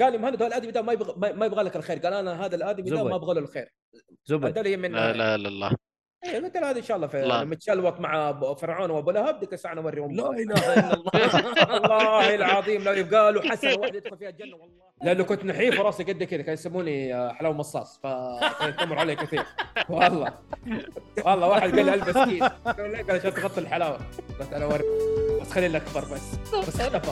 قال لي مهند هذا الادمي ده ما يبغى ما ما يبغى لك الخير قال انا هذا الادمي ده زبد. ما ابغى له الخير زبد هذا اللي من لا لا لا لا إيه قلت له هذا ان شاء الله في لا. لما تشلوك مع أبو فرعون وابو لهب ديك الساعه نوري لا والله اله الا الله والله العظيم لو يبقى له حسن واحد يدخل فيها الجنه والله لانه كنت نحيف وراسي قد كذا كان يسموني آه، حلاوه مصاص فكانوا علي كثير والله والله واحد قال لي البس كيس قلت له ليه؟ قال عشان تغطي الحلاوه قلت انا اوريك بس خليني اكبر بس بس اختفى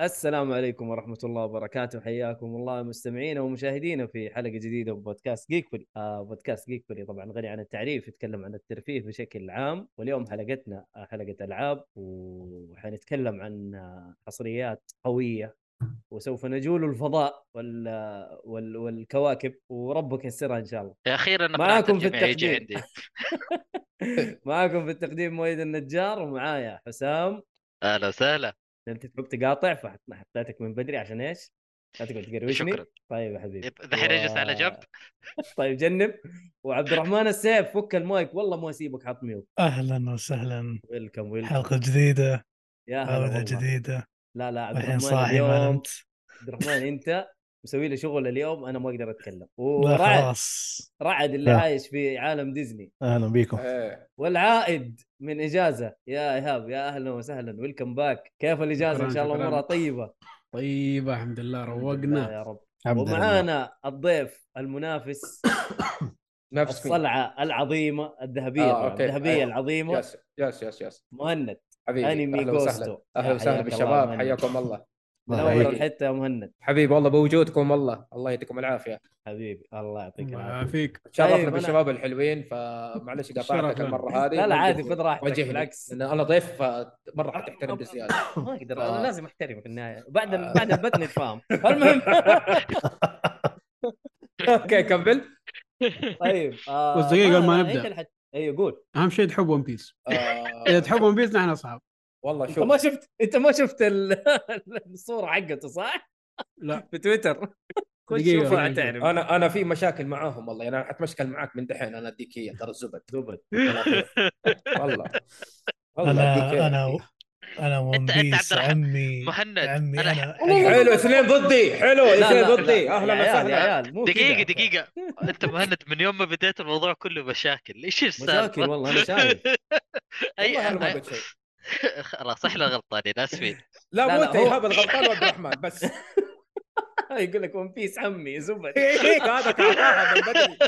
السلام عليكم ورحمة الله وبركاته حياكم الله مستمعينا ومشاهدينا في حلقة جديدة من بودكاست جيكفولي آه بودكاست جيكفولي طبعا غني عن التعريف يتكلم عن الترفيه بشكل عام واليوم حلقتنا آه، حلقة ألعاب وحنتكلم عن آه، حصريات قوية وسوف نجول الفضاء وال... آه، وال... والكواكب وربك يسرها ان شاء الله يا اخيرا أنا معاكم طلعت في الجميع يجي التقديم. عندي معاكم في التقديم مويد النجار ومعايا حسام اهلا وسهلا انت تحب تقاطع فحطيتك من بدري عشان ايش؟ لا تقعد تقروشني شكرا طيب يا حبيبي يب- دحين و- اجلس على جنب طيب جنب وعبد الرحمن السيف فك المايك والله ما اسيبك حاط ميوت اهلا وسهلا ويلكم ويلكم حلقه جديده يا هلا عوده والله. جديده لا لا عبد الحين الرحمن صاحي ما اليوم نمت عبد الرحمن انت مسوي لي شغل اليوم انا ما اقدر اتكلم لا ورعد خلاص رعد اللي لا. عايش في عالم ديزني اهلا بكم إيه. والعائد من اجازه يا ايهاب يا اهلا وسهلا ويلكم باك كيف الاجازه ان شاء الله شكراً، شكراً. امورها طيبه طيب الحمد لله الحمد لله يا روقنا رب الحمد لله. ومعانا الضيف المنافس نفس مين؟ الصلعه العظيمه الذهبيه آه، طبعاً، أوكي. الذهبيه أيوه. أيوة. العظيمه يس يس يس يس مهند حبيبي انمي أهلا وسهلا. جوستو اهلا يا وسهلا حياك الله بالشباب مهند. حياكم الله من الله اول يحييك. الحته يا مهند حبيبي والله بوجودكم والله الله يعطيكم العافيه حبيبي الله يعطيك الله العافيه يعافيك شرفنا طيب، أنا- بالشباب الحلوين فمعلش قطعتك شرفنا. المره هذه لا لا عادي وجهني. خذ راحتك وجهني. بالعكس لأن انا ضيف فمره حتحترم بزياده ما اقدر آه. انا لازم احترمه في النهايه بعد آه. بعد البتن يتفاهم المهم اوكي كمل طيب آه، بس دقيقة قبل ما مهند، نبدأ. أنت اللي حت- ايوه قول اهم شيء تحب ون بيس آه، اذا تحب ون بيس نحن اصحاب والله انت شوف ما شفت انت ما شفت ال- الصوره حقته صح؟ لا في تويتر كل دقيقة، شوفها دقيقة. تعرف انا انا في مشاكل معاهم والله يعني انا حتمشكل معاك من دحين انا اديك هي ترى الزبد زبد والله والله أديك انا إياه. انا انا ون أنت- أنت عبد بيس الرحمن. عمي مهند عمي أنا- انا حلو اثنين ضدي حلو لا، اثنين لا، ضدي لا. اهلا يا عيال، يا وسهلا عيال، مو دقيقة كذا. دقيقة انت مهند من يوم ما بديت الموضوع كله مشاكل ايش مشاكل السالفة؟ والله انا شايف اي والله أنا ما أنا- قلت شيء. خلاص احنا غلطانين اسفين لا لا، مو لا، انت هو- ايهاب الغلطان وعبد الرحمن بس يقول لك ون بيس عمي زبد هيك هذا كعطاها من بدري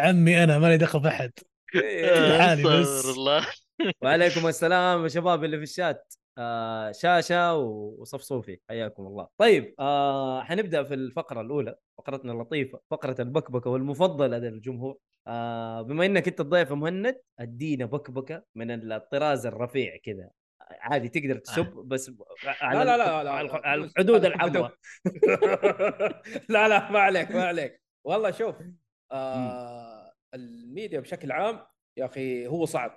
عمي انا مالي دخل باحد إيه. لحالي بس. استغفر الله وعليكم السلام يا شباب اللي في الشات آه شاشه و- وصفصوفي حياكم الله طيب آه حنبدا في الفقره الاولى فقرتنا اللطيفه فقره البكبكه والمفضله للجمهور آه بما انك انت الضيف يا مهند ادينا بكبكه من الطراز الرفيع كذا عادي تقدر تسب بس على لا لا لا لا على- على الحدود العامه لا لا ما عليك ما عليك والله شوف آه الميديا بشكل عام يا اخي هو صعب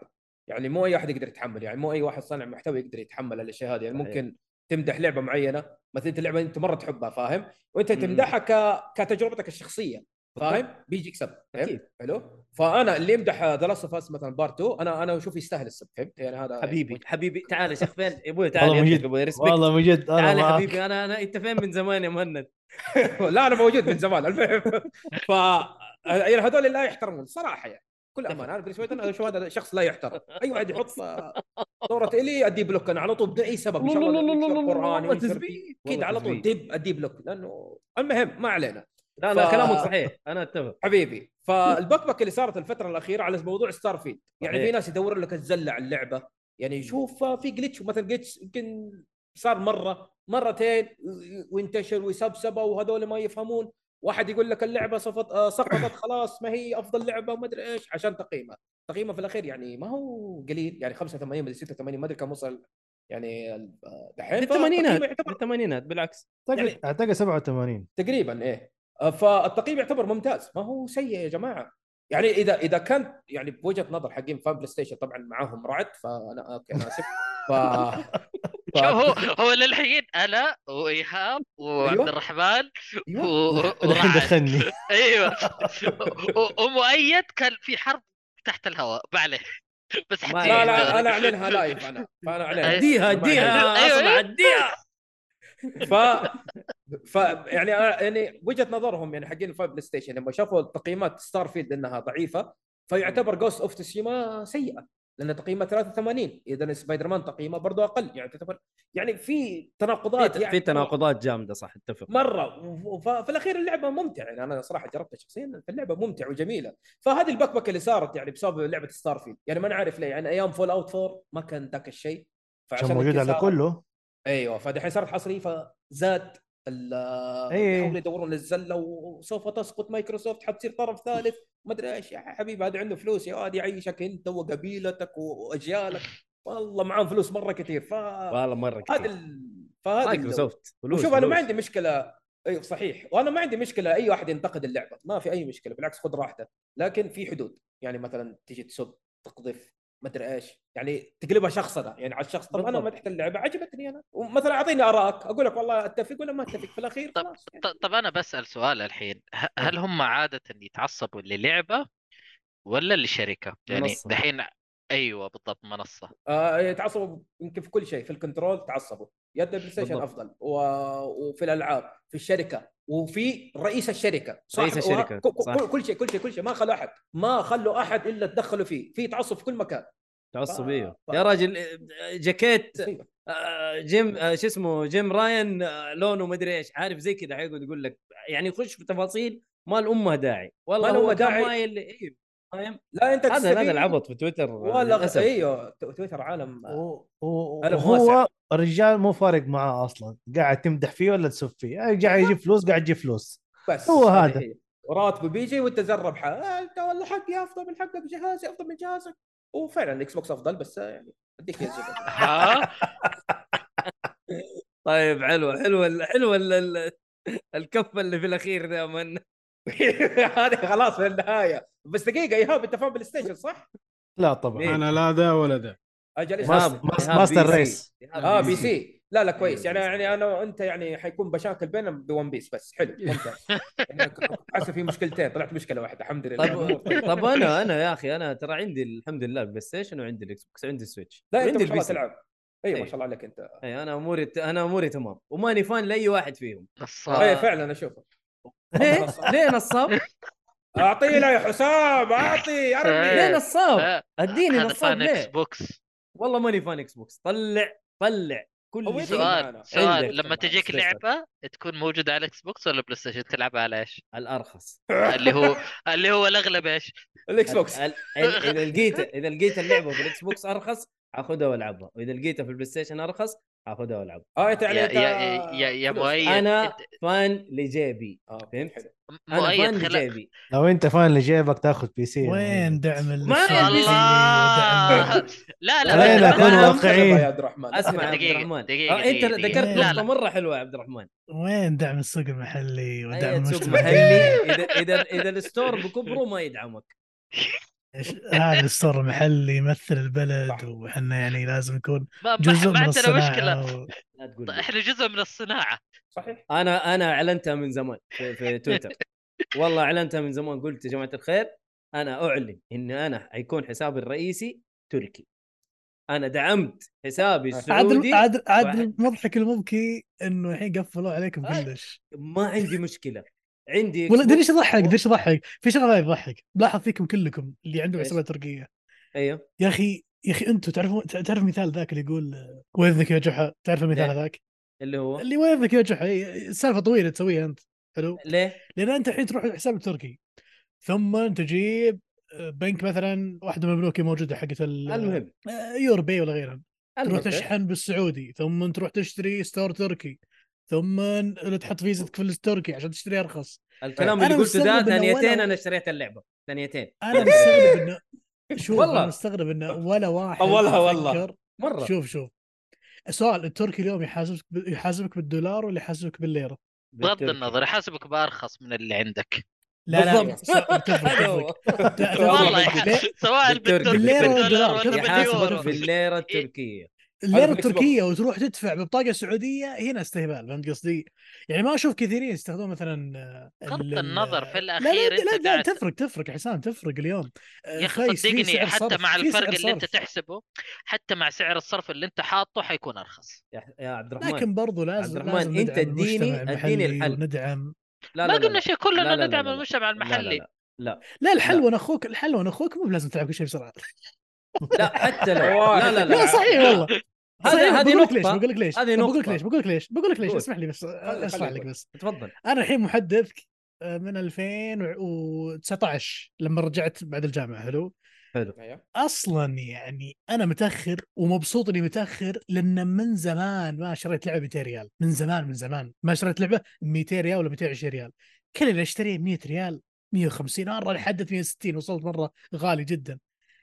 يعني مو اي احد يقدر يتحمل يعني مو اي واحد صانع محتوى يقدر يتحمل الاشياء هذه يعني صحيح. ممكن تمدح لعبه معينه مثلا انت لعبه انت مره تحبها فاهم وانت مم. تمدحها ك... كتجربتك الشخصيه فاهم بيجي يكسب فهمت اكيد حلو فانا اللي يمدح ذا لاست اوف اس مثلا بارت 2 انا انا اشوف يستاهل السب فهمت يعني هذا حبيبي حبيبي تعال يا شيخ فين يا ابوي تعال والله من يا جد. ابوي ريسبكت والله من جد انا تعال يا معك حبيبي انا انا انت فين من زمان يا مهند لا انا موجود من زمان المهم ف يعني هذول لا يحترمون صراحه يعني كل امانه انا بالنسبه لي انا اشوف هذا شخص لا يحترم اي واحد يحط صوره الي ادي بلوك انا على طول بدون اي سبب ان شاء الله ينشر قران ينشر تسبيح كذا على طول دب ادي بلوك لانه المهم ما علينا لا لا ف- كلامك صحيح انا اتفق حبيبي فالبكبكه اللي صارت الفتره الاخيره على موضوع ستار فيلد يعني صحيح. في ناس يدور لك الزله على اللعبه يعني يشوف في جلتش مثلا جلتش يمكن صار مره مرتين وانتشر وسبسبه وهذول ما يفهمون واحد يقول لك اللعبه صفت آه، سقطت خلاص ما هي افضل لعبه وما ادري ايش عشان تقييمها تقييمها في الاخير يعني ما هو قليل يعني 85 مدري 86 ما ادري كم وصل يعني آه، دحين بالثمانينات فتقييمه يعتبر بالثمانينات بالعكس يعني- اعتقد 87 إيه. تقريبا ايه آه، فالتقييم يعتبر ممتاز ما هو سيء يا جماعه يعني اذا اذا كان يعني بوجهه نظر حقين فان بلاي ستيشن طبعا معاهم رعد فانا اوكي انا اسف ف... ف... شوف هو هو للحين انا وايهاب وعبد أيوه. الرحمن و- أيوه. و- الحين ورعد دخلني ايوه و- ومؤيد كان في حرب تحت الهواء ما عليه بس حتى لا لا انا اعلنها لايف انا فانا اعلنها اديها ما عليك. اديها أيوة، اصلا أيوة. اديها ف ف يعني أنا- يعني وجهه نظرهم يعني حقين الفايف بلاي ستيشن لما شافوا تقييمات ستار فيلد انها ضعيفه فيعتبر جوست اوف تسيما سيئه لان تقييمه 83 اذا سبايدر مان تقييمه برضه اقل يعني تعتبر يعني في تناقضات في- يعني في تناقضات جامده صح اتفق مره وفي الاخير اللعبه ممتعه يعني انا صراحه جربتها شخصيا اللعبه ممتعه وجميله فهذه البكبكه اللي صارت يعني بسبب لعبه ستار فيلد يعني ما انا عارف ليه يعني ايام فول اوت 4 ما كان ذاك الشيء عشان كذا موجود على صارت- كله ايوه فدحين صارت حصريه فزاد ال- إيه. يحاولوا يدورون الزله وسوف تسقط مايكروسوفت حتصير طرف ثالث ما ادري ايش يا حبيبي هذا عنده فلوس يا واد يعيشك انت وقبيلتك واجيالك والله معاهم فلوس مره كثير ف والله مره هذا كثير ال... فهذا ال- مايكروسوفت فلوس وشوف انا ما فلوس. عندي مشكله ايوه صحيح وانا ما عندي مشكله اي واحد ينتقد اللعبه ما في اي مشكله بالعكس خذ راحته لكن في حدود يعني مثلا تجي تسب تقذف ما ادري ايش يعني تقلبها شخصنه يعني على الشخص طب انا بالضبط. مدحت اللعبه عجبتني انا ومثلا اعطيني ارائك اقول لك والله اتفق ولا ما اتفق في الاخير طب- خلاص يعني. ط- طب انا بسال سؤال الحين ه- هل هم عاده يتعصبوا للعبه ولا لشركه؟ يعني منصة. دحين ايوه بالضبط منصه آه يتعصبوا يمكن في كل شيء في الكنترول تعصبوا يد البلاي ستيشن بالضبط. افضل و... وفي الالعاب في الشركه وفي رئيس الشركه صاحب- رئيس الشركة، وه- ك- ك- صح. كل- كل شيء كل شيء كل شيء ما خلوا احد ما خلوا احد الا تدخلوا فيه في تعصب في كل مكان تعصبيه ف- إيه. يا راجل آه، جاكيت أيوة. آه، جيم آه، شو اسمه جيم راين آه، لونه مدري ايش عارف زي كذا حيقعد يقول لك يعني يخش في تفاصيل ما الامه داعي والله ما هو الأمة كان داعي. مايل ايوه فاهم لا انت هذا تستفيد هذا العبط في تويتر آه، ولا غ- للأسف. آه. ايوه تو- تويتر عالم و- و- ألم وهو واسع. الرجال مو فارق معاه اصلا قاعد تمدح فيه ولا تسب فيه قاعد يجيب فلوس قاعد يجيب فلوس بس هو هذه هذا. هي. وراتبه يعني بيجي وانت زرب حق آه انت والله حقي افضل من حقك جهازي افضل من جهازك وفعلا الاكس بوكس افضل بس آه، يعني اديك يا زبل ها طيب حلوه حلوه ال- حلوه ال- ال- الكفه اللي في الاخير ده من هذه خلاص في النهايه بس دقيقه ايهاب انت فاهم بلاي ستيشن صح؟ لا طبعا إيه. انا لا ذا ولا ذا اجل إيش ماس- قصدك؟ ماس- إيهاب ماستر بي سي. ريس. إيهاب اه بي سي لا لا كويس أيوه، يعني بي سي. يعني انا وانت يعني حيكون مشاكل بيننا بون بيس بس حلو ممتع يعني حاسس في مشكلتين طلعت مشكله واحده الحمد لله طيب، طب الأمور طيبة. طب انا انا يا اخي انا ترى عندي الحمد لله البلاي ستيشن وعندي الاكس بوكس وعندي السويتش لا انت وعندي ما شاء الله سي. تلعب ايوه ما أيوة. أيوه. شاء الله عليك انت اي انا اموري انا اموري تمام وماني فان لاي واحد فيهم نصاب اي فعلا اشوفه ليه؟ ليه نصاب؟ اعطيه له يا حسام اعطي ارمي ليه إيه. نصاب؟ آه، اديني هذا نصاب فان اكس ليه؟ بوكس والله ماني فان اكس بوكس طلع طلع هو كل يدري شيء معنا. سؤال عندك سؤال طبعاً لما تجيك بلاي ستيشن. لعبه تكون موجوده على الاكس بوكس ولا بلاي ستيشن تلعبها على ايش؟ الارخص اللي هو اللي هو الاغلب ايش؟ الاكس بوكس آه. ال- ال- اذا لقيت اذا لقيت اللعبه في الاكس بوكس ارخص اخذها والعبها واذا لقيتها في البلاي ستيشن ارخص اخذها والعبها اه انت يعني يا انت يا يا يا فلوس. مؤيد انا أنت- فان لجيبي آه، فهمت؟ حلو. انا فان مؤيد خلا لجيبي لو انت فان اللي جايبك تاخذ بي سي وين دعم ال- ما السعودية الله ودعم- لا لا خلينا بس- نكون لا، أنا واقعيين. مختلفة يا عبد الرحمن اسمع يا عبد دقيقة، الرحمن دقيقة، آه، انت دقيقة، ذكرت دقيقة. نقطه مره حلوه يا عبد الرحمن وين دعم السوق المحلي اي ودعم سوق المجتمع أيوة، محلي اذا اذا اذا الستور بكبره ما يدعمك إيش- هذا السور المحلي يمثل البلد صح. وحنا يعني لازم نكون ما- ما جزء ما من عندنا الصناعه مشكله و... لا تقول طيب، لي. احنا جزء من الصناعه صحيح انا انا اعلنتها من زمان في, في تويتر والله اعلنتها من زمان قلت يا جماعه الخير انا اعلن ان انا حيكون حسابي الرئيسي تركي انا دعمت حسابي عاد السعودي عاد عاد واحد. المضحك المبكي انه الحين قفلوا عليكم أي. كلش ما عندي مشكله عندي ولا Xbox. دري ايش يضحك دري ايش يضحك في شغله ما يضحك لاحظ فيكم كلكم اللي عندهم إيش؟ حسابات تركيه ايوه يا اخي يا اخي انتم تعرفون تعرف مثال ذاك اللي يقول آه، وينك يا جحا تعرف المثال ليه؟ هذاك اللي هو اللي وينك يا جحا إي- سالفه طويله تسويها انت حلو ليه؟ لان انت الحين تروح الحساب التركي ثم تجيب آه، بنك مثلا واحده من البنوك الموجوده حقت ال- المهم آه، يوربي ولا غيرها تروح المهم. تشحن بالسعودي ثم تروح تشتري ستور تركي ثم تحط فيزتك في التركي عشان تشتري ارخص الكلام أنا اللي قلته ده مستغرب إنه ثانيتين ولا- انا اشتريت اللعبه ثانيتين انا مستغرب انه شوف والله. والله مستغرب انه ولا واحد طولها والله. فكر- مره شوف شوف السؤال التركي اليوم يحاسبك ب- يحاسبك بالدولار ولا يحاسبك بالليره؟ بغض بالتركي. النظر احاسبك بارخص من اللي عندك لا لا بالضبط. صح، تفرق، هذا هو. تفرق. لا، تفرق. والله يا ليه- أخي، سواء بالتركي. بالدولار بالليرة بالدولار والدولار. ولا كيف يحاسبك باليورو في الليره التركيه هذا الليره بالنسبة- التركيه وتروح تدفع ببطاقه سعوديه هنا استهبال فهمت قصدي؟ يعني ما اشوف كثيرين يستخدمون مثلا آه، بغض ال- ال- النظر في لا لا الاخير لا, انت لا قاعد تفرق تفرق حسام تفرق اليوم آه، يا اخي خيس، في صدقني سعر حتى صرف، مع في الفرق سعر اللي انت صرف. تحسبه حتى مع سعر الصرف اللي انت حاطه حيكون ارخص يا يا عبد الرحمن لكن برضو عبد لازم الرحمن، لازم أنت ندعم اديني- اديني المجتمع المحلي الحل. وندعم لا لا ما لا قلنا لا. شيء لا، لا، كلنا لا، ندعم لا، لا. المجتمع لا لا المحلي لا لا لا الحلوى انا اخوك الحلوى انا اخوك مو لازم تلعب كل شيء بسرعه لا حتى لو لا لا لا لا صحيح والله هذا- صحيح، هذه بقول لك ليش نقطة. بقول لك ليش هذه بقول لك نقطة. ليش بقول لك ليش بقول لك ليش قول. اسمح لي بس خلي- اسمع خلي لك يقول. بس تفضل انا الحين محدث آه، من 2019 لما رجعت بعد الجامعه حلو حلو أيوه. اصلا يعني انا متاخر ومبسوط اني متاخر لان من زمان ما شريت لعبه 200 ريال من زمان من زمان ما شريت لعبه 200 ريال ولا 220 ريال كل اللي اشتريه 100 ريال 150 مره لحد 160 وصلت مره غالي جدا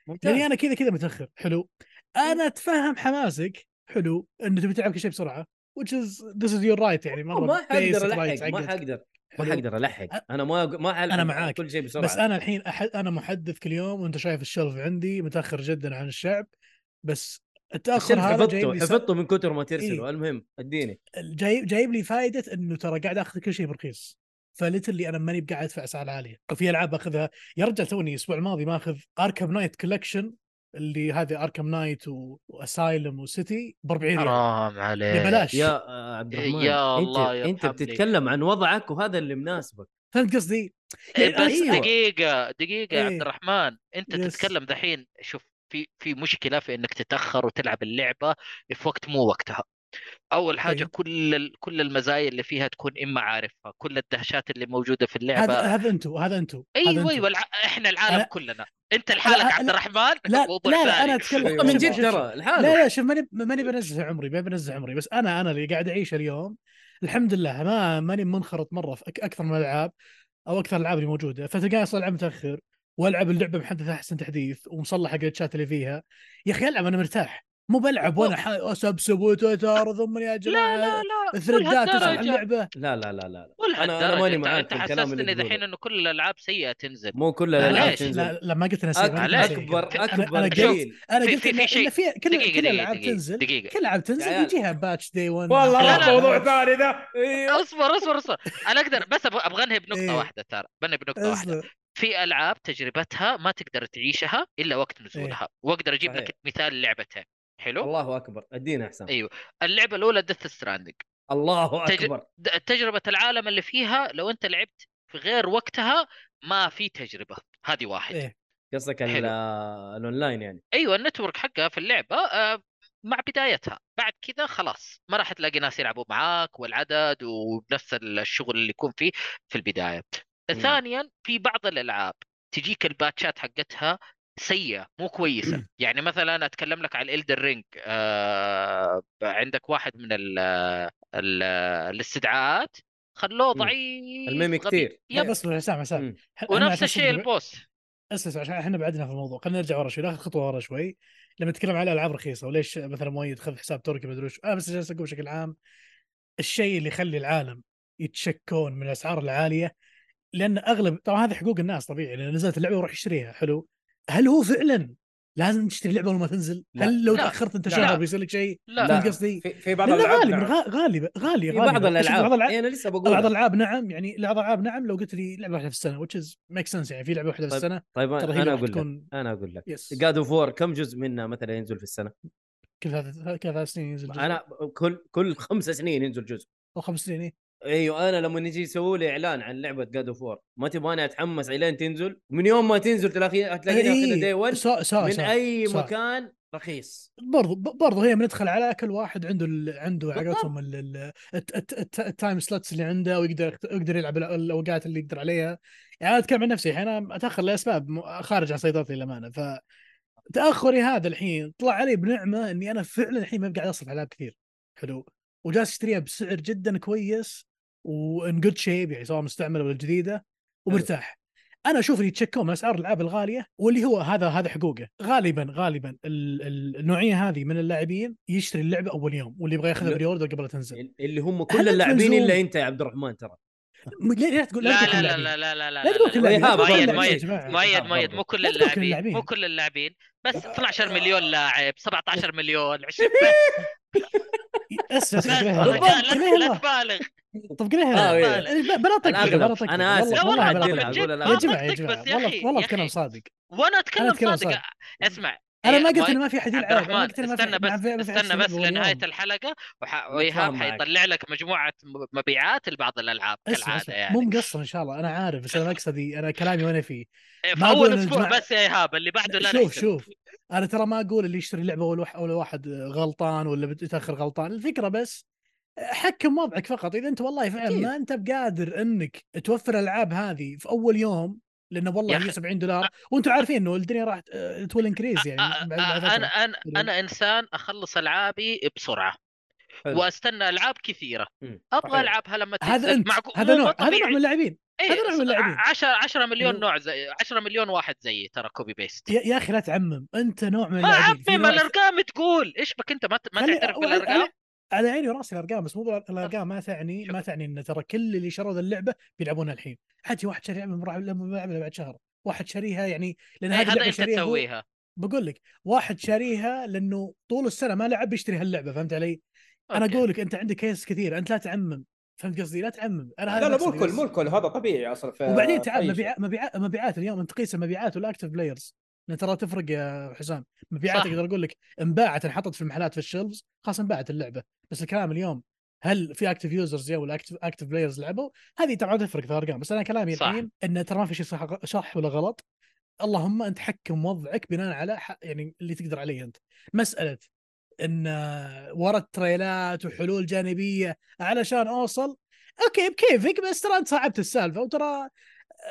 لاني ممتاز انا كذا كذا متاخر حلو انا اتفهم حماسك حلو انه تبي تلعب كل شيء بسرعه which is this is your right يعني مره ما basic حقدر right الحق ما حقك. حقدر ما حلو. حقدر الحق انا ما ما حلحق أنا معاك. كل شيء بسرعه بس انا الحين أحد انا محدث كل يوم وانت شايف الشلف عندي متاخر جدا عن الشعب بس التاخر الشرح هذا جايب حفظته لي حفظته من كثر ما ترسله إيه. المهم اديني جايب جايب لي فائده انه ترى قاعد اخذ كل شيء برخيص فليترلي انا ماني قاعد ادفع اسعار عاليه في العاب اخذها يا رجال توني الاسبوع الماضي ماخذ اركم نايت كولكشن اللي هذه اركم نايت و... واسايلم وسيتي ب 40 ريال حرام عليك ببلاش يا آه، عبد الرحمن إيه، يا انت الله انت يرحمني. بتتكلم عن وضعك وهذا اللي مناسبك فهمت قصدي؟ إيه، يعني أنا بس أيوة. دقيقة دقيقة يا عبد إيه. الرحمن أنت يس. تتكلم دحين شوف في في مشكلة في إنك تتأخر وتلعب اللعبة في وقت مو وقتها. أول حاجة طيب. كل ال- كل المزايا اللي فيها تكون إما عارفها، كل الدهشات اللي موجودة في اللعبة. هذا هذا انتو هذا انتو هذا أيوه أنتو. أيوه الع- إحنا العالم أنا- كلنا، أنت لحالك أنا- عبد الرحمن لا موضوع لا, لا ثاني. انا اتكلم أيوة. من شوف- جد شوف- ترى لا لحاله لا شوف ماني ماني بنزع عمري ما بنزع عمري بس انا انا اللي قاعد اعيشه اليوم الحمد لله ما ماني منخرط مره في أك- اكثر من الالعاب او اكثر الالعاب اللي موجوده فتلقاني اصلا العب متاخر والعب اللعبه محدثه احسن تحديث ومصلح الجلتشات اللي فيها يا اخي العب انا مرتاح مو بلعب وانا ح- اسبسب وتويتر ضمن لا لا يا جماعه لا ثريدات تصلح ولا اللعبه لا لا لا لا ولا أنا- أنا ماني معاك أنت في الكلام اللي حسستني تقوله. دحين إنه كل الألعاب سيئة تنزل. مو كل لا، الالعاب ليش؟ تنزل لا لا ما قلت انا أك- سيء ما قلت أنا سيء. اكبر كده. أنا- اكبر أنا دليل انا في- قلت في- إن- في شيء. إن في كل دقيقة كل دقيقة الالعاب دقيقة تنزل دقيقة. كل الالعاب تنزل يا عيال. يجيها باتش دي 1 والله لا، لا. موضوع ثاني إيه، ذا اصبر اصبر اصبر انا اقدر بس أبغى- ابغى انهي بنقطه إيه. واحده ترى بنهي بنقطه واحده في العاب تجربتها ما تقدر تعيشها الا وقت نزولها إيه. واقدر اجيب صحيح. لك مثال لعبتين حلو الله اكبر ادينا احسن إيه. اللعبه الاولى ديث ستراندنج الله تج- اكبر تجربه العالم اللي فيها لو انت لعبت في غير وقتها ما في تجربه هذه واحد إيه. قصدك حلو. ال- الاونلاين يعني ايوه النتورك حقها في اللعبه آه، مع بدايتها بعد كذا خلاص ما راح تلاقي ناس يلعبوا معاك والعدد وبنفس الشغل اللي يكون فيه في البدايه ثانيا في بعض الالعاب تجيك الباتشات حقتها سيئه مو كويسه يعني مثلا اتكلم لك على الالدر رينج آه عندك واحد من ال ال الاستدعاءات خلوه مم. ضعيف الميمي غبي. كثير لا يب بس بس حسام حسام مم. ح- إحنا ونفس عشان الشيء صدق- البوس اسس عشان احنا بعدنا في الموضوع خلينا نرجع ورا شوي ناخذ خطوه ورا شوي لما نتكلم على العاب رخيصه وليش مثلا مؤيد خذ حساب تركي ما ادري وش انا بس جالس اقول بشكل عام الشيء اللي يخلي العالم يتشكون من الاسعار العاليه لان اغلب طبعا هذه حقوق الناس طبيعي لان نزلت اللعبه وراح يشتريها حلو هل هو فعلا لازم تشتري اللعبه اول ما تنزل؟ لا. هل لو لا. تاخرت انت لا. شهر بيصير لك شيء؟ لا لا. فهمت قصدي؟ في في بعض لأن الالعاب غالبا نعم. غ- غالبا غالبا في غالبا. بعض بس بعض الالعاب الالعاب إيه، انا لسه بعض بقول الالعاب نعم يعني بعض الالعاب نعم لو قلت لي لعبه واحده في السنه which is make sense يعني في لعبه واحده في طيب، السنه طيب ترى انا هي أنا راح اقول لك تكون انا اقول لك يس جاد اوف وور كم جزء منها مثلا ينزل في السنه؟ كل ثلاث كل ثلاث سنين ينزل جزء انا كل كل خمس سنين ينزل جزء او خمس سنين إيه. ايوه انا لما يجي يسووا لي اعلان عن لعبه جاد اوف وور ما تبغاني اتحمس الين تنزل من يوم ما تنزل تلاقي تلاقيني اخذها دي 1 سا سا من سا. اي إيه، صح. مكان رخيص برضو ب- برضو هي بندخل على كل واحد عنده ال... عنده بالضبط. عقتهم ال... ال... الت- الت- الت- التايم سلوتس اللي عنده ويقدر يقدر يلعب ال- الاوقات اللي يقدر عليها يعني انا اتكلم عن نفسي انا اتاخر لاسباب م- خارج عن سيطرتي للامانه ف تاخري هذا الحين طلع علي بنعمه اني انا فعلا الحين ما قاعد اصرف على العاب كثير حلو وجالس اشتريها بسعر جدا كويس وان جود شيب يعني سواء مستعمله ولا جديده ومرتاح انا اشوف اللي يتشكون من اسعار الالعاب الغاليه واللي هو هذا هذا حقوقه غالبا غالبا ال- ال- النوعيه هذه من اللاعبين يشتري اللعبه اول يوم واللي يبغى ياخذها لا. بري اوردر قبل لا تنزل اللي هم طيب. هل كل أنت اللاعبين ملزوم؟ الا انت يا عبد الرحمن ترى م- ليه ليه تقول لا تقول لا لا اللاعبين. لا لا لا لا لا تقول لا. كل اللاعبين، وإيهاب لا تقول مؤيد، كل اللاعبين يا مؤيد، جماعة. مؤيد بالضبط. مؤيد مو كل لا تقول اللاعبين كل اللاعبين. مو كل اللاعبين بس 12 مليون لاعب 17 مليون 20 اسف لا اسف لا ليه الله؟ لا ليه الله؟ تبالغ طب ليه آه، إيه. الله؟ بلا أنا طقطقه أغلب. بلا طقطقه أنا آسف. والله- لا والله والله أنا بلا أتكلم، طقطقة. أقول من جد. لا. يا آه، جماعه يا منطق جماعه بس يا والله أخي، والله يا بكلام أخي. صادق وانا اتكلم أنا أتكلم صادق صادق. اسمع انا إيه، ما قلت مؤيد- انه ما في حد يلعب عبد أنا ما الرحمن قلت إنه ما في استنى حد- ما بس في- ما في حد استنى يلعب بس لنهايه واليوم. الحلقه وح- نتفاهم وايهاب معك. حيطلع لك مجموعه م- مبيعات لبعض الالعاب اسمع كالعاده اسمع يعني مو مقصر ان شاء الله انا عارف بس انا مقصدي انا كلامي وانا فيه إيه، في ما أقول اول إن اسبوع الجماعة- بس يا ايهاب اللي بعده لا شوف نحسب. شوف انا ترى ما اقول اللي يشتري لعبه اول واحد اول واحد غلطان ولا بتاخر غلطان الفكره بس حكم وضعك فقط اذا انت والله فعلا أكيد. ما انت بقادر انك توفر الالعاب هذه في اول يوم لانه يا والله أخي. هي 70 دولار وانتم عارفين انه الدنيا راح تول انكريز يعني آه، بعد- آه، بعد انا فترة. انا انا انسان اخلص العابي بسرعه حلو. واستنى العاب كثيره مم. ابغى صحيح. العبها لما هذا انت معقول- هذا مو- مو نوع هذا نوع طبيعي. من اللاعبين إيه، هذا نوع من اللاعبين. 10 10 مليون مم. نوع زي 10 مليون واحد زيي ترى كوبي بيست يا يا اخي لا تعمم انت نوع من ما اللاعبين في عمي ما نوع- الارقام تقول ايش بك انت ما ت- ما خلي- تعترف إيه، أو- على- بالارقام على- على عيني وراسي الارقام بس مو بال- الارقام ما تعني ما تعني ان ترى كل اللي شروا ذا اللعبه بيلعبونها الحين حتى واحد شاري لعبه راح يلعبها بعد شهر واحد شاريها يعني لان إيه، هذه هذا اللعبه انت شاريها هو- تسويها بقول لك واحد شاريها لانه طول السنه ما لعب بيشتري هاللعبه فهمت علي؟ انا أوكي. اقول لك انت عندك كيس كثير انت لا تعمم فهمت قصدي؟ لا تعمم انا هذا لا لا مو مقصدي الكل بس. مو الكل هذا طبيعي اصلا في وبعدين في تعال طيب. أي مبيعات مبيعات مبيعات اليوم انت تقيس المبيعات والاكتف بلايرز لأن ترى تفرق يا حسام مبيعات صح. اقدر اقول لك انباعت انحطت في المحلات في الشلفز خلاص انباعت اللعبه بس الكلام اليوم هل في اكتف يوزرز ولا اكتف اكتف بلايرز لعبوا هذه طبعا تفرق في الارقام بس انا كلامي صح. الحين ان ترى ما في شيء صح, صح ولا غلط اللهم انت حكم وضعك بناء على ح- يعني اللي تقدر عليه انت مساله ان آه، ورا التريلات وحلول جانبيه علشان اوصل اوكي بكيفك بس ترى انت صعبت السالفه وترى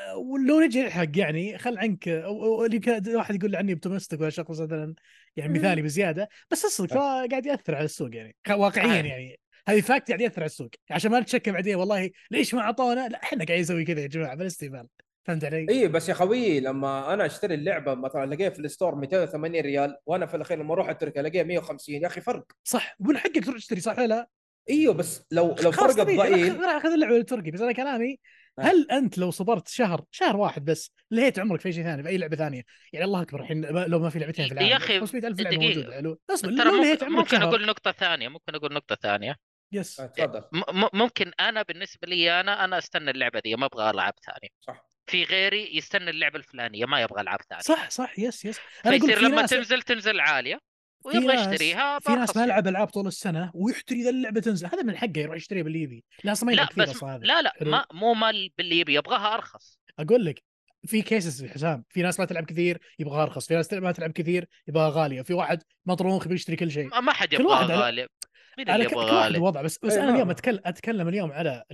آه، ولو نجي نلحق يعني خل عنك آه، أو- أو اللي كان واحد يقول عني اوبتمستك ولا شخص مثلا يعني مثالي بزياده بس اصدق ترى قاعد ياثر على السوق يعني خ- واقعيا صحيح. يعني هذه فاكت قاعد ياثر على السوق عشان ما نتشكى بعدين والله ليش ما اعطونا لا احنا قاعدين نسوي كذا يا جماعه بالاستهبال فهمت علي؟ اي إيه، بس يا خوي لما انا اشتري اللعبه مثلا الاقيها في الستور 280 ريال وانا في الاخير لما اروح اتركها الاقيها 150 يا اخي فرق صح ومن حقك تروح تشتري صح ولا لا؟ ايوه بس لو لو خلاص فرق طبيعي. لا، الضئيل خ- راح اخذ اللعبه التركي بس انا كلامي آه. هل انت لو صبرت شهر شهر واحد بس لهيت عمرك في شيء ثاني في اي لعبه ثانيه يعني الله اكبر الحين ما- لو ما في لعبتين في يا العالم أخي، 500000 لعبه دقيقة. موجوده حلو اصبر ترى لو لهيت ممكن, عمرك ممكن شهر اقول نقطه ثانيه ممكن اقول نقطه ثانيه يس آه، تفضل م- م- ممكن انا بالنسبه لي انا انا استنى اللعبه دي ما ابغى العاب ثانيه صح. في غيري يستنى اللعبه الفلانيه ما يبغى العاب ثانيه صح صح يس يس انا اقول فيصير لك في لما آه، ناس تنزل تنزل عاليه ويبغى ناس- يشتريها في ناس بأرخص ما سعر. يلعب العاب طول السنه ويشتري ذا اللعبه تنزل هذا من حقه يروح يشتريها باللي يبي لا أصلاً ما لا يلعب كثير بس اصلا هذا لا لا حلو. ما مو مال باللي يبي يبغاها ارخص اقول لك في كيسز حسام في ناس ما تلعب كثير يبغاها ارخص في ناس ما تلعب كثير يبغاها غاليه في واحد مطروخ بيشتري كل شيء ما- ما حد طيب. كل يبغى واحد على- غالي مين اللي على ك- يبغى كل واحد غالي وضع بس بس أي انا نعم. اليوم اتكلم اتكلم اليوم على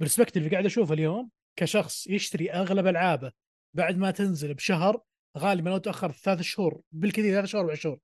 البرسبكتيف اللي قاعد اشوفه اليوم كشخص يشتري اغلب العابه بعد ما تنزل بشهر غالبا لو تاخر ثلاث شهور بالكثير ثلاث شهور اربع شهور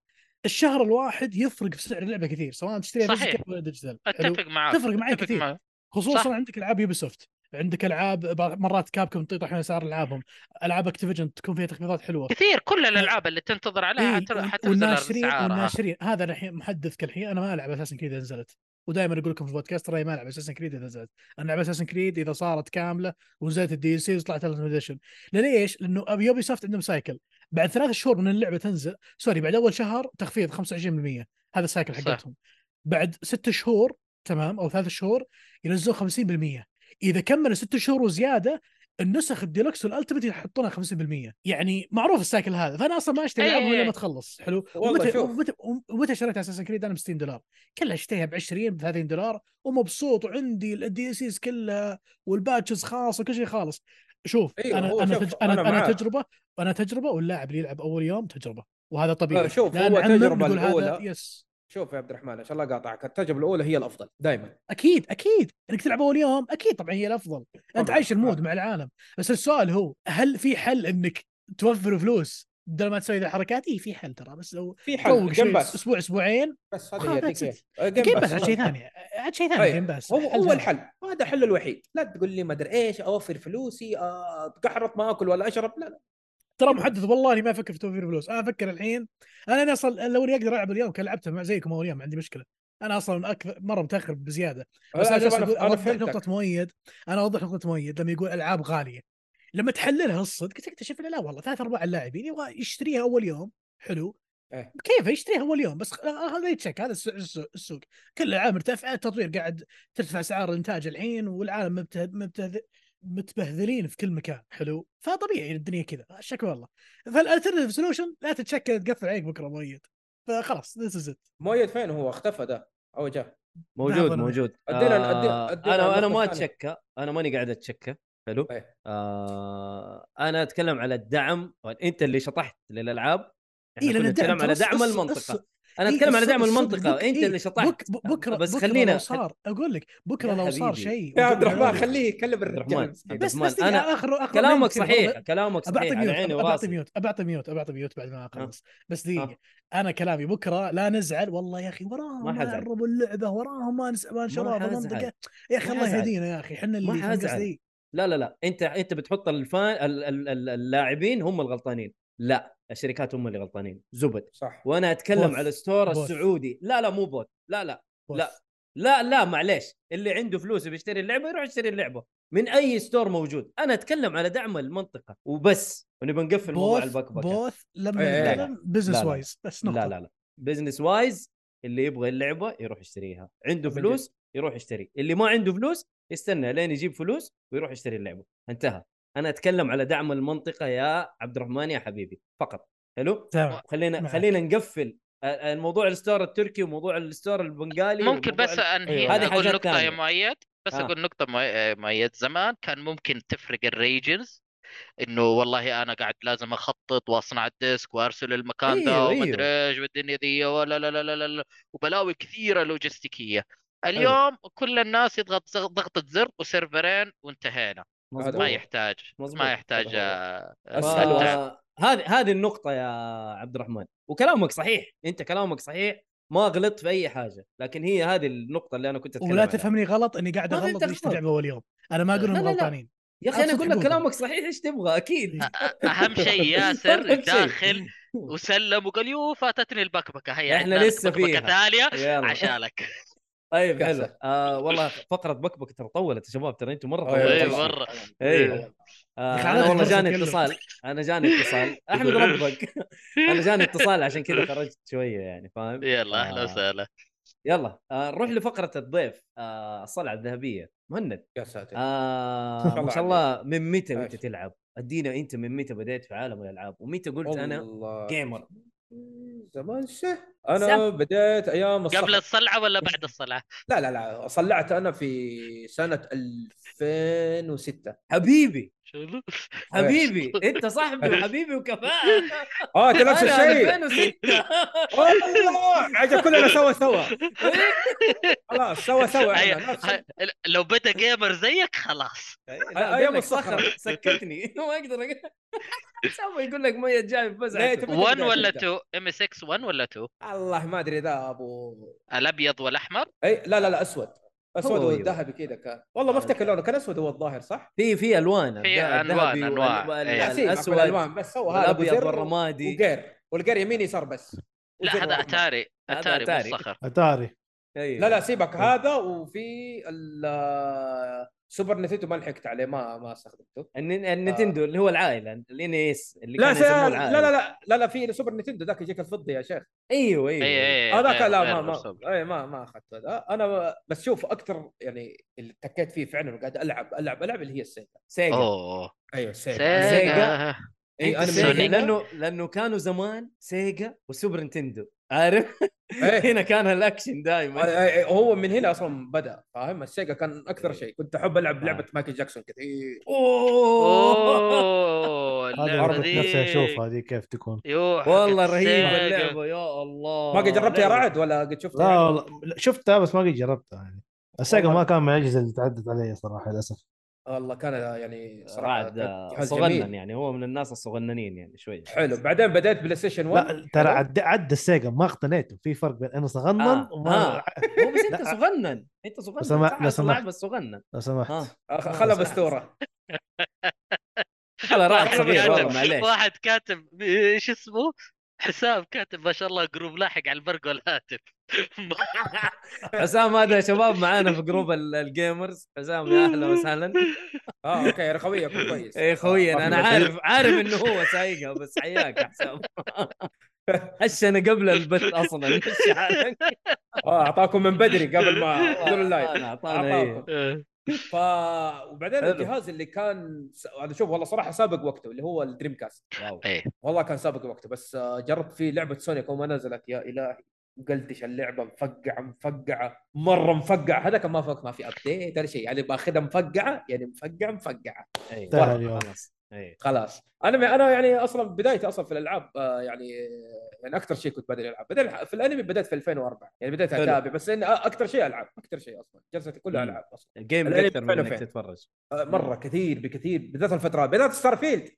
الشهر الواحد يفرق في سعر اللعبه كثير سواء تشتريها صحيح. فيزيكال ولا ديجيتال حلو؟ اتفق معك تفرق معي أتفق كثير. معك. خصوصا صح. عندك العاب يوبي سوفت عندك العاب بعض- مرات كابكم تطيح من اسعار العابهم العاب اكتيفيجن تكون فيها تخفيضات حلوه كثير كل الالعاب اللي تنتظر عليها إيه، حتر- وال- حتنزل والناشرين اسعارها والناشرين هذا الحين محدث كالحين انا ما العب اساسن كريد اذا نزلت ودائما اقول لكم في البودكاست ترى ما العب اساسن كريد اذا نزلت انا العب اساسن كريد اذا صارت كامله ونزلت الدي سي وطلعت اديشن ليش؟ لانه أبي- يوبي سوفت عندهم سايكل بعد ثلاث شهور من اللعبه تنزل سوري بعد اول شهر تخفيض 25% هذا السايكل صح. حقتهم بعد ست شهور تمام او ثلاث شهور ينزلون 50% اذا كملوا ست شهور وزياده النسخ الديلوكس والالتيميت يحطونها 50% يعني معروف السايكل هذا فانا اصلا ما اشتري أي- العابهم أي- الا أي. ما تخلص حلو إيه. والله ومتى شوف. آه، ومتى, ومتى شريت اساسا كريد انا ب 60 دولار كلها اشتريها ب 20 ب 30 دولار ومبسوط وعندي الدي سيز كلها والباتشز خاص وكل شيء خالص شوف أيوه، انا هو انا شوف، تج... انا أنا انا, معاك. تجربه انا تجربه واللاعب اللي يلعب اول يوم تجربه وهذا طبيعي آه، شوف، لا هو نعمم، التجربة نقول هذا الأولى. يس شوف يا عبد الرحمن ان شاء الله قاطعك التجربه الاولى هي الافضل دائما اكيد اكيد انك تلعب اول يوم اكيد طبعا هي الافضل انت طبعاً، عايش المود طبعاً. مع العالم بس السؤال هو هل في حل انك توفر فلوس بدل ما تسوي ذي الحركات اي في حل ترى بس لو في حل تروق شوي جيم باس اسبوع اسبوعين بس هذه هي آه، خلاص، that's يعطيك it. إياها. جيم باس عاد شيء والله. ثاني عاد شيء ثاني أي. جيم باس هو هو ثاني. الحل هذا حل الوحيد لا تقول لي ما ادري ايش اوفر فلوسي آه، اتقحرط ما اكل ولا اشرب لا لا ترى محدد والله اني ما افكر في توفير فلوس انا افكر الحين انا انا اصلا لو اني اقدر العب اليوم كان لعبته مع زيكم اول يوم ما عندي مشكله انا اصلا اكثر مره متاخر بزياده بس أنا- انا جالس أنا- أقول- أنا اوضح فهمتك. نقطه مؤيد انا اوضح نقطه مؤيد لما يقول العاب غاليه لما تحللها الصدق تكتشف انه لا والله ثلاث ارباع اللاعبين يبغى يشتريها اول يوم حلو إيه. كيف يشتريها اول يوم بس خ- هذا يتشك هذا السوق- السوق- السوق كل العاب مرتفعه التطوير قاعد ترتفع اسعار الانتاج الحين والعالم مبته- مبته- متبهذلين في كل مكان حلو فطبيعي الدنيا كذا شكوى والله فالالترنتيف سولوشن لا تتشكى تقفل عليك بكره مؤيد فخلاص ذس از مؤيد فين هو اختفى ده او جاء موجود لحظة، أنا- موجود أدينا- آه، أدينا- أدينا انا انا النقطة ما الثانية. اتشكى انا ماني قاعد اتشكى حلو طيب. إيه. آه انا اتكلم على الدعم انت اللي شطحت للالعاب اي إيه، لأن كنا الدعم نتكلم على ترى دعم الص- المنطقه الص- انا إيه، اتكلم على الصدق- دعم الصدق المنطقه بك- انت إيه، اللي شطحت بك- ب- بكره بس بكره خلينا- لو صار اقول لك بكره يا لو صار حبيبي. شيء يا عبد وقبل- الرحمن خليه يتكلم عبد الرجال الرحمن، مسكين. عبد بس الرحمن، بس دقيقة، أنا- اخر آخر كلامك مين كثير، والله صحيح كلامك ابعطي صحيح على ميوت عيني نعم. ابعطي وراسي ميوت ابعطي ميوت ابعطي ميوت بعد ما اخلص بس ها. دقيقه انا كلامي بكره لا نزعل والله يا اخي وراهم ما ما حزعل. يعربوا اللعبه وراهم ما نس- ما انشروا حزعل. المنطقه يا اخي ما الله حزعل. يهدينا يا اخي احنا اللي فاهم حزعل. قصدي؟ لا لا لا انت انت بتحط الفان ال- ال- ال- اللاعبين هم الغلطانين لا الشركات هم اللي غلطانين زبد صح وانا اتكلم بوث. على الستور بوث. السعودي لا لا مو بوت لا لا لا. لا لا معليش اللي عنده فلوس بيشتري اللعبه يروح يشتري اللعبه من اي ستور موجود انا اتكلم على دعم المنطقه وبس ونبي نقفل موضوع بوث البكبكه بوث لما إيه، إيه. نتكلم بزنس لا، لا. وايز بس نقطه لا لا لا بزنس وايز اللي يبغى اللعبه يروح يشتريها عنده من جد. فلوس يروح يشتري اللي ما عنده فلوس يستنى لين يجيب فلوس ويروح يشتري اللعبه انتهى انا اتكلم على دعم المنطقه يا عبد الرحمن يا حبيبي فقط حلو تمام خلينا معك. خلينا نقفل آه، آه، موضوع الستار التركي وموضوع الستار البنغالي ممكن وموضوع بس ال- انهي هذه اقول حاجات نقطه ثانية. يا مؤيد بس آه. اقول نقطه مؤ- مؤيد زمان كان ممكن تفرق الريجنز انه والله انا قاعد لازم اخطط واصنع الديسك وارسل المكان ده أيوه، ومدري أيوه. ايش والدنيا ذي ولا لا لا لا لا- لا وبلاوي كثيره لوجستيكيه أيوه. اليوم كل الناس يضغط زغ- ضغطه زر وسيرفرين وانتهينا هذا ما هو. يحتاج مظبوط. ما يحتاج هذا هو. آه، أسهل آه، وأسهل. ف- هذه هذه النقطة يا عبد الرحمن وكلامك صحيح انت كلامك صحيح ما غلطت في اي حاجة لكن هي هذه النقطة اللي انا كنت اتكلم ولا عنها. تفهمني غلط اني قاعد ما في اغلط اللي تغلط. اللعبه اول يوم انا ما اقول لا، انهم لا، لا. غلطانين يا اخي انا أقصد اقول لك حقوقك. كلامك صحيح ايش تبغى اكيد اهم شيء ياسر أهم شيء. داخل وسلم وقال يو فاتتني البكبكه هيا إحنا عندنا لك لسه بكبكه فيها. ثانيه يلا. عشانك طيب حلو كسر. آه والله فقرة بكبك ترى طولت يا شباب ترى انتم مرة أيوة، اي طولتوا. طبعاً. مره ايوه آه يا انا أخي عادي والله فرصة جاني تكلم. اتصال انا جاني اتصال احمد ربك انا جاني اتصال عشان كذا خرجت شوية يعني فاهم يلا اهلا آه. وسهلا يلا آه، نروح لفقره الضيف آه، الصلعه الذهبيه مهند يا ساتر آه ما الله شاء الله من متى وانت ماشي. تلعب؟ ادينا انت من متى بديت في عالم الالعاب ومتى قلت انا والله. جيمر زمان شه انا بديت ايام الصف قبل الصلعه ولا بعد الصلعه؟ لا لا لا صلعت انا في سنه 2006 حبيبي شنو؟ حبيبي انت صاحبي وحبيبي وكفاءه اه انت نفس انا الشيء 2006 والله عجب كلنا سوا سوا خلاص سوا سوا هيا، إحنا نفس- هيا، لو بدا جيمر زيك خلاص لا، أيام قال لك الصخرة. صخر سكتني ما اقدر أقول- سامي يقول لك ميت جاي لا، بفزعته تبي 1 تبدأ ولا أنت. 2 ام اس 6 1 ولا 2 الله ما ادري ذا ابو الابيض والاحمر اي لا لا لا اسود اسود هو أيوه. والذهبي كذا كان والله ما افتكر لونه كان اسود هو الظاهر صح؟ في في الوان في الذهبي ألوان، وال- أنواع. وال- إيه. لا، سيبك من الاسود الالوان بس هو هذا أبو والابيض زر والرمادي وقير والقير يمين يسار بس لا وزر هذا وأحمر. اتاري هذا اتاري أتاري. مو الصخر اتاري أيوة. لا لا سيبك هذا وفي ال- سوبر نتيتو ما لحقت عليه ما ما استخدمته الن- النتندو اللي هو العائله الان اس اللي آه. لا كانوا يسموه لا العائله لا لا لا لا في سوبر نتندو ذاك يجيك الفضي يا شيخ ايوه ايوه اي اي هذاك إيه، غير- لا غير ما ما مرسوم. اي ما ما اخذت هذا انا بس شوف اكثر يعني اللي اتكيت فيه فعلا وقاعد العب العب العب اللي هي السيجا سيجا اوه ايوه السيجا سيجا. سيجا اي أنت انا إيه، سيجا سونيك. لانه لانه لانه كانوا زمان سيجا وسوبر نتندو عارف إيه. هنا كان الاكشن أي- دائما أي- أي، إيه. هو من هنا اصلا بدا فاهم السيجا كان اكثر إيه. شيء كنت احب العب آه. لعبه مايكل جاكسون كثير اوه اوه هذه اللعبه ضربت ذي نفسي اشوف هذه كيف تكون يوه حق والله رهيبه السيجا. اللعبه يا الله ما قد جربتها يا آه، لعبة. رعد ولا قد شفتها يعني لا والله شفتها بس ما قد جربتها يعني السيجا والله. ما كان من الاجهزه اللي تعدت علي صراحه للاسف والله كان يعني صراحه رعد كان آه، جهاز صغنن جميل. يعني هو من الناس الصغننين يعني شوي حلو بعدين بديت بلاي ستيشن 1 لا ترى عد عد السيجا ما اقتنيته في فرق بين انه صغنن آه، وما مو بس انت لا. صغنن انت صغنن سمح- صح، لو أصلاً سمحت. لاعب بس صغنن لو سمحت آه. أخ- خلا مستوره على رعد واحد صغير والله كاتب- معليش واحد كاتب ايش إيه، اسمه حسام كاتب ما شاء الله جروب لاحق على البرق والهاتف حسام هذا يا شباب معانا في جروب ال- الجيمرز حسام يا اهلا وسهلا اه اوكي رخويكم كويس اي إيه خويا ما في انا مشاكل. عارف عارف انه هو سايقها بس حياك يا حسام هش انا قبل البث اصلا هش حالك اه اعطاكم من بدري قبل ما تدور اللايف اعطانا اعطانا إيه. آه. ف وبعدين حلو. الجهاز اللي كان س- انا شوف والله صراحه سابق وقته اللي هو الدريم كاست واو. ايه والله كان سابق وقته بس آه، جربت فيه لعبه سونيك وما نزلت يا الهي قلتش اللعبه مفقعه مفقعه مره مفقعه هذاك ما فوق ما في ابديت ولا شيء يعني باخذها مفقعه يعني مفقعه مفقعه إيه. انتهى اليوم. خلاص إيه. خلاص انا انا يعني اصلا بدايتي اصلا في الالعاب آه، يعني يعني اكثر شيء كنت بادئ العاب بعدين في الانمي بدات في 2004 يعني بدات حلو. اتابع بس إن اكثر شيء العاب اكثر شيء اصلا جلستي كلها مم. العاب اصلا الجيم الأنمي اكثر من فعلاً انك فعلاً. تتفرج آه، مره كثير بكثير بالذات الفترات بدات ستارفيلد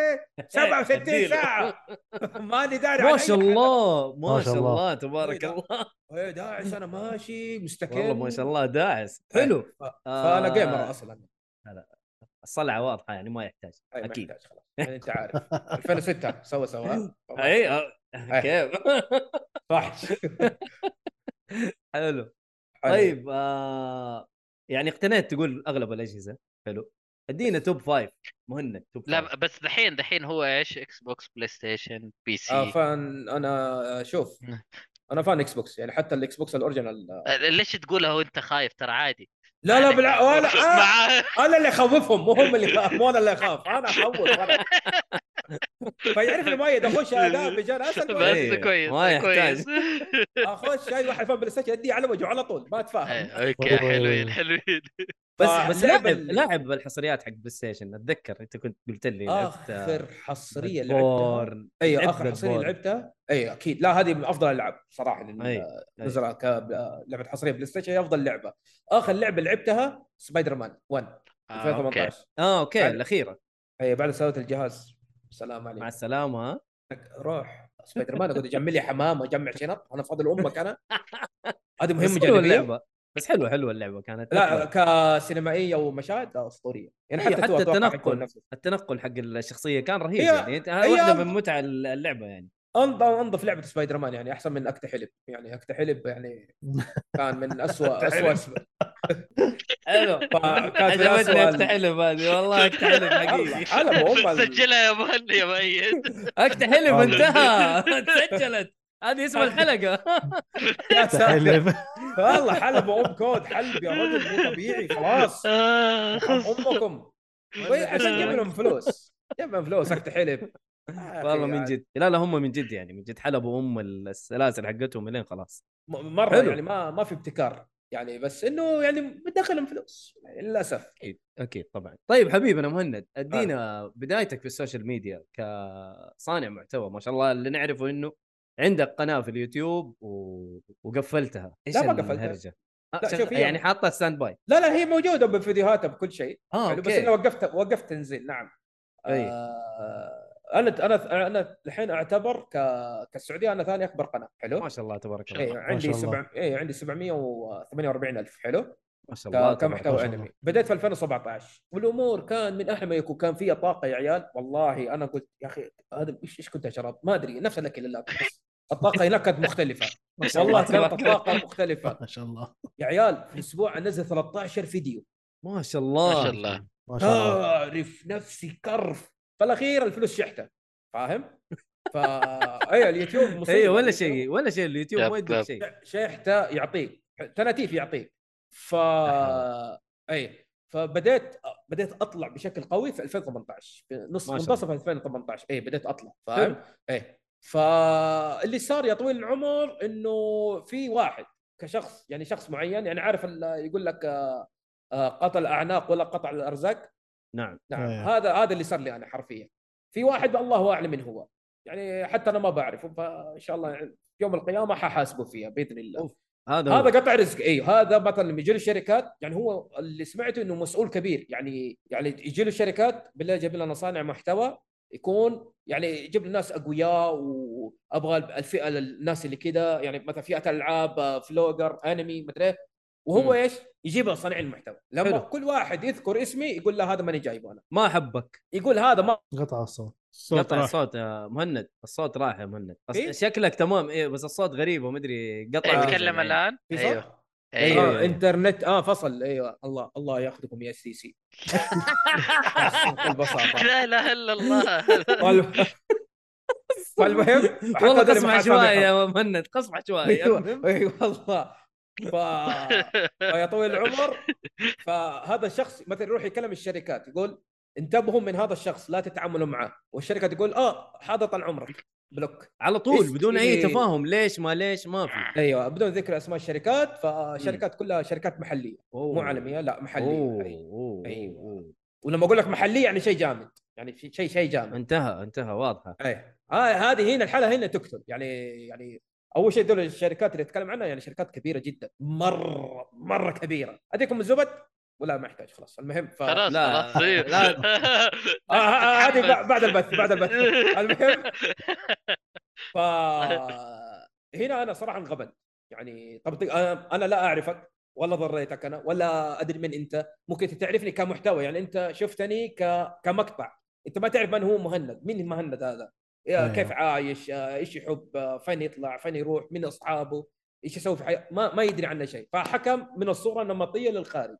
67 اديله. ساعه ماني داري عن ما أي شاء حاجة. الله ما ما شاء شاء الله. الله تبارك إيه، الله إيه، داعس انا ماشي مستقل والله ما شاء الله داعس حلو ف- فانا آه، جيمر اصلا الصلعه واضحه يعني ما يحتاج أي، ما اكيد يحتاج خلاص يعني انت عارف 2006 سوا سوا ها؟ اي آه، كيف صح طيب، حلو طيب آه يعني اقتنيت تقول اغلب الاجهزه حلو ادينا توب فايف مهند توب لا فايف. ب- بس دحين دحين هو ايش اكس بوكس بلاي ستيشن بي سي آه، فان انا شوف انا فان اكس بوكس يعني حتى الاكس بوكس الاوريجنال آه، آه، ليش تقولها وانت خايف ترى عادي لا لا عليك. بالع... ولا آه، مع- انا اللي اخوفهم مو هم اللي يخاف مو انا اللي اخاف انا اخوف انا فيعرف المؤيد اخش اداء مجال اسال مؤيد. إيه، بس كويس ما يحتاج. كويس اخش اي واحد فاهم بلاي ستيشن اديه على وجهه على طول ما اتفاهم إيه، اوكي حلوين حلوين آه، بس بس اللعبة لاعب اللي- لاعب الحصريات حق بلاي ستيشن اتذكر انت كنت قلت لي لعبت، آه، اخر حصريه لعبتها بورن ايوه لعبت اخر حصريه Bloodborne. لعبتها ايوه اكيد لا هذه من افضل الالعاب صراحه أي، لل- نزلها كلعبه حصريه بلاي ستيشن هي افضل لعبه اخر لعبه لعبتها سبايدر مان 1 آه، اوكي 2018 اه اوكي بعد- الاخيره اي إيه، بعد سويت الجهاز سلام مع عليك السلامه ها روح سبايدر مان اقعد اجمع لي حمام اجمع شنط انا فاضل امك انا هذه بس مهمه حلوه جانبيه اللعبه بس حلوه حلوه اللعبه كانت لا أكبر. كسينمائيه ومشاهد اسطوريه يعني أيوة، حتى, حتى تو أتوقع التنقل. حيكون نفس التنقل حق الشخصيه كان رهيب هي- يعني انت هي واحده أفضل- من متع اللعبه يعني أنض- انضف لعبه سبايدر مان يعني احسن من اكتا حلب يعني اكتا حلب يعني كان من اسوء اسوء أيوه. حلو كانت من عجبتني اسوء ال- اكتحلب هذه والله اكتحلب والله، حقيقي حلب هم ال- سجلها يا مهند يا مؤيد اكتحلب والله. انتهى تسجلت هذه اسم الحلقه يا ساتر. تحلف. والله حلب وام كود حلب يا رجل مو طبيعي خلاص آه، خص. امكم وي- عشان جيب لهم فلوس جيب لهم فلوس اكتا حلب آه، يا والله أخي، من جد لا لا هم من جد يعني من جد حلبوا ام السلاسل حقتهم الين خلاص م- مره حلو. حلو. يعني ما ما في ابتكار يعني بس انه يعني بتدخلهم فلوس يعني للاسف اكيد اكيد طبعا طيب حبيبنا مهند ادينا بدايتك في السوشيال ميديا كصانع محتوى ما شاء الله اللي نعرفه انه عندك قناه في اليوتيوب و... وقفلتها ايش لا، ما قفلتها. الهرجه آه، لا، شغ- شوف هي- يعني حاطه ستاند باي لا لا هي موجوده بفيديوهاتها بكل شيء اه يعني بس اوكي انا وقفت وقفت تنزيل نعم أي. آه انا انا انا الحين اعتبر ك... كالسعوديه انا ثاني اكبر قناه ما حلو شاء الله تبارك الله اي ما عندي الله. سبع... اي عندي 748 الف حلو شاء الله ك... تبارك كمحتوى الله. انمي بديت في 2017 والامور كان من احلى ما يكون كان فيها طاقه يا عيال والله انا قلت يا اخي هذا ايش ايش كنت اشرب ما ادري نفس الاكل اللي أكله، بس الطاقه هناك كانت مختلفه ما شاء والله الله كانت الطاقه مختلفه ما شاء الله يا عيال في الاسبوع انزل 13 فيديو ما شاء الله إيه، ما شاء آه. الله ما شاء الله آه. اعرف نفسي كرف فالاخير الفلوس شحته فاهم؟ فا ايوه اليوتيوب مصيبه ايوه ولا اليوتيوب شيء ولا شيء اليوتيوب دب- ما يدري دب. شيء شحته يعطيك تناتيف يعطيك ف أحلى. اي فبديت بديت اطلع بشكل قوي في 2018 في نص ما شاء منتصف 2018 اي إيه، بديت اطلع فاهم؟ اي فاللي صار يا طويل العمر انه في واحد كشخص يعني شخص معين يعني عارف ال- يقول لك آه، آه، قطع الاعناق ولا قطع الارزاق نعم نعم إيه. هذا هذا اللي صار لي انا حرفيا في واحد الله اعلم من هو يعني حتى انا ما بعرفه فان شاء الله يعني يوم القيامه ححاسبه فيها باذن الله أوف. هذا هو. هذا قطع رزق اي هذا مثلا لما يجي له الشركات يعني هو اللي سمعته انه مسؤول كبير يعني يعني يجي له الشركات بالله يجيب لنا صانع محتوى يكون يعني يجيب لنا ناس اقوياء وابغى الفئه الناس اللي كذا يعني مثلا فئه العاب فلوجر انمي مدري إيه. وهو مم. ايش؟ يجيبها صانع المحتوى لما حلو. كل واحد يذكر اسمي يقول له هذا ماني جايبه انا ما احبك يقول هذا ما قطع الصوت الصوت قطع راح. الصوت يا مهند الصوت راح يا مهند أص... كيف؟ شكلك تمام ايه بس الصوت غريب وما ادري قطع اتكلم الان آه. في صوت؟ ايوه أيوه، آه أيوه. انترنت اه فصل ايوه الله الله ياخذكم يا السي سي ببساطه لا اله الا الله وال- فالمهم والله أحط قسم المحاكاة عشوائي بها. يا مهند قسم عشوائي ايوه اي والله ف... فيا طويل العمر فهذا الشخص مثلا يروح يكلم الشركات يقول انتبهوا من هذا الشخص لا تتعاملوا معه والشركه تقول اه هذا طال عمرك بلوك على طول بدون اي إيه. تفاهم ليش ما ليش ما في ايوه بدون ذكر اسماء الشركات فشركات كلها شركات محليه أوه. مو عالميه لا محليه أوه، أي. أوه، أيوة. أوه. ولما اقول لك محليه يعني شيء جامد يعني في- شيء شيء جامد انتهى انتهى واضحه اي آه هذه هنا الحاله هنا تقتل يعني يعني اول شيء دول الشركات اللي اتكلم عنها يعني شركات كبيره جدا مره مره كبيره اديكم الزبد ولا ما يحتاج خلاص المهم ف... خلاص لا، خلاص طيب. لا. آه، آه، آه، هذه بع- بعد البث بعد البث المهم ف هنا انا صراحه انغبنت يعني طب ت- انا انا لا اعرفك ولا ضريتك انا ولا ادري من انت ممكن تعرفني كمحتوى يعني انت شفتني ك... كمقطع انت ما تعرف من هو مهند مين مهند هذا يا أيوه. كيف عايش آه، ايش يحب آه، فين يطلع فين يروح من اصحابه ايش يسوي في حياته ما, ما يدري عنه شيء فحكم من الصوره النمطيه للخارج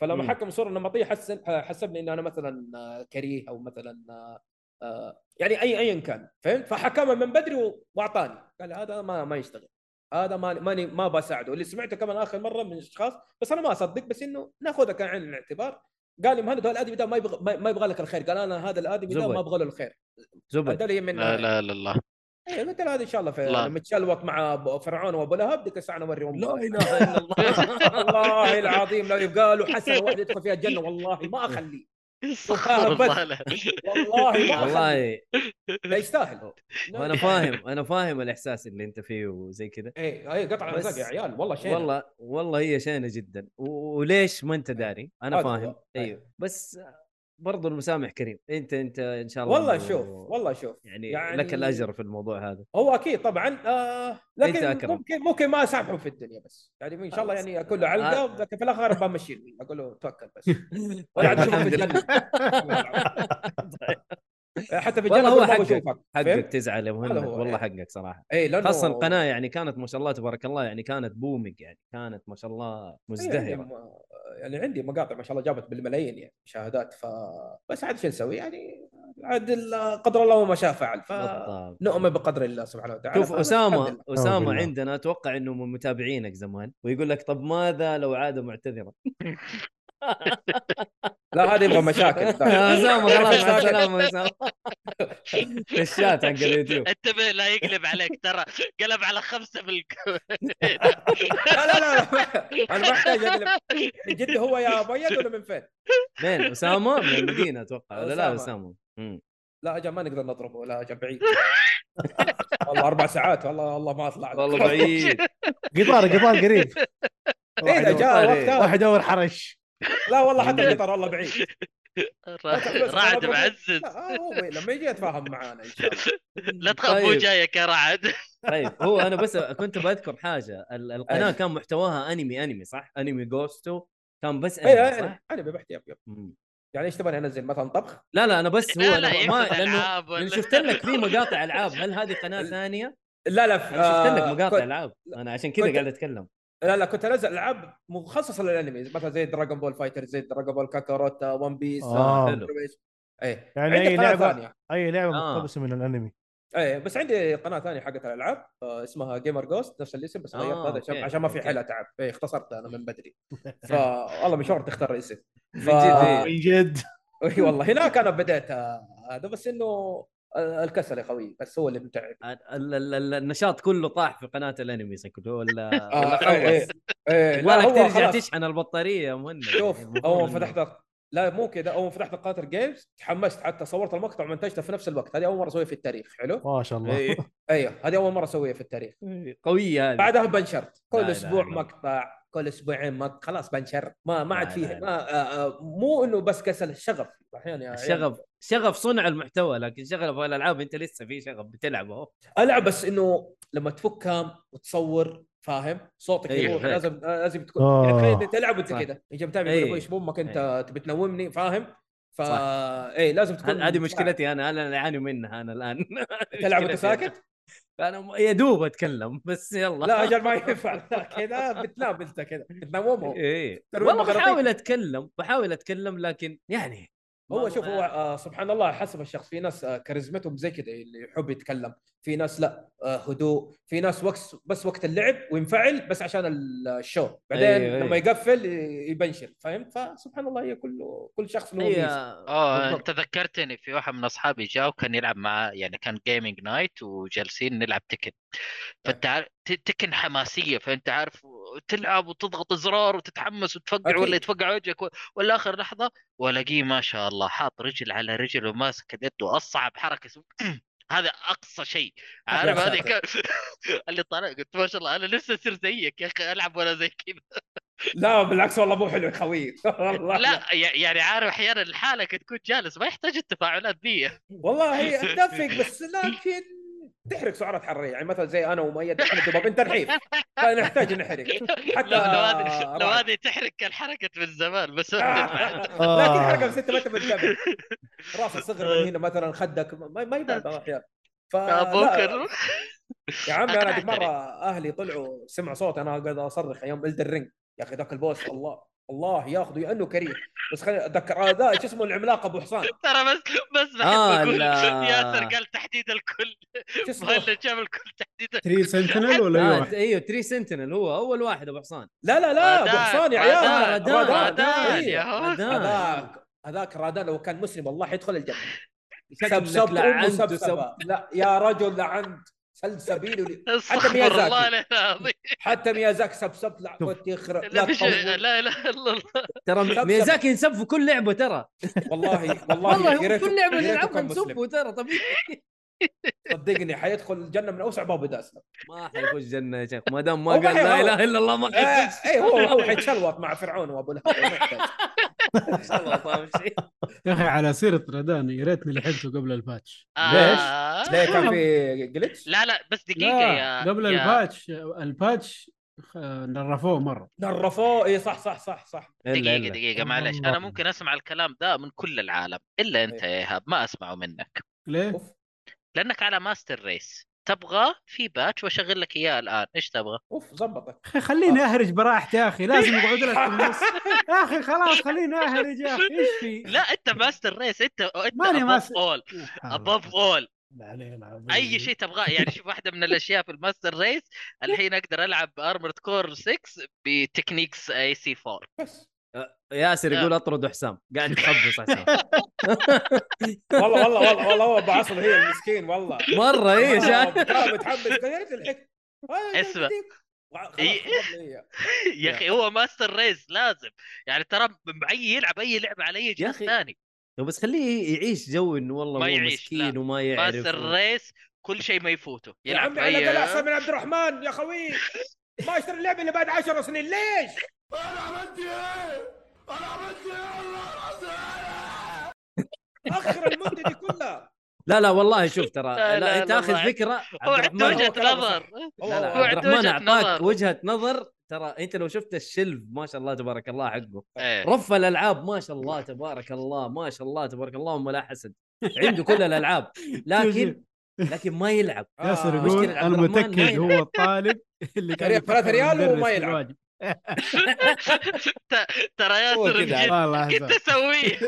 فلما مم. حكم صوره نمطيه حسن حسبني ان انا مثلا آه، كريه او مثلا آه، آه، يعني اي ايا كان فهمت فحكمه من بدري واعطاني قال هذا ما ما يشتغل هذا ما ماني ما بساعده اللي سمعته كمان اخر مره من اشخاص بس انا ما اصدق بس انه ناخذها كعين الاعتبار قال لي مهند هو الادمي ده ما يبغى ما- ما يبغى لك الخير قال انا هذا الادمي ده زبد. ما ابغى له الخير زبد هذا لي من لا لا لا الله ايه قلت له هذا ان شاء الله في لا. لما تشلوك مع أبو- فرعون وابو لهب ديك الساعه نوري امك لا اله آه، الا الله والله العظيم لو يبقى له حسنه واحده يدخل فيها الجنه والله ما اخليه استغفر الله لا. والله ما اخليه والله لا يستاهل وانا فاهم انا فاهم الاحساس اللي انت فيه وزي كذا ايه ايه قطع بس- الرزق يا عيال والله شيء والله والله هي شينه جدا و- وليش ما انت أيوة. داري انا هذا طيب. فاهم هو. ايوه بس برضو المسامح كريم انت انت ان شاء الله والله إنه- شوف والله شوف يعني, يعني- يعني لك الاجر في الموضوع هذا هو اكيد طبعا آه لكن أكرم. ممكن ممكن ما اسامحه في الدنيا بس يعني ان شاء الله يعني اكون له علقه آه. لكن في الاخر بمشي اقول له توكل بس ولا عاد اشوفك في الحمد الجنه حتى في طيب. الجنه والله هو أقول ما حقك. بشوفك حقك فهمت؟ تزعل يا مهند هو، والله إيه. حقك صراحه اي لانه خاصه القناه يعني كانت ما شاء الله تبارك الله يعني كانت بومينج يعني كانت ما شاء الله إيه، عندي مزدهره م- يعني عندي مقاطع ما شاء الله جابت بالملايين يعني مشاهدات ف بس عاد شو نسوي يعني عاد ال- قدر الله ما شاء فعل فنؤمن بالضبط. بقدر الله سبحانه وتعالى شوف فأنا الحمد اسامه لله. اسامه بالله. عندنا اتوقع انه من متابعينك زمان ويقول لك طب ماذا لو عاده معتذره لا هذا يبغى مشاكل طيب. يا اسامه آه، خلاص مع مشاكل. السلامه يا اسامه في الشات حق اليوتيوب انتبه لا يقلب عليك ترى قلب على خمسه في لا لا لا انا ما احتاج اقلب من جد هو يا ابيض ولا من فين؟ مين اسامه من المدينه اتوقع ولا لا أسامة. اسامه مم. لا اجل ما نقدر نضربه لا اجل بعيد والله اربع ساعات والله والله ما اطلع لك. والله بعيد قطار قطار قريب إيه، إذا جاء وقتها واحد يدور حرش لا والله حتى القطار والله بعيد رعد معزز لا، آه، هو لما يجي يتفاهم معانا ان شاء الله لا تخاف مو طيب. جايك يا رعد طيب هو انا بس كنت بذكر حاجه ال- القناه أيوة. كان محتواها انمي انمي صح؟ انمي جوستو كان بس اي انمي انا صح؟ انا ببحت يب يب مم. يعني ايش تبغى انزل مثلا طبخ؟ لا لا انا بس هو لا أنا لا ما يقصد لانه العاب لأن ولا- شفت لك في مقاطع العاب هل هذه قناه ثانيه؟ لا لا ف- انا شفت آه، لك مقاطع كنت- العاب انا عشان كذا كنت- قاعد اتكلم لا لا كنت انزل العاب مخصصه للانمي مثلا زي دراجون بول فايتر زي دراجون بول كاكاروت ون بيس آه. حلو. اي يعني إيه، عندي أي قناة لعبة- ثانية. اي لعبه آه. مقتبسه من الانمي ايه بس عندي قناه ثانيه حقت الالعاب آه، اسمها جيمر جوست نفس الاسم بس آه، غيرت هذا عشان أوكي، عشان ما في أوكي. حيل اتعب ايه اختصرت انا من بدري فوالله مشوار تختار الاسم من ف- جد إيه. من جد اي والله هناك انا بديت آه، هذا بس انه آه، الكسل يا خوي بس هو اللي متعب ال- ال- ال- النشاط كله طاح في قناه الانمي شكله ولا ولا آه، إيه، خلص ايه يبغى لك هو ترجع خلاص. تشحن البطاريه يا مهند شوف يعني المفروض اول ما إنه- فتحت لا مو كذا اول ما فتحت قاتل جيمز تحمست حتى صورت المقطع ومنتجته في نفس الوقت هذه اول مره اسويها في التاريخ حلو ما شاء الله إيه. ايوه هذه اول مره اسويها في التاريخ قويه هذه بعدها بنشرت لا كل لا اسبوع لا. مقطع كل اسبوعين مقطع خلاص بنشر ما ما عاد لا فيه لا لا. ما آه، آه، مو انه بس كسل الشغف احيانا يا عيال. الشغف شغف صنع المحتوى لكن شغف الالعاب انت لسه في شغف بتلعب اهو العب بس انه لما تفكها وتصور فاهم صوتك أيوه، يروح هيك. لازم لازم تكون آه. يعني تخيل انت تلعب وانت صح. أيوه. كذا انت متابع أي. يقول ابوي ايش بامك انت تبي تنومني فاهم فا اي لازم تكون هذه مشكلتي انا انا اللي اعاني منها انا الان تلعب وانت مشكلتي أنا. ساكت انا م- يا دوب اتكلم بس يلا لا اجل ما ينفع لا، كذا بتنام انت كذا إيه، بتنومه ايه ترى والله المغناطيس- بحاول اتكلم بحاول اتكلم لكن يعني هو ما- شوف ما- هو آه سبحان الله حسب الشخص في ناس آه كاريزمتهم زي كذا اللي يحب يتكلم في ناس لا آه هدوء في ناس وقت بس وقت اللعب وينفعل بس عشان ال- الشو بعدين أيوه، لما أيوه. يقفل ي- يبنشر فاهم فسبحان الله هي كل كل شخص له ميزة. هي اه بالضبط. انت ذكرتني في واحد من اصحابي جاء وكان يلعب مع يعني كان جيمنج نايت وجالسين نلعب تكن طيب. فانت عارف ت- تكن حماسيه فانت عارف تلعب وتضغط زرار وتتحمس وتفقع أكيد. ولا يتفقع وجهك و- ولا اخر لحظه والاقيه ما شاء الله حاط رجل على رجل وماسك اليد واصعب حركه اسم- هذا اقصى شيء عارف هذه ساتر. كان اللي طالع قلت ما شاء الله انا نفسي اصير زيك يا اخي العب ولا زي كذا لا بالعكس والله مو حلو يا خوي والله لا ي- يعني عارف احيانا لحالك تكون جالس ما يحتاج التفاعلات ذي والله هي تنفق بس لكن تحرق سعرات حراريه يعني مثلا زي انا ومؤيد احنا تبغى بنت نحيف فنحتاج نحرق حتى لو لو هذه لو رعد. هذه تحرق كان حركت من زمان آه، بس لكن حركه بس انت ما انت منتبه راسك صغر من هنا مثلا خدك ما, ما يبان بعض الاحيان ف بوكر يا عمي انا ذيك أقنعتني. مره اهلي طلعوا سمعوا صوت انا قاعد اصرخ ايام الدر رينج يا اخي ذاك البوس الله الله ياخذه لانه كريه بس خليني اتذكر هذا شو اسمه العملاق ابو حصان ترى بس بس بحب آه، اقول لا. ياسر قال تحديد الكل شو اسمه مهند جاب الكل تحديد 3 سنتينل ولا اي آه واحد؟ ايوه تري سنتينل هو اول واحد ابو حصان لا لا لا ابو حصان يا عيال رادان، رادان، إيه. يا هو رادان. هذاك هذاك رادان لو كان مسلم والله يدخل الجنه شكلك سبسب امه لعنت سبسبه لا يا رجل لعنت سلسبيل ولي- استغفر ميازاكي. الله العلي العظيم حتى ميازاك سبسب لا وانت يخرب لا لا مش تطول. لا لا الله ترى سب- ميازاكي ينسب في كل لعبه ترى والله والله والله يا هو ريته- كل لعبه يا ريته نلعبها كان مسلم. نسبه ترى طبيعي صدقني حيدخل الجنه من اوسع باب داسنا ما حيخش جنه يا شيخ ما دام ما هو قال ما لا يهوى. اله الا الله ما حيخش اي هو هو حيتشلوط مع فرعون وابو لهب ان شاء الله طيب شيء يا اخي على سيره رادان يا ريتني لحقته قبل الباتش ليش؟ آه. ليه كان في جلتش؟ لا لا بس دقيقة لا يا قبل يا- الباتش الباتش خ- نرفوه مره نرفوه اي صح صح صح صح الا دقيقة الا دقيقة معلش أنا الله. ممكن أسمع الكلام ده من كل العالم إلا أنت يا إيهاب ما أسمعه منك ليه؟ اوف لأنك على ماستر ريس تبغى في باتش وأشغل لك إياه الآن إيش تبغى؟ اوف زبطك اخي خليني اهرج براحتي يا اخي لازم اقعد لك في النص يا اخي خلاص خليني اهرج يا اخي ايش في؟ لا أنت ماستر ريس أنت أنت ماني أبوف ماستر- أول يا حول أبوف الله. أول لا يعني عليه العظيم. أي شيء تبغاه يعني شوف واحدة من الأشياء في الماستر ريس الحين أقدر ألعب أرمرد كور 6 بتكنيكس أي سي 4 بس ياسر لا. يقول اطرد حسام قاعد يخبص حسام والله والله والله والله هو ابو عصر هي المسكين والله مره ايه شايف شايف متحمس قلت الحك آه، اسمع. وع- خلاص، إي. خلاص، هي. يا أخي هو ماستر ريس لازم يعني ترى معي يلعب أي لعبة على أي جهاز أخي، ثاني بس خليه يعيش جو انه والله ما هو يعيش، مسكين لا. وما يعرف بس و- الريس كل شيء ما يفوته يا يلعب عمي على قال بأي- احسن من عبد الرحمن يا خوي ما اشتري اللعبه اللي بعد 10 سنين ليش؟ انا عملت ايه؟ انا عملت ايه والله اخر المده دي كلها لا لا والله شوف ترى لا، لا، لا انت لا، اخذ والله. فكره هو عبد الرحمن عنده هو وجهه كلامه نظر لا لا والله. هو عبد عنده الرحمن وجهة اعطاك نظر. وجهه نظر ترى انت لو شفت الشلف ما شاء الله تبارك الله حقه إيه. رف الالعاب ما شاء الله تبارك الله ما شاء الله تبارك الله هم لا حسد عنده كل الالعاب لكن لكن ما يلعب ياسر آه. يقول مشكلة عبد انا الرحمن ما متاكد يلعب. هو الطالب اللي كان تاريخ يفكر ثلاثة ريال المدرس وما في يلعب. الواجب. ت- ترى هو ياسر كذا بجد والله كنت أحسن. اسويه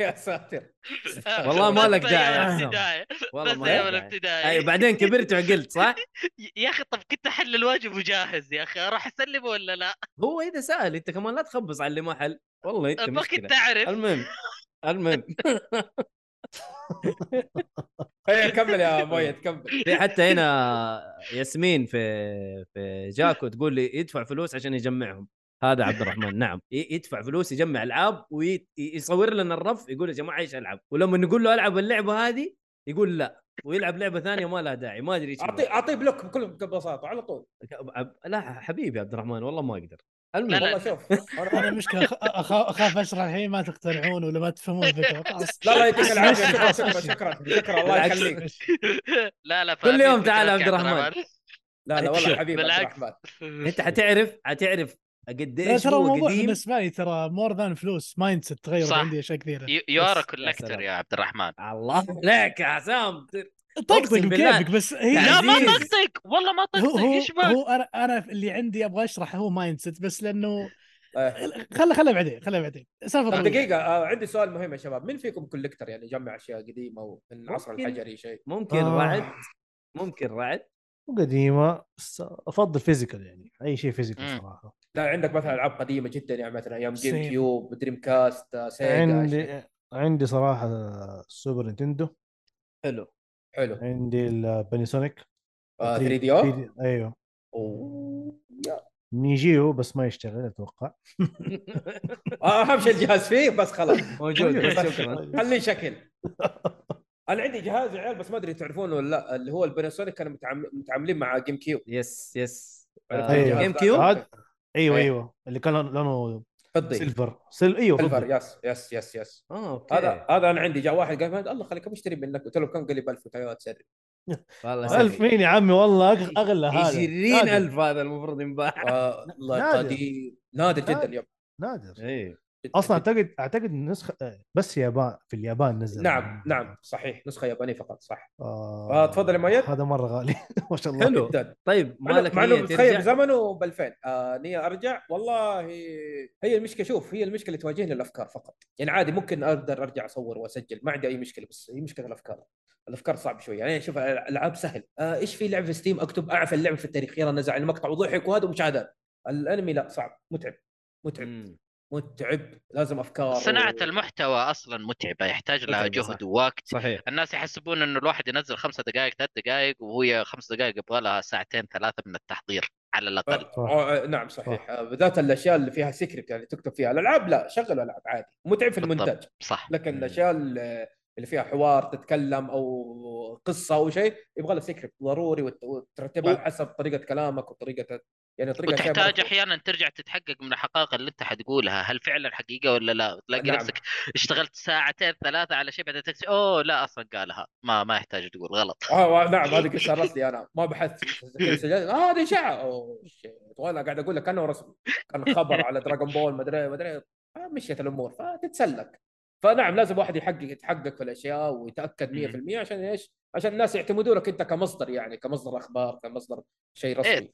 يا ساتر والله ما لك بس داعي أيام يا حسام. الابتدائي. والله بس ما أيام يلعب الابتدائي اي بعدين كبرت وعقلت صح؟ ي- يا اخي طب كنت احل الواجب وجاهز يا اخي اروح اسلمه ولا لا؟ هو اذا سال انت كمان لا تخبص على اللي ما حل والله انت ما مشكله كنت اعرف المهم المهم هي كمل يا مؤيد كمل في حتى هنا ياسمين في في جاكو تقول لي يدفع فلوس عشان يجمعهم هذا عبد الرحمن نعم ي- يدفع فلوس يجمع العاب ويصور لنا الرف يقول يا جماعه ايش العب ولما نقول له العب اللعبه هذه يقول لا ويلعب لعبه ثانيه ما لها داعي ما ادري ايش هو. اعطيه اعطيه بلوك بكل ببساطه على طول أب- لا حبيبي عبد الرحمن والله ما اقدر المهم لا، والله شوف انا مشكله أخ- أخ- اخاف اشرح الحين ما تقتنعون ولا ما تفهمون الفكره خلاص لا لا يعطيك العافيه شكرا شكرا شكرا شكرا الله بالعكس. يخليك لا لا كل يوم فاهمين تعال عبد فكرك يا الرحمن. لا لا والله أبشر. حبيبي عبد بالعكس. الرحمن انت حتعرف حتعرف لا قديش ترى هو الموضوع قديم بالنسبه لي ترى مور ذان فلوس مايند سيت تغير صح. عندي اشياء كثيره يارا بس- يا كولكتر سلام. يا عبد الرحمن الله عليك يا حسام طقطق أقسم بالله. بكيفك بس هي لا ما عزيز. طقطق والله ما هو طقطق هو, ايش بك هو انا انا اللي عندي ابغى اشرح هو مايند سيت بس لانه آه. خله خله بعدين خله بعدين سالفه طب طويلة. دقيقة آه، عندي سؤال مهم يا شباب مين فيكم كوليكتر يعني يجمع اشياء قديمة ومن العصر ممكن. الحجري شيء ممكن آه. رعد ممكن رعد وقديمه بس افضل فيزيكال يعني اي شيء فيزيكال مم. صراحه لا عندك مثلا العاب قديمة جدا يعني مثلا ايام جيم سيم. كيوب دريم كاست آه، إيه، سيجا شيء. عندي عندي صراحه سوبر نينتندو حلو حلو عندي البانيسونيك آه، 3 3 دي او 3D ايوه أوه. يا. نيجيو بس ما يشتغل اتوقع آه، اهم شيء الجهاز فيه بس خلاص موجود بس شكرا خليه شكل انا عندي جهاز يا عيال بس ما ادري تعرفونه ولا لا اللي هو الباناسونيك كانوا متعام- متعاملين مع جيم كيوب يس يس عرفت آه، الجهاز جيم ذا؟ كيوب؟ هذا ايوه إيه. ايوه اللي كان لونه فضي سيلفر سيل ايوه سيلفر فضي. يس يس يس يس اه اوكي هذا هذا انا عندي جاء واحد قال ما- الله خليك بشتري منك قلت له كم قال لي ب 1000 قلت له سري والله ألف مين يا عمي والله أغ- اغلى هذا 20000 هذا المفروض ينباع والله نادر. قديم نادر جدا نادر. يا نادر اي جداً اصلا جداً. اعتقد اعتقد النسخه آه، بس يابان في اليابان نزل نعم نعم صحيح نسخه يابانيه فقط صح آه فتفضل يا مؤيد. هذا مره غالي ما شاء الله حلو. جدا طيب مع مالك إنه- مع انه نية متخيل ترجع؟ بزمنه ب 2000 آه نية ارجع والله هي المشكله شوف هي المشكله اللي تواجهني الافكار فقط يعني عادي ممكن اقدر ارجع اصور واسجل ما عندي اي مشكله بس هي مشكله الافكار الافكار صعب شوي يعني شوف الالعاب سهل آه ايش في لعبه في ستيم اكتب اعفى اللعبه في التاريخ يلا نزع المقطع وضحك وهذا ومشاهدات الانمي لا صعب متعب متعب مم. متعب لازم افكار صناعة المحتوى اصلا متعبة يحتاج لها متعبة، صح. جهد ووقت صحيح الناس يحسبون انه الواحد ينزل خمسة دقائق ثلاث دقائق وهي خمس دقائق يبغى لها ساعتين ثلاثة من التحضير على الاقل صح. آه، آه، نعم صحيح آه، بالذات الاشياء اللي فيها سكريبت يعني تكتب فيها الالعاب لا شغل العاب عادي متعب في بالضبط. المونتاج صح لكن مم. الاشياء اللي اللي فيها حوار تتكلم او قصه او شيء يبغى لها سكريبت ضروري وت- وترتبها و- على حسب طريقه كلامك وطريقه يعني طريقه شيء وتحتاج مرة- احيانا ترجع تتحقق من الحقائق اللي انت حتقولها هل فعلا حقيقه ولا لا تلاقي نعم. نفسك اشتغلت ساعتين ثلاثه على شيء بعدين تكتشف اوه لا اصلا قالها ما ما يحتاج تقول غلط اه آه، نعم هذه قصه رسلي انا ما بحثت كذا سجلت اه هذه اشاعه أوه، shit. وانا قاعد اقول لك كانه رسم كان خبر على دراغون بول ما ادري ما ادري آه، مشيت الامور فتتسلك فنعم لازم واحد يحقق يتحقق في الاشياء ويتاكد 100% عشان ايش؟ عشان الناس يعتمدونك انت كمصدر يعني كمصدر اخبار كمصدر شيء آه. رسمي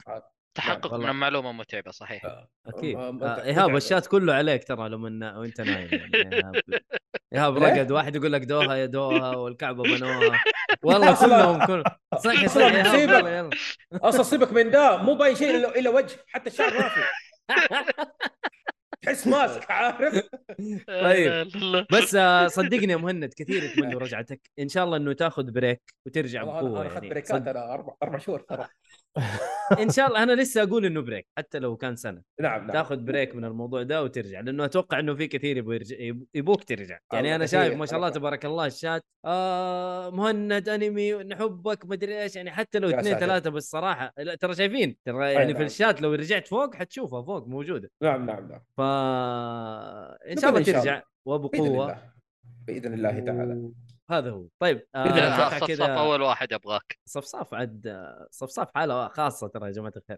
تحقق من والله. المعلومه متعبه صحيح اكيد أم- أم- آه، متع- ايهاب متعب. الشات كله عليك ترى لو من وانت نايم يعني إيهاب- ايهاب ليه؟ رقد واحد يقول لك دوها يا دوها والكعبه بنوها والله أصلاً- كلهم كل صحي صحي أصلاً إيهاب، مصيبة. يلا يلا اصلا سيبك من ده مو باين شيء الا إلا وجه حتى الشعر ما في تحس ماسك عارف طيب. لا، لا، لا. بس آه، صدقني يا مهند كثير يتمنوا رجعتك ان شاء الله انه تاخذ بريك وترجع والله انا بقوه أنا اخذت يعني بريكات صد... انا اربع اربع شهور ترى ان شاء الله انا لسه اقول انه بريك حتى لو كان سنه نعم نعم تاخذ بريك من الموضوع ده وترجع لانه اتوقع انه في كثير يبغوا يرجع يب- يبوك ترجع يعني الله انا كثير، شايف ما شاء الله الله. تبارك الله الشات آه مهند انمي نحبك مدري ايش يعني حتى لو يا اثنين ساتر. ثلاثه بس صراحه لا ترى شايفين ترى يعني في نعم. الشات لو رجعت فوق حتشوفها فوق موجوده نعم نعم نعم ف ان نبدأ شاء الله إن شاء ترجع الله. باذن وبقوه الله باذن الله تعالى و- هذا هو طيب بإذن الله. آه آه، أتوقع صفصف كذا اول واحد ابغاك صفصاف عاد آه، صفصاف حاله خاصه ترى يا جماعه الخير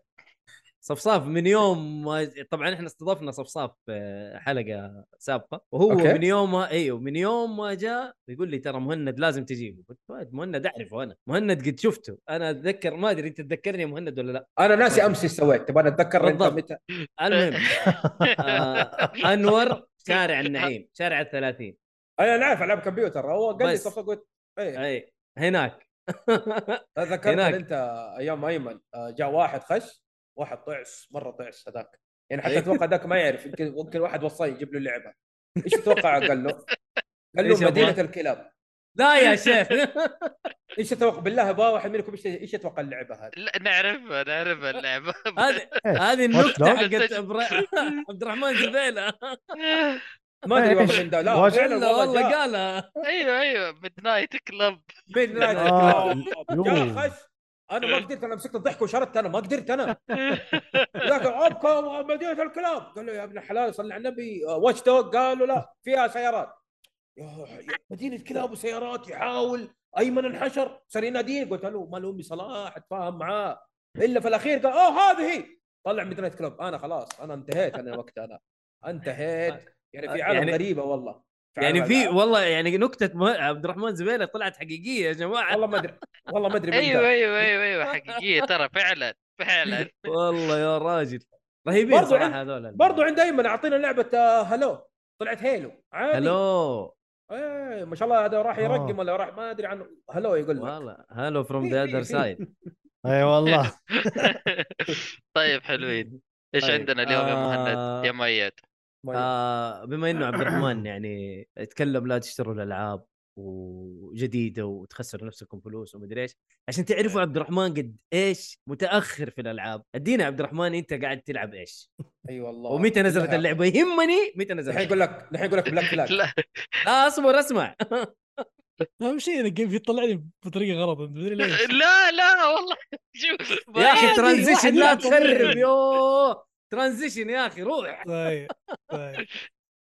صفصاف من يوم ما- طبعا احنا استضفنا صفصاف في حلقه سابقه وهو أوكي. أوكي. من يوم ما ايوه من يوم ما جاء يقول لي ترى مهند لازم تجيبه قلت "واد، مهند اعرفه انا مهند قد شفته انا اتذكر ما ادري انت تذكرني يا مهند ولا لا انا ناسي امس ايش سويت تبغى اتذكر انت بالضبط. متى المهم آه انور شارع النعيم شارع الثلاثين انا أنا عارف العاب كمبيوتر هو قال لي بس. صفقه قلت ايه اي هناك ذكرت هناك. انت ايام ايمن آه، جاء واحد خش واحد طعس مره طعس هذاك يعني حتى إيه. اتوقع ذاك ما يعرف يمكن يمكن واحد وصي يجيب له اللعبه ايش تتوقع قال له؟ قال إيش له أبغى؟ مدينه الكلاب لا يا شيخ ايش تتوقع بالله با واحد منكم ايش ايش يتوقع اللعبه هذه؟ لا، نعرفها نعرفها اللعبه هذه إيش؟ هذه واتلو؟ النكته حقت إبرا- عبد الرحمن زبيله ما ادري والله إيش؟ من ده لا واجد؟ فعلا والله والله والله جاء قالها ايوه ايوه ميد نايت كلب من لا آه، جاء يو. خش انا ما قدرت انا مسكت الضحك وشردت انا ما قدرت انا لكن ابكى مدينه الكلاب قال له يا ابن الحلال صلى على النبي واتش دوج قالوا لا فيها سيارات يا يا مدينه كلاب وسيارات يحاول ايمن انحشر صار يناديني قلت له مال امي صلاح اتفاهم معاه الا في الاخير قال اوه هذه هي طلع ميد نايت كلوب انا خلاص انا انتهيت انا وقتها انا انتهيت يعني في عالم يعني- غريبه والله يعني عالم في ألعاب. والله يعني نكته مه- عبد الرحمن زبيله طلعت حقيقيه يا جماعه والله ما ادري والله ما ادري من أيوة. ايوه ذا. ايوه ايوه ايوه حقيقيه ترى فعلا فعلا والله يا راجل رهيبين برضو عند- صراحه هذول برضو عند ايمن اعطينا لعبه آه، هلو طلعت هيلو عادي هلو ايه ما شاء الله هذا راح آه. يرقم ولا راح ما ادري عنه هلو يقول لك والله هلو فروم في- ذا في- اذر في. سايد اي والله طيب حلوين ايش طيب، عندنا اليوم يا آه. مهند يا مؤيد ما يدري. آه بما انه عبد الرحمن يعني اتكلم لا تشتروا الالعاب وجديده وتخسروا نفسكم فلوس ومدري ايش عشان تعرفوا عبد الرحمن قد ايش متاخر في الالعاب ادينا عبد الرحمن انت قاعد تلعب ايش اي أيوة والله ومتى نزلت لا. اللعبه يهمني متى الحين نزلت يقول لك الحين يقول لك بلاك فلاج لا لا اصبر اسمع اهم شيء انك كيف يطلعني بطريقه غلط مدري ليش لا لا والله شوف يا اخي عادي، ترانزيشن واحد لا يلعب طبيعي. تخرب يوه ترانزيشن يا اخي روح طيب طيب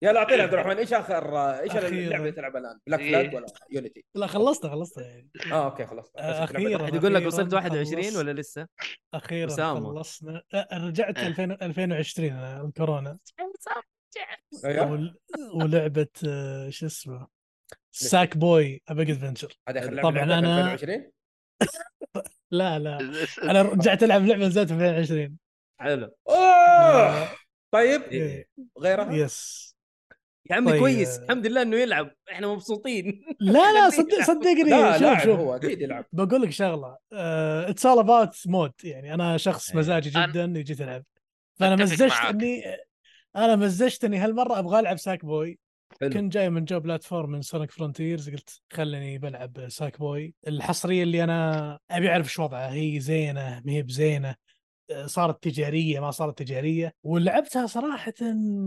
يلا اعطينا عبد الرحمن ايش اخر ايش اللعبه أخيراً. اللي تلعبها الان بلاك إيه. فلاج ولا يونيتي لا خلصتها خلصتها يعني اه اوكي خلاص أخيراً. واحد يقول لك وصلت أخيراً 21 خلصت. ولا لسه؟ اخيرا أسامة. خلصنا أ- رجعت أه. 2000 2020 أنا آه، الكورونا أيوه. ول- ولعبه آه، شو اسمه ساك بوي ابيج ادفنشر هذه اخر لعبه طبعاً لعبتها في أنا- 2020 لا لا انا رجعت العب لعبه نزلت في 2020 حلو آه! آه. اوه طيب إيه، غيرها يس يا عمي طيب. كويس الحمد لله انه يلعب احنا مبسوطين لا لا صدق لا صدقني شوف لاعب شوف هو اكيد يلعب بقول لك آه، شغله اتس اول اباوت مود يعني انا شخص أي. مزاجي إيه. أنا- جدا يجي العب فانا أتفق مزجت معاك. اني انا مزجت اني هالمره ابغى العب ساك بوي حلو. كنت جاي من جو بلاتفورم من سونيك فرونتيرز قلت خلني بلعب ساك بوي الحصريه اللي انا ابي اعرف ايش وضعها هي زينه ما هي بزينه آه، صارت تجاريه ما صارت تجاريه ولعبتها صراحه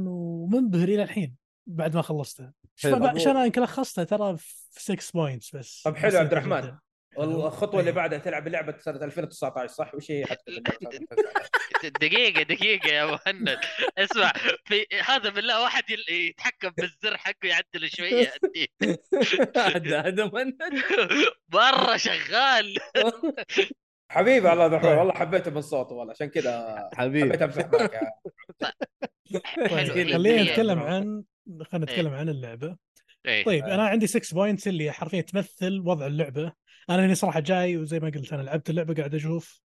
ومنبهر الى الحين بعد ما خلصتها حلو. شباب، عشان انا يمكن لخصتها ترى في 6 بوينتس بس طب حلو يا عبد بسيطة الرحمن. جداً. والله الخطوه اللي إيه. بعدها تلعب لعبه سنه 2019 صح وش هي حتكون دقيقة دقيقة يا مهند اسمع في هذا بالله واحد يل- يتحكم بالزر حقه يعدله شوية هذا هذا مهند. مرة شغال حبيبي الله عبد الرحمن طيب. والله حبيته من صوته والله عشان كذا حبيبي حبيت امسح معك يا حلو طيب خلينا خلينا إيه. نتكلم عن خلينا نتكلم عن اللعبه إيه. طيب انا عندي 6 بوينتس اللي حرفيا تمثل وضع اللعبه انا لاني صراحه جاي وزي ما قلت انا لعبت اللعبه قاعد اشوف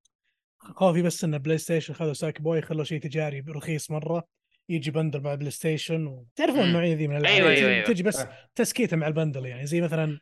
خوفي بس ان بلاي ستيشن خذوا ساك بوي خلوا شيء تجاري رخيص مره يجي بندل مع بلاي ستيشن و... تعرفون مم. النوعيه ذي من الالعاب أيوة، تجي- أيوة، أيوة. تجي بس تسكيته مع البندل يعني زي مثلا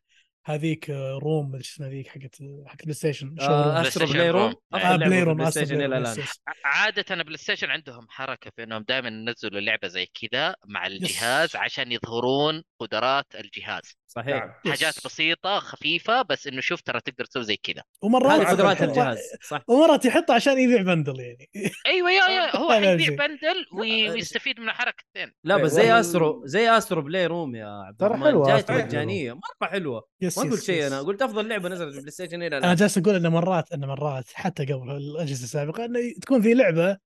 هذيك آه، روم مدري شو اسمها ذيك حقت حقت بلاي ستيشن شو آه، روم. استرو PlayStation بلاي روم روم. آه، افضل لعبه بلاي في روم البلاي أسترو ستيشن بلاي الى روم، الان يس، يس. عادة بلاي ستيشن عندهم حركة في انهم دائما ينزلوا لعبة زي كذا مع الجهاز عشان يظهرون قدرات الجهاز صحيح نعم حاجات بسيطة خفيفة بس انه شوف ترى تقدر تسوي زي كذا ومرات هذه عفواً. قدرات يحطها- الجهاز صح ومرات يحطه عشان يبيع بندل يعني ايوه يا يا هو أنا حيبيع أمزح. بندل وي- آه، ويستفيد من حركتين لا إيه، بس زي والله- استرو زي استرو بلاي روم يا عبد ترى الرحمن حلوة جايت أسترو بلاي روم. مجانيه مره حلوه يس ما يس- قلت شيء يس. انا قلت افضل لعبه نزلت في البلاي ستيشن الى انا الان جالس اقول ان مرات ان مرات حتى قبل الاجهزه السابقه انه تكون في لعبه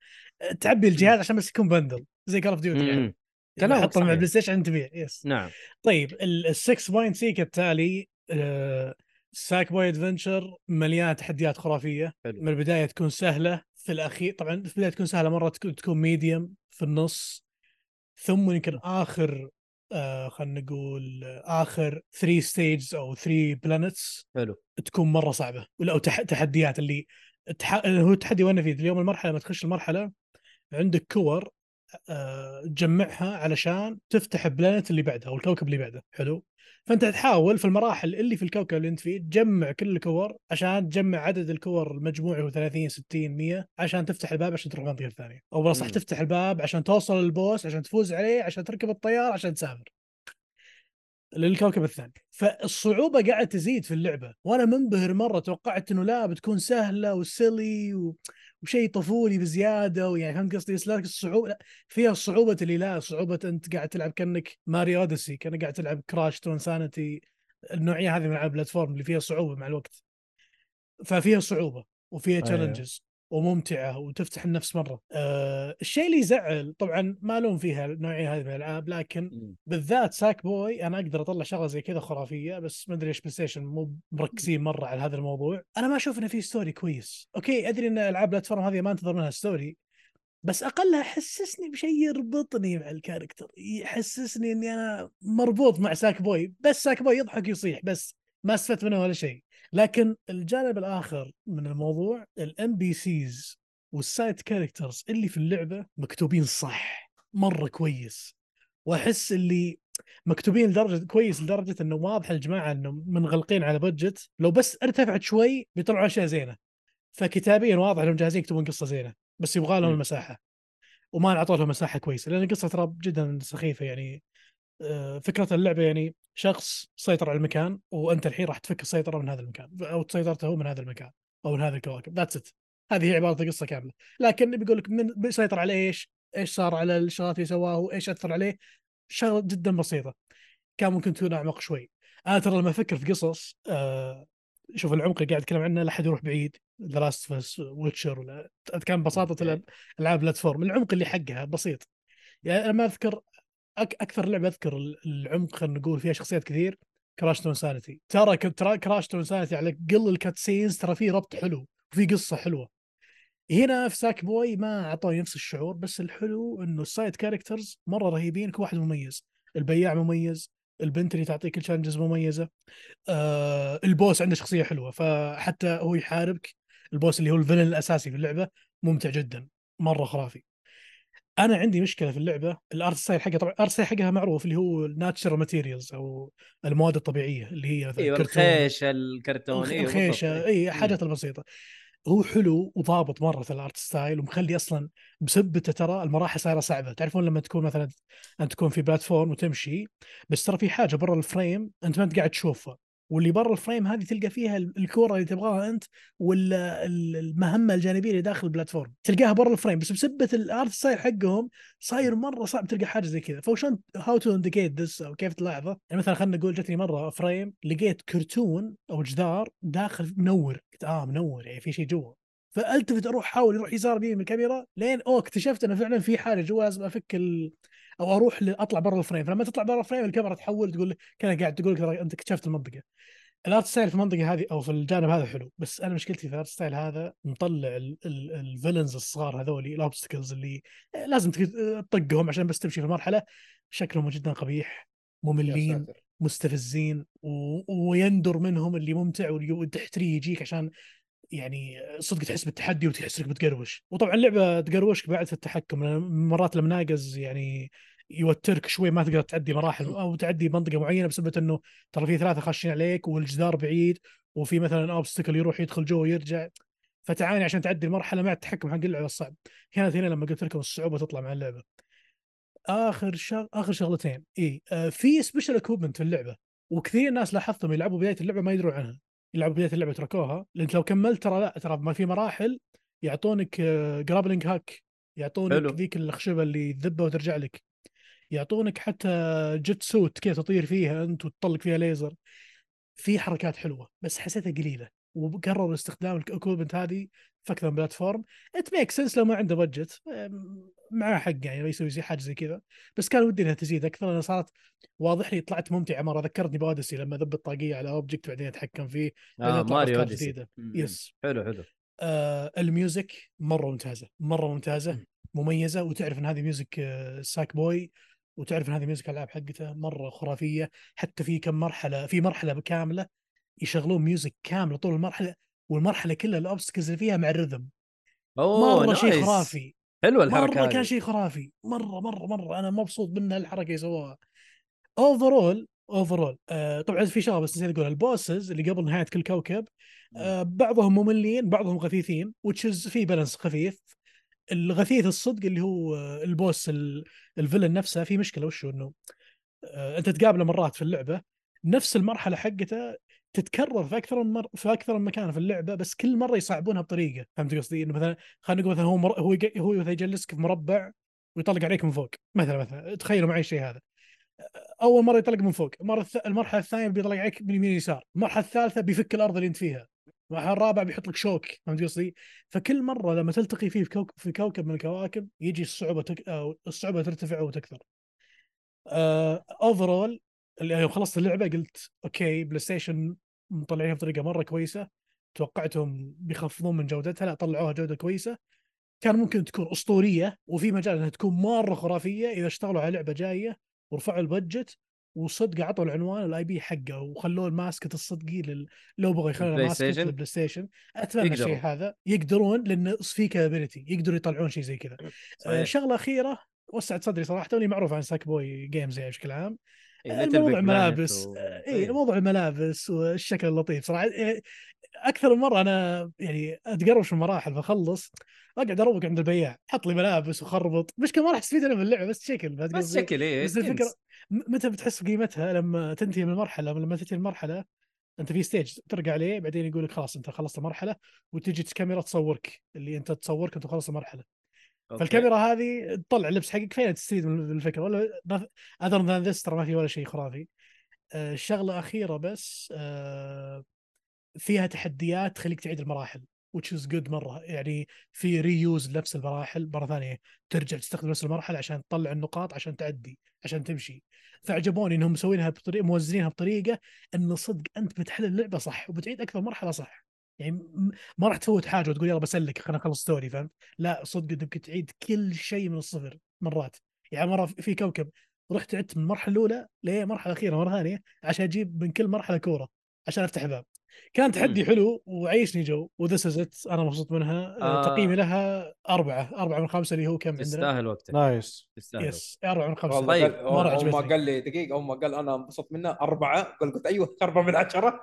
تعبي الجهاز عشان بس يكون بندل زي كول اوف ديوتي مم. كلامك حطها يعني. مع صحيح. بلاي ستيشن عشان تبيع يس نعم طيب السكس بوينت سي كالتالي آه، ساك بوي ادفنشر مليانه تحديات خرافيه حلو. من البدايه تكون سهله في الاخير طبعا في البدايه تكون سهله مره تكون تكون ميديوم في النص ثم يمكن اخر آه خلينا نقول اخر 3 ستيجز او 3 بلانتس حلو تكون مره صعبه ولا أو تح... تحديات اللي تح... هو تحدي وانا في اليوم المرحله لما تخش المرحله عندك كور آه، تجمعها علشان تفتح البلانت اللي بعدها او الكوكب اللي بعده حلو فانت تحاول في المراحل اللي في الكوكب اللي انت فيه تجمع كل الكور عشان تجمع عدد الكور المجموعي هو 30 60 100 عشان تفتح الباب عشان تروح منطقه ثانيه او بلا صح مم. تفتح الباب عشان توصل للبوس عشان تفوز عليه عشان تركب الطياره عشان تسافر للكوكب الثاني فالصعوبة قاعدة تزيد في اللعبة وأنا منبهر مرة توقعت أنه لا بتكون سهلة وسيلي و... وشيء طفولي بزيادة ويعني فهمت قصدي بس لا الصعوبة لا فيها صعوبة اللي لا صعوبة أنت قاعد تلعب كأنك ماري أوديسي كأنك قاعد تلعب كراش تون سانتي النوعية هذه من العاب البلاتفورم اللي فيها صعوبة مع الوقت ففيها صعوبة وفيها أيوه. تشالنجز وممتعه وتفتح النفس مره أه الشيء اللي يزعل طبعا ما لوم فيها النوعيه هذه من الالعاب لكن مم. بالذات ساك بوي انا اقدر اطلع شغله زي كذا خرافيه بس ما ادري ليش بلاي ستيشن مو مركزين مره على هذا الموضوع انا ما اشوف انه في ستوري كويس اوكي ادري ان العاب بلاتفورم هذه ما انتظر منها ستوري بس اقلها حسسني بشيء يربطني مع الكاركتر يحسسني اني انا مربوط مع ساك بوي بس ساك بوي يضحك يصيح بس ما استفدت منه ولا شيء لكن الجانب الاخر من الموضوع الام بي سيز والسايد كاركترز اللي في اللعبه مكتوبين صح مره كويس واحس اللي مكتوبين لدرجه كويس لدرجه انه واضح الجماعه انه منغلقين على بادجت لو بس ارتفعت شوي بيطلعوا اشياء زينه فكتابيا واضح انهم جاهزين يكتبون قصه زينه بس يبغى لهم المساحه وما انعطوا لهم مساحه كويسه لان القصه ترى جدا سخيفه يعني آه، فكره اللعبه يعني شخص سيطر على المكان وانت الحين راح تفك السيطره من هذا المكان او سيطرته هو من هذا المكان او من هذه الكواكب ذاتس ات هذه هي عباره القصه كامله لكن بيقول لك من سيطر على ايش؟ ايش صار على الشغلات اللي سواها وايش اثر عليه؟ شغله جدا بسيطه كان ممكن تكون اعمق شوي انا ترى لما افكر في قصص آه شوف العمق اللي قاعد اتكلم عنه لا احد يروح بعيد ذا لاست اوف ويتشر ولا كان بساطه الألعاب- العاب بلاتفورم العمق اللي حقها بسيط يعني لما اذكر أك اكثر لعبه اذكر ال- العمق خلينا نقول فيها شخصيات كثير كراش تو انسانيتي ترى ك- ترى كراش تو انسانيتي على قل الكاتسينز ترى في ربط حلو وفي قصه حلوه هنا في ساك بوي ما اعطوني نفس الشعور بس الحلو انه السايد كاركترز مره رهيبين كل واحد مميز البياع مميز البنت اللي تعطيك التشالنجز مميزه آه البوس عنده شخصيه حلوه فحتى هو يحاربك البوس اللي هو الفيلن الاساسي في اللعبه ممتع جدا مره خرافي انا عندي مشكله في اللعبه الارت ستايل حقها طبعا الارت ستايل حقها معروف اللي هو الناتشرال ماتيريالز او المواد الطبيعيه اللي هي مثلاً ايوه كرتون. الخيشه الكرتونيه الخ- الخيشه بالضبط. اي حاجات البسيطه هو حلو وضابط مره في الارت ستايل ومخلي اصلا بسبته ترى المراحل صايره صعبه تعرفون لما تكون مثلا انت تكون في بلاتفورم وتمشي بس ترى في حاجه برا الفريم انت ما انت قاعد تشوفها واللي برا الفريم هذه تلقى فيها ال- الكوره اللي تبغاها انت ولا ال- المهمه الجانبيه اللي داخل البلاتفورم تلقاها برا الفريم بس بسبه الارت ستايل حقهم صاير مره صعب تلقى حاجه زي كذا فوشان هاو تو انديكيت ذس او كيف تلاحظه يعني مثلا خلينا نقول جتني مره فريم لقيت كرتون او جدار داخل منور قلت اه منور يعني في شيء جوا فالتفت اروح احاول يروح يسار يمين من الكاميرا لين اوه اكتشفت انه فعلا في حاجه جوا لازم افك ال... او اروح ل... اطلع برا الفريم فلما تطلع برا الفريم الكاميرا تحول تقول لك- كانها قاعد تقول لك ترى انت اكتشفت المنطقه الارت ستايل في المنطقه هذه او في الجانب هذا حلو بس انا مشكلتي في الارت ستايل هذا مطلع ال- ال- الفيلنز الصغار هذولي الاوبستكلز اللي آه، لازم تك- تطقهم عشان بس تمشي في المرحله شكلهم جدا قبيح مملين مستفزين و... ويندر منهم اللي ممتع واللي والتحتري يجيك عشان يعني صدق تحس بالتحدي وتحس انك بتقروش وطبعا اللعبه تقروشك بعد في التحكم لان مرات المناقز يعني يوترك شوي ما تقدر تعدي مراحل او تعدي منطقه معينه بسبب انه ترى في ثلاثه خاشين عليك والجدار بعيد وفي مثلا اوبستكل يروح يدخل جوه ويرجع فتعاني عشان تعدي المرحله مع التحكم حق اللعبه الصعب كانت هنا لما قلت لكم الصعوبه تطلع مع اللعبه اخر شغ... اخر شغلتين اي آه في سبيشال اكوبمنت في اللعبه وكثير ناس لاحظتهم يلعبوا بدايه اللعبه ما يدرون عنها يلعبوا بدايه اللعبه تركوها لانت لو كملت ترى لا ترى ما في مراحل يعطونك جرابلينج هاك يعطونك حلو. ذيك الخشبه اللي تذبها وترجع لك يعطونك حتى جت سوت كيف تطير فيها انت وتطلق فيها ليزر في حركات حلوه بس حسيتها قليله وقرروا استخدام الاكوبمنت هذه في اكثر من بلاتفورم ات ميك سنس لو ما عنده بادجت معاه حق يعني يسوي زي حاجه زي كذا بس كان ودي انها تزيد اكثر لان صارت واضح لي طلعت ممتعه مره ذكرتني بادسي لما ذب الطاقيه على اوبجكت بعدين اتحكم فيه آه بعدين طلع ماريو أفكار أوديسي. جديده مم. يس حلو حلو آه الميوزك مره ممتازه مره ممتازه مميزه وتعرف ان هذه ميوزك آه ساك بوي وتعرف ان هذه ميوزك الالعاب حقته مره خرافيه حتى في كم مرحله في مرحله كامله يشغلون ميوزك كامله طول المرحله والمرحله كلها الاوبستكلز اللي فيها مع الرذم اوه مره شيء نايس. خرافي حلوه الحركه مره هذه كان شيء خرافي مره مره مره انا مبسوط من الحركه اللي سووها اوفرول اوفرول آه طبعا في شغله بس نسيت اقولها البوسز اللي قبل نهايه كل كوكب آه بعضهم مملين بعضهم غثيثين وتشز في بالانس خفيف الغثيث الصدق اللي هو آه، البوس ال- الفيلن نفسه في مشكله وش هو انه آه انت تقابله مرات في اللعبه نفس المرحله حقته تتكرر في اكثر من مر... في اكثر من مكان في اللعبه بس كل مره يصعبونها بطريقه فهمت قصدي انه مثلا خلينا نقول مثلا هو مر... هو يق- هو مثلا يجلسك في مربع ويطلق عليك من فوق مثلا مثلا تخيلوا معي الشيء هذا اول مره يطلق من فوق المره الث... المرحله الثانيه بيطلق عليك من يمين يسار المرحله الثالثه بيفك الارض اللي انت فيها مع الرابع بيحط لك شوك فهمت قصدي؟ فكل مره لما تلتقي فيه في كوكب في كوكب من الكواكب يجي الصعوبه تك... أو الصعوبه ترتفع وتكثر. آه، اوفرول اللي يوم يعني خلصت اللعبه قلت اوكي بلاي ستيشن مطلعينها بطريقه مره كويسه توقعتهم بيخفضون من جودتها لا طلعوها جوده كويسه كان ممكن تكون اسطوريه وفي مجال انها تكون مره خرافيه اذا اشتغلوا على لعبه جايه ورفعوا البادجت وصدق عطوا العنوان الاي بي حقه وخلوه الماسكت الصدقي لل... لو بغى يخلونه البلاي ماسكت ستيشن؟ البلاي ستيشن اتمنى يقدروا. الشيء هذا يقدرون لان في كابابيلتي يقدروا يطلعون شيء زي كذا آه، صحيح شغله اخيره وسعت صدري صراحه لي معروف عن ساك بوي جيمز يعني بشكل عام إيه، Little الموضوع Big آه، Planet ملابس. و- اي موضوع الملابس والشكل اللطيف صراحه إيه، اكثر من مره انا يعني اتقربش من مراحل فاخلص اقعد اروق عند البياع حط لي ملابس وخربط مشكله ما راح استفيد انا من اللعبه بس شكل فهمت بس قصدي؟ إيه، شكل ايه بس الفكره skins. م- متى بتحس بقيمتها لما تنتهي من المرحله لما تنتهي المرحله انت في ستيج ترجع عليه بعدين يقول لك خلاص انت خلصت المرحله وتجي الكاميرا تصورك اللي انت تصورك انت خلصت المرحله أوكي. فالكاميرا هذه تطلع اللبس حقك فين تستفيد من من الفكره ولا اذر ذان ذس ترى ما في ولا شيء خرافي آه، شغله اخيره بس آه، فيها تحديات تخليك تعيد المراحل which is good مره يعني في ريوز لنفس المراحل مره ثانيه ترجع تستخدم نفس المرحله عشان تطلع النقاط عشان تعدي عشان تمشي فعجبوني انهم مسوينها بطريقه موزنينها بطريقه ان صدق انت بتحل اللعبه صح وبتعيد اكثر مرحله صح يعني م- ما راح تفوت حاجه وتقول يلا بسلك خليني اخلص ستوري فهمت لا صدق انت ممكن تعيد كل شيء من الصفر مرات يعني مره في كوكب رحت عدت من المرحله الاولى للمرحله الاخيره مره ثانيه عشان اجيب من كل مرحله كوره عشان افتح باب كان تحدي حلو وعيشني جو وذس از انا مبسوط منها آه. آه. تقييمي لها اربعه اربعه من خمسه اللي هو كم عندنا تستاهل وقتك نايس تستاهل يس اربعه من خمسه والله طيب، قال- مرة هو ما عجبتني. قال لي دقيقه هو ما قال انا انبسطت منه اربعه قال قلت ايوه اربعه من عشره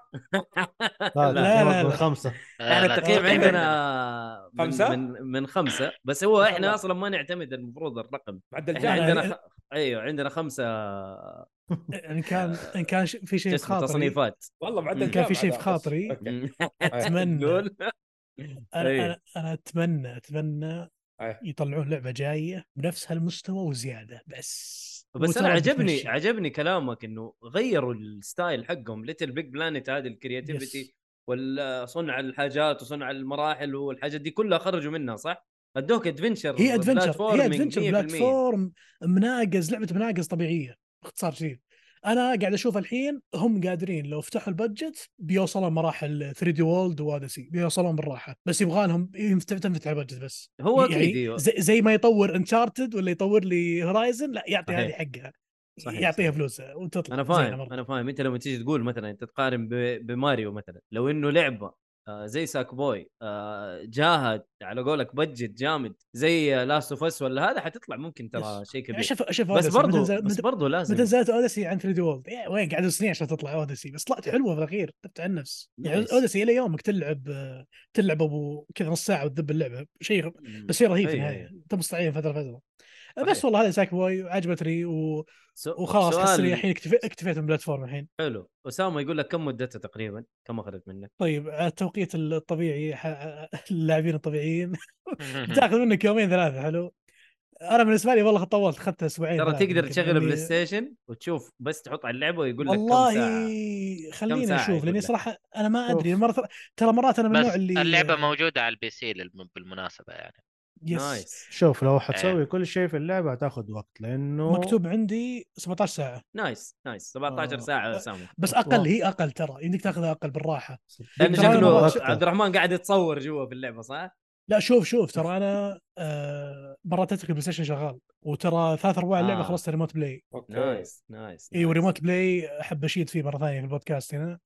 لا لا، لا لا. خمسه آه، احنا يعني لا التقييم تستحي عندنا من- خمسة؟ من من خمسه بس هو احنا الله. اصلا ما نعتمد المفروض الرقم معدل احنا لا، جامد لا، عندنا يعني- خ... ايوه عندنا خمسه ان يعني كان ان كان ش- في شيء في جسم خاطري تصنيفات والله معدل كان جامد في شيء في هذا. خاطري. أوكي. أتمنى. قول انا إيه. انا انا اتمنى اتمنى إيه. يطلعون لعبه جايه بنفس هالمستوى وزياده بس بس انا وترى عجبني بتمشي. عجبني كلامك انه غيروا الستايل حقهم ليتل بيج بلانت هذه الكرياتيفيتي يس. والصنع الحاجات وصنع المراحل والحاجات دي كلها خرجوا منها صح؟ ادوك ادفنشر هي ادفنشر هي ادفنشر بلاتفورم مناقز لعبه مناقز طبيعيه باختصار شديد انا قاعد اشوف الحين هم قادرين لو فتحوا البادجت بيوصلون مراحل 3 دي وولد وادسي بيوصلون بالراحه بس يبغى لهم ينفتح- تنفتح البادجت بس هو اكيد يعني أيوه. زي, زي ما يطور انشارتد ولا يطور لي هورايزن لا يعطي صحيح. هذه حقها صحيح، يعطيها صحيح. فلوسها وتطلع انا زينة فاهم مرة. انا فاهم انت لما تيجي تقول مثلا انت تقارن ب- بماريو مثلا لو انه لعبه آه، زي ساك بوي آه، جاهد على قولك بجت جامد زي لاست اوف اس ولا هذا حتطلع ممكن ترى يس. شيء كبير يعني شوف شوف بس Odyssey، متى برضو نزل- بس متى- برضو لازم متى نزلت اوديسي عن 3 دي وولد يا وين قعدوا سنين عشان تطلع اوديسي بس طلعت حلوه في الاخير طلعت عن نفس يعني Nice. اوديسي الى يومك تلعب تلعب ابو كذا نص ساعه وتذب اللعبه شيء بس شيء رهيب في أي- النهايه تبص عليه فتره فتره صحيح. بس والله هذا ساك بوي وعجبتني و... سو- وخلاص سؤال احس اني الحين اكتفي... اكتفيت من البلاتفورم الحين حلو اسامه يقول لك كم مدته تقريبا كم اخذت منك طيب على التوقيت الطبيعي ح... اللاعبين الطبيعيين منك. بتاخذ منك يومين ثلاثه حلو انا بالنسبه لي والله طولت اخذت اسبوعين ترى ثلاثة تقدر يمكن، يعني تشغل لأني- بلاي ستيشن وتشوف بس تحط على اللعبه ويقول لك والله كم ساعه كم خليني ساعة اشوف يقول لاني لك؟ صراحه انا ما أوف. ادري مرة ترى مرات انا من بس النوع اللي اللعبه موجوده على البي سي للم- بالمناسبه يعني يس نايس شوف لو حتسوي كل شيء في اللعبه هتاخذ وقت لانه مكتوب عندي 17 ساعه نايس نايس 17 آه. ساعه يا اسامه بس أوف. اقل هي اقل ترى يمديك تاخذها اقل بالراحه لانه ترى أنا شكله مرات- عبد الرحمن قاعد يتصور جوا في اللعبه صح؟ لا شوف شوف ترى انا آه مرات اترك البلاي ستيشن شغال وترى ثلاث ارباع اللعبه آه. خلصت ريموت بلاي أوكي. نايس نايس اي إيه. وريموت بلاي احب اشيد فيه مره ثانيه في البودكاست هنا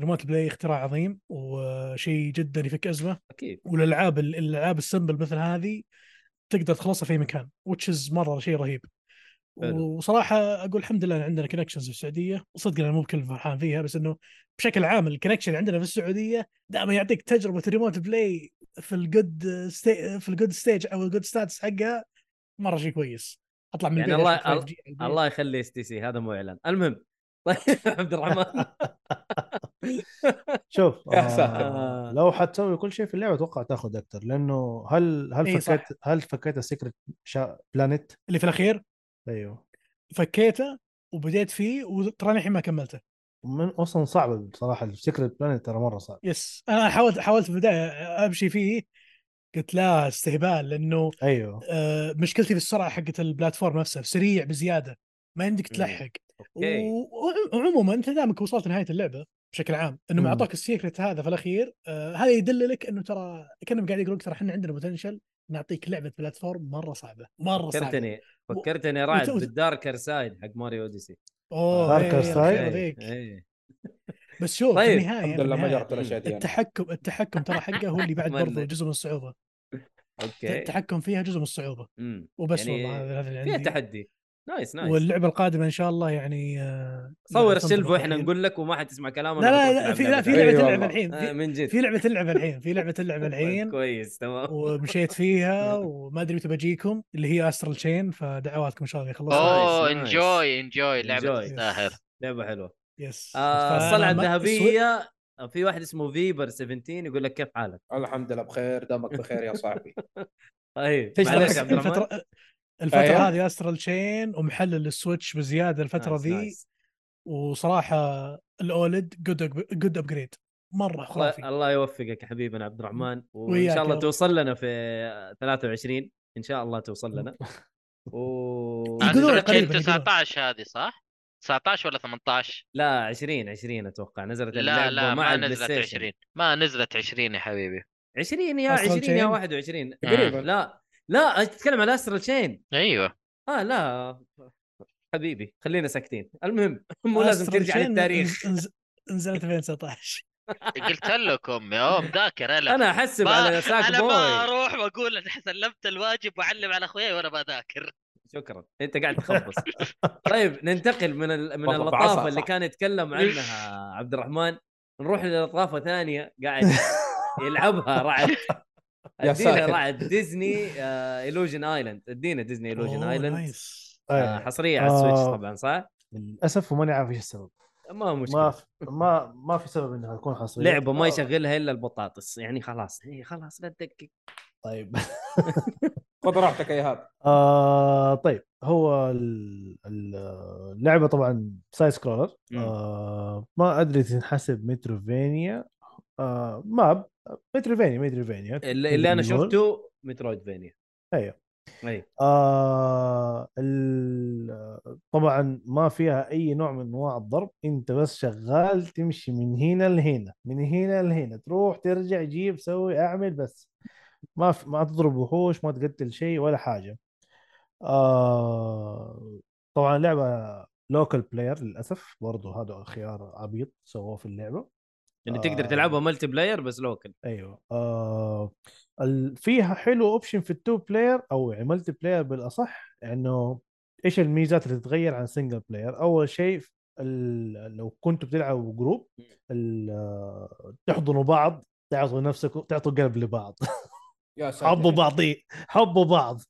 ريموت بلاي اختراع عظيم وشيء جدا يفك ازمه اكيد والالعاب الالعاب السمبل مثل هذه تقدر تخلصها في أي مكان وتشز مره شيء رهيب حلو. وصراحه اقول الحمد لله إن عندنا كونكشنز في السعوديه صدق انا مو بكل فرحان فيها بس انه بشكل عام الكونكشن عندنا في السعوديه دائما يعطيك تجربه ريموت بلاي في الجود ستي... في الجود ستيج او الجود ستاتس حقها مره شيء كويس اطلع من يعني البيت الله- أشوف 5G على البيت. الله يخلي اس تي سي هذا مو اعلان المهم طيب عبد الرحمن شوف يا ساتر. آه لو حتسوي كل شيء في اللعبه اتوقع تاخذ اكثر لانه هل هل إيه، صح. فكيت هل فكيت السكرت شا... بلانيت اللي في الاخير ايوه فكيته وبديت فيه وتراني الحين ما كملته من اصلا صعبه بصراحه السكرت بلانيت ترى مره صعب يس انا حاولت حاولت في البدايه امشي فيه قلت لا استهبال لانه ايوه آه، مشكلتي في السرعه حقت البلاتفورم نفسها سريع بزياده ما عندك تلحق اوكي و- وعموما انت دامك وصلت نهايه اللعبه بشكل عام انهم مم. اعطوك السيكرت هذا في الاخير آه هذا يدللك انه ترى كانهم قاعد يقولون ترى احنا عندنا بوتنشل نعطيك لعبه بلاتفورم مره صعبه مره صعبه فكرتني فكرتني رعد وت- وت- بالداركر سايد حق ماريو اوديسي اوه داركر إيه، الله سايد. يخير إيه، ذيك. إيه. بس شوف طيب، في النهايه الحمد لله ما النهاية، جربت يعني. الاشياء دي أنا. التحكم التحكم ترى حقه هو اللي بعد برضه أتمنى. جزء من الصعوبه اوكي التحكم فيها جزء من الصعوبه مم. وبس يعني والله هذا هذا اللي فيها عندي تحدي نايس نايس واللعبه القادمه ان شاء الله يعني آه، صور تنطلق السلف واحنا الحين. نقول لك وما حد يسمع كلامنا لا لا حتروح لا تلعب في أي لا في لعبه تلعب والله. الحين آه، في- من جد في لعبه تلعب الحين في لعبه تلعب الحين كويس تمام ومشيت فيها وما ادري متى بجيكم اللي هي استرال تشين فدعواتكم ان شاء الله يخلصها نايس، اوه نايس. انجوي انجوي لعبه Enjoy. تستاهل لعبه حلوه يس آه، فأنا الصلعه ما- الذهبيه في واحد اسمه فيبر 17 يقول لك كيف حالك؟ الحمد لله بخير دمك بخير يا صاحبي طيب السويتش- معلش الفترة- عبد الرحمن الفترة الفترة أيوة. هذه استرال تشين ومحلل السويتش بزيادة الفترة نايس، ذي نايس. وصراحة الاولد جود جود ابجريد مرة الله- خرافي الله يوفقك يا حبيبنا عبد الرحمن وان وياك شاء الله يا رب. توصل لنا في 23 ان شاء الله توصل لنا و يقولون عاد قريباً، سنة يقولون. 19 هذه صح؟ 19 ولا 18 لا 20 20 اتوقع نزلت لا اللعبة لا مع ما البلاي نزلت ستيشن. 20 ما نزلت 20 يا حبيبي 20 يا أصلاً 20 يا chain؟ 21 قريبا. لا لا تتكلم على استرال تشين ايوه اه لا حبيبي خلينا ساكتين المهم مو لازم أسترال ترجع تشين للتاريخ نز- نز- نزلت 2019 قلت لكم يا مذاكر انا انا احسب ما- على ساك انا ما بوي اروح واقول انا سلمت الواجب واعلم على اخوياي وانا بذاكر شكرا انت قاعد تخبص طيب ننتقل من ال... من والله اللطافه بعصا اللي صح. كان يتكلم عنها عبد الرحمن نروح للطافه ثانيه قاعد يلعبها رعد يا ادينا ساتر. رعد ديزني آه، ايلوجن ايلاند ادينا ديزني ايلوجن أوه، ايلاند نايس. حصريه على السويتش آه. طبعا صح؟ للاسف أيوه. وماني عارف ايش السبب ما هو مشكله ما ما ما في سبب انها تكون حصريه لعبه ما آه، يشغلها الا البطاطس يعني خلاص هي خلاص لا تدقق طيب خذ راحتك يا ايهاب آه طيب هو ال- ال- اللعبه طبعا سايد سكرولر آه ما ادري تنحسب متروفينيا آه ماب متروفينيا متروفينيا اللي, اللي انا نقول. شفته مترويد فينيا أيوه. اي آه ال- طبعا ما فيها اي نوع من انواع الضرب انت بس شغال تمشي من هنا لهنا من هنا لهنا تروح ترجع جيب سوي اعمل بس ما في ما تضرب وحوش ما تقتل شيء ولا حاجه آه طبعا لعبه لوكال بلاير للاسف برضه هذا خيار عبيط سووه في اللعبه انه آه. يعني تقدر تلعبها ملتي بلاير بس لوكل ايوه آه ال- فيها حلو اوبشن في التو بلاير او الملتي بلاير بالاصح انه ايش الميزات اللي تتغير عن سنجل بلاير اول شيء ال- لو كنتوا بتلعبوا جروب ال- آه، تحضنوا بعض تعطوا نفسكم تعطوا قلب لبعض يا ساتر حبوا بعضي حبوا بعض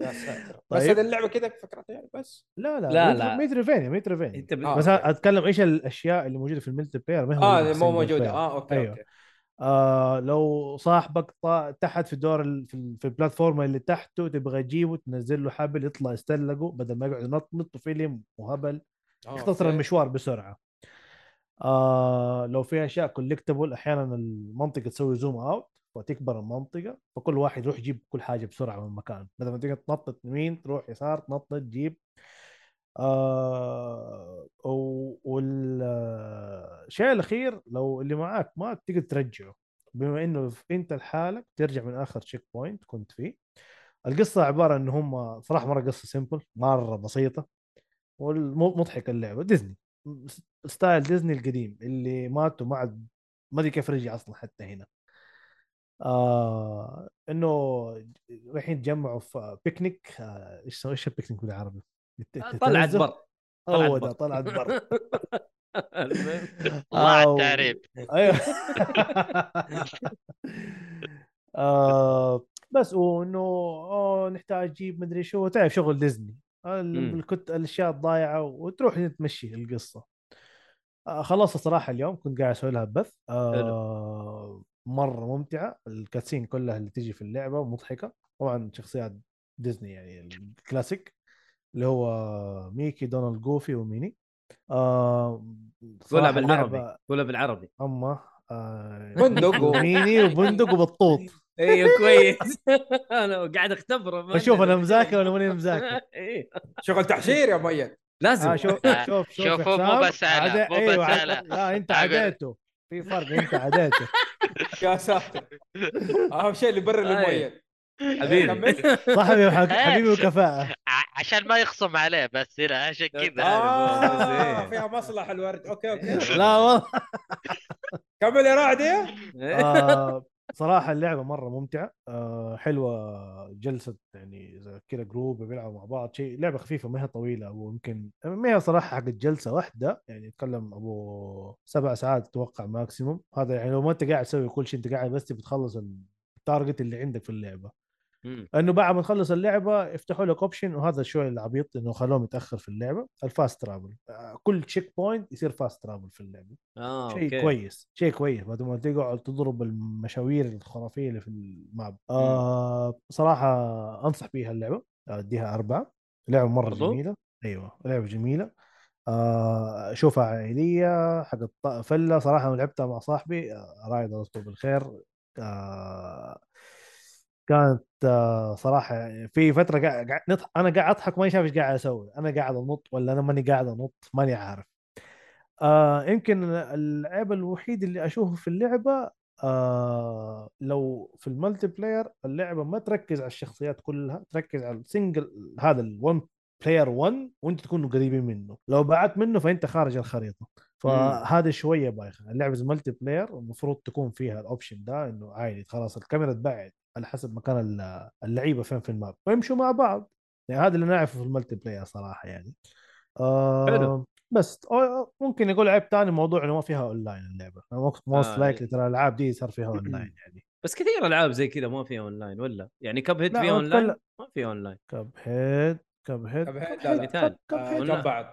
يا ساتر بس طيب. هذه اللعبه كذا فكرتها يعني بس لا لا لا، متر- لا. متروفينيا متروفينيا انت بت... آه. بس أنا اتكلم ايش الاشياء اللي موجوده في الملتي بلاير ما هو اه آه، الsingle مو موجوده player. اه اوكي أيوه. أيوة. اوكي آه لو صاحبك طا- تحت في الدور ال- في, ال- في البلاتفورم اللي تحته تبغى تجيبه تنزل له حبل يطلع يستلقه بدل ما يقعد ينطنط وفيلم وهبل آه، يختصر أوكي. المشوار بسرعه آه لو في اشياء كولكتبل احيانا المنطقه تسوي زوم اوت وتكبر المنطقه فكل واحد يروح يجيب كل حاجه بسرعه من مكان بدل ما تقعد تنطط يمين تروح يسار تنطط تجيب آه والشيء الاخير لو اللي معاك ما تقدر ترجعه بما انه ف- انت لحالك ترجع من اخر تشيك بوينت كنت فيه القصه عباره ان هم صراحه مره قصه سيمبل مره بسيطه والمضحك اللعبه ديزني س- ستايل ديزني القديم اللي مات وما عاد ما ادري كيف رجع اصلا حتى هنا آه انه رايحين يتجمعوا في بيكنيك آه، ايش ايش البيكنيك بالعربي؟ الت- آه، طلعت التنزه؟ برا طلعت هو ده برا. طلعت برا المهم. الله على أو- التعريب ايوه آه، بس وانه أوه، نحتاج نجيب مدري شو تعرف شغل ديزني ال- مم. الكت الاشياء الضايعه وتروح تمشي القصه آه، خلصت صراحه اليوم كنت قاعد اسوي لها بث آه، مره ممتعه الكاتسين كلها اللي تجي في اللعبه مضحكه طبعا شخصيات ديزني يعني الكلاسيك اللي هو ميكي دونالد جوفي وميني آه قولها صراحة بالعربي لعبة قولها بالعربي اما آه بندق و- ميني وبندق وبطوط ايوه كويس انا قاعد اختبره ما اشوف أدري. انا مذاكر ولا ماني مذاكر إيه. شغل تحشير يا مؤيد لازم آه شوف آه، شوف شوف شوفوا مو حسام، بس أنا، عدا- مو أيوة، بس عدا- أنا. لا انت عبد. عديته في فرق انت عديته يا ساتر اهم شيء اللي برا أي. المؤيد حبيبي كمل. صاحبي وحق- حبيبي وكفاءه ع- عشان ما يخصم عليه بس هنا عشان كذا آه، فيها مصلح الورد اوكي اوكي لا والله كمل يا رعد يا إيه. آه صراحه اللعبه مره ممتعه آه حلوه جلسه يعني زي كذا جروب بيلعبوا مع بعض شيء لعبه خفيفه ما هي طويله ويمكن ما هي صراحه حق جلسه واحده يعني اتكلم ابو سبع ساعات اتوقع ماكسيموم هذا يعني لو ما انت قاعد تسوي كل شيء انت قاعد بس بتخلص التارجت اللي عندك في اللعبه مم. انه بعد ما تخلص اللعبه يفتحوا لك اوبشن وهذا شوي العبيط انه خلوهم يتاخر في اللعبه الفاست ترافل آه، كل تشيك بوينت يصير فاست ترافل في اللعبه اه شيء أوكي. كويس شيء كويس بدل ما تقعد تضرب المشاوير الخرافيه اللي في الماب آه صراحه انصح بيها اللعبه اديها اربعه لعبه مره برضو؟ جميله ايوه لعبه جميله آه اشوفها عائليه حق الط- فله صراحه أنا لعبتها مع صاحبي آه، رايد الله يذكره بالخير آه كانت آه صراحه يعني في فتره قاعد قاعد نضح- انا قاعد اضحك ماني شايف ايش قاعد اسوي انا قاعد انط ولا انا ماني قاعد انط ماني عارف آه يمكن العيب الوحيد اللي اشوفه في اللعبه آه لو في الملتي بلاير اللعبه ما تركز على الشخصيات كلها تركز على السنجل هذا الون بلاير 1 وانت تكونوا قريبين منه لو بعدت منه فانت خارج الخريطه فهذا شويه بايخه اللعبه الملتي بلاير المفروض تكون فيها الاوبشن ده انه عادي خلاص الكاميرا تبعد على حسب مكان ال- اللعيبه فين في الماب ويمشوا مع بعض يعني هذا اللي انا اعرفه في الملتي بلاير صراحه يعني آه حلو. بس أو- ممكن يقول عيب ثاني موضوع انه ما فيها اونلاين اللعبه موست آه، لايكلي ترى الالعاب دي صار فيها اونلاين يعني بس كثير العاب زي كذا ما فيها اونلاين ولا يعني كب هيد لا، فيها أنا اونلاين أتكلم- ما فيها اونلاين كب هيد كب هيد Cuphead، لا، لا. مثال. كب آه، هيد قلنا. جنب بعض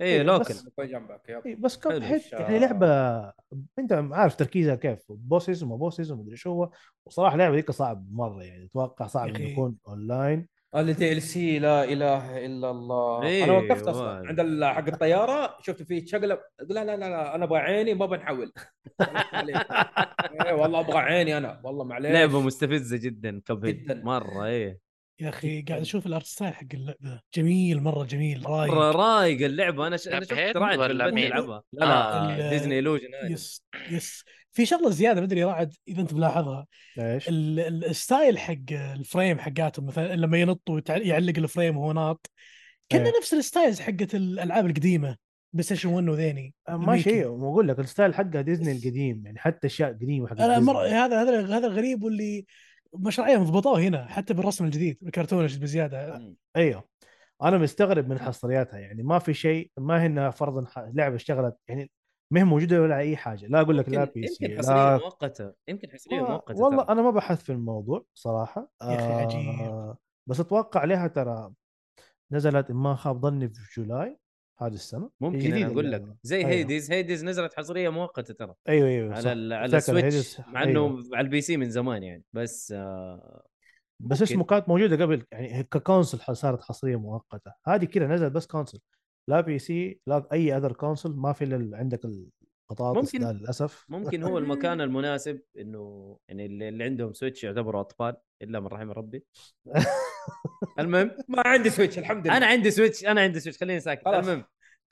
اي إيه، لوكل بس- نكون جنبك يلا. إيه، بس كب حلو. هيد يعني آه. لعبه انت عارف تركيزها كيف بوسز وما بوسز وما ادري شو هو وصراحه اللعبه ذيك صعب مره يعني اتوقع صعب انه أخي. يكون اونلاين الدي ال سي لا اله الا الله إيه، انا وقفت اصلا والله. عند ال- حق الطياره شفت فيه شقلب لا لا لا لا انا ابغى عيني ما بنحول إيه، والله ابغى عيني انا والله معليش لعبه مستفزه جدا كب هيد جداً. مره ايه يا اخي قاعد اشوف الارت ستايل حق اللعبه جميل مره جميل مره رايق رايق اللعبه انا ش... انا كب شفت هيد راعد في ولا البث مين؟ يلعبها لا لا آه. ديزني الوجن يس يس في شغله زياده مدري يا رعد اذا انت ملاحظها ايش؟ ال- ال- الستايل حق الفريم حقاتهم مثلا لما ينط ويعلق الفريم وهو ناط كنا إيه. نفس الستايلز حقت الالعاب القديمه بلاي ستيشن 1 وذيني ماشي الميكي. أيوه. هي واقول لك الستايل حقها ديزني القديم يعني حتى اشياء قديمه حق انا مر... ديزني. هذا هذا هذا الغريب واللي مشروعيه مضبطوه هنا حتى بالرسم الجديد الكرتونش بزياده ايوه انا مستغرب من حصرياتها يعني ما في شيء ما هي انها فرضا ح- لعبه اشتغلت يعني ما هي موجوده ولا اي حاجه لا اقول لك لا بي سي يمكن لا حصريه مؤقته يمكن حصريه والله- مؤقته والله ترى. انا ما بحثت في الموضوع صراحه يا أخي عجيب. آه، بس اتوقع لها ترى نزلت إن ما خاب ظني في جولاي هذه السنه ممكن جديدة انا اقول لك اللعبة. زي أيوة. هيديز هيديز نزلت حصريه مؤقته ترى ايوه ايوه صح. على ال... على أتذكر السويتش هيديز- مع انه أيوة. على البي سي من زمان يعني بس آه... بس ممكن. اسمه كانت موجوده قبل يعني هي ككونسل ح- صارت حصريه مؤقته هذه كذا نزلت بس كونسل لا بي سي لا اي اذر كونسل ما في الا ال- عندك البطاطس ممكن- ده للاسف ممكن هو المكان المناسب انه يعني اللي اللي عندهم سويتش يعتبروا اطفال الا من رحم ربي المهم ما عندي سويتش الحمد لله انا عندي سويتش انا عندي سويتش خليني ساكت خلاص. المهم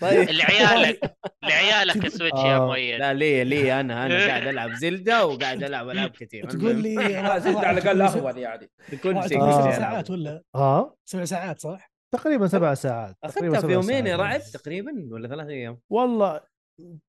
طيب لعيالك لعيالك السويتش يا آه، مؤيد لا لي لي انا انا قاعد العب زلدة وقاعد العب العاب كثير تقول المهم، لي لا، زد على الاقل اهون يعني كل شيء كل تقول لي شيء سبع آه. ألعبه. ساعات ولا ها سبع ساعات صح؟ تقريبا آه، سبع ساعات تقريبا اخذتها في سبع يومين يا ساعات. رعد يعني. تقريبا ولا ثلاث ايام والله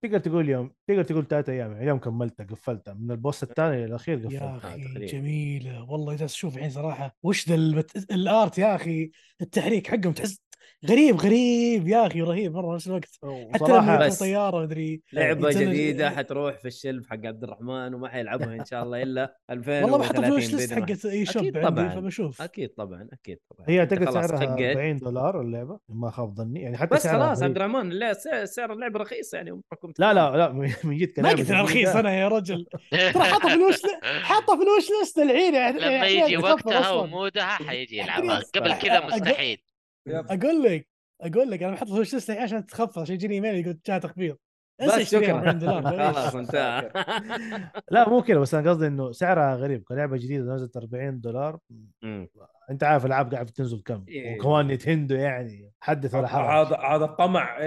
تقدر تقول يوم تقدر تقول ثلاث ايام يعني يوم كملتها قفلتها من البوس الثاني للاخير يا قفلتها آه، اخي تقريبا. جميله والله جالس اشوف الحين صراحه وش ذا المت... الارت يا اخي التحريك حقهم تحس غريب غريب يا اخي رهيب مره نفس الوقت حتى لما وصراحه يركبوا بس. طياره مدري لعبه يتنج- جديده حتروح في الشلب حق عبد الرحمن وما حيلعبها ان شاء الله الا 2030 والله بحطها في الوش ليست بإذن الله. حقت اي شوب أكيد عندي طبعاً. فبشوف اكيد طبعا اكيد طبعا هي أنت اعتقد خلاص سعرها حققت. 40 دولار اللعبه ما خاب ظني يعني حتى بس سعرها خلاص غريب. عبد الرحمن لا سعر- سعر اللعبه رخيص يعني أموركم لا تمام. لا لا من جد ما كلام قلت انا رخيص جديدة. انا يا رجل ترى حاطه في الوش ليست- حاطه في الوش ليست الحين يعني لما يعني يجي بتخفض وقتها أصلاً. ومودها حيجي يلعبها أدري أصلاً. قبل كذا أق- مستحيل اقول لك اقول لك انا بحط في وش ليستي عشان تتخفض عشان يجيني ايميل يقول جاء تخفيض انسى بس اشتريها شكرا 40 دولار خلاص انتهى لا مو كذا بس انا قصدي انه سعرها غريب كلعبه جديده نزلت 40 دولار مم. انت عارف العاب قاعده تنزل كم إيه. وكمان نتندو يعني حدث ولا حرج هذا هذا الطمع إيه.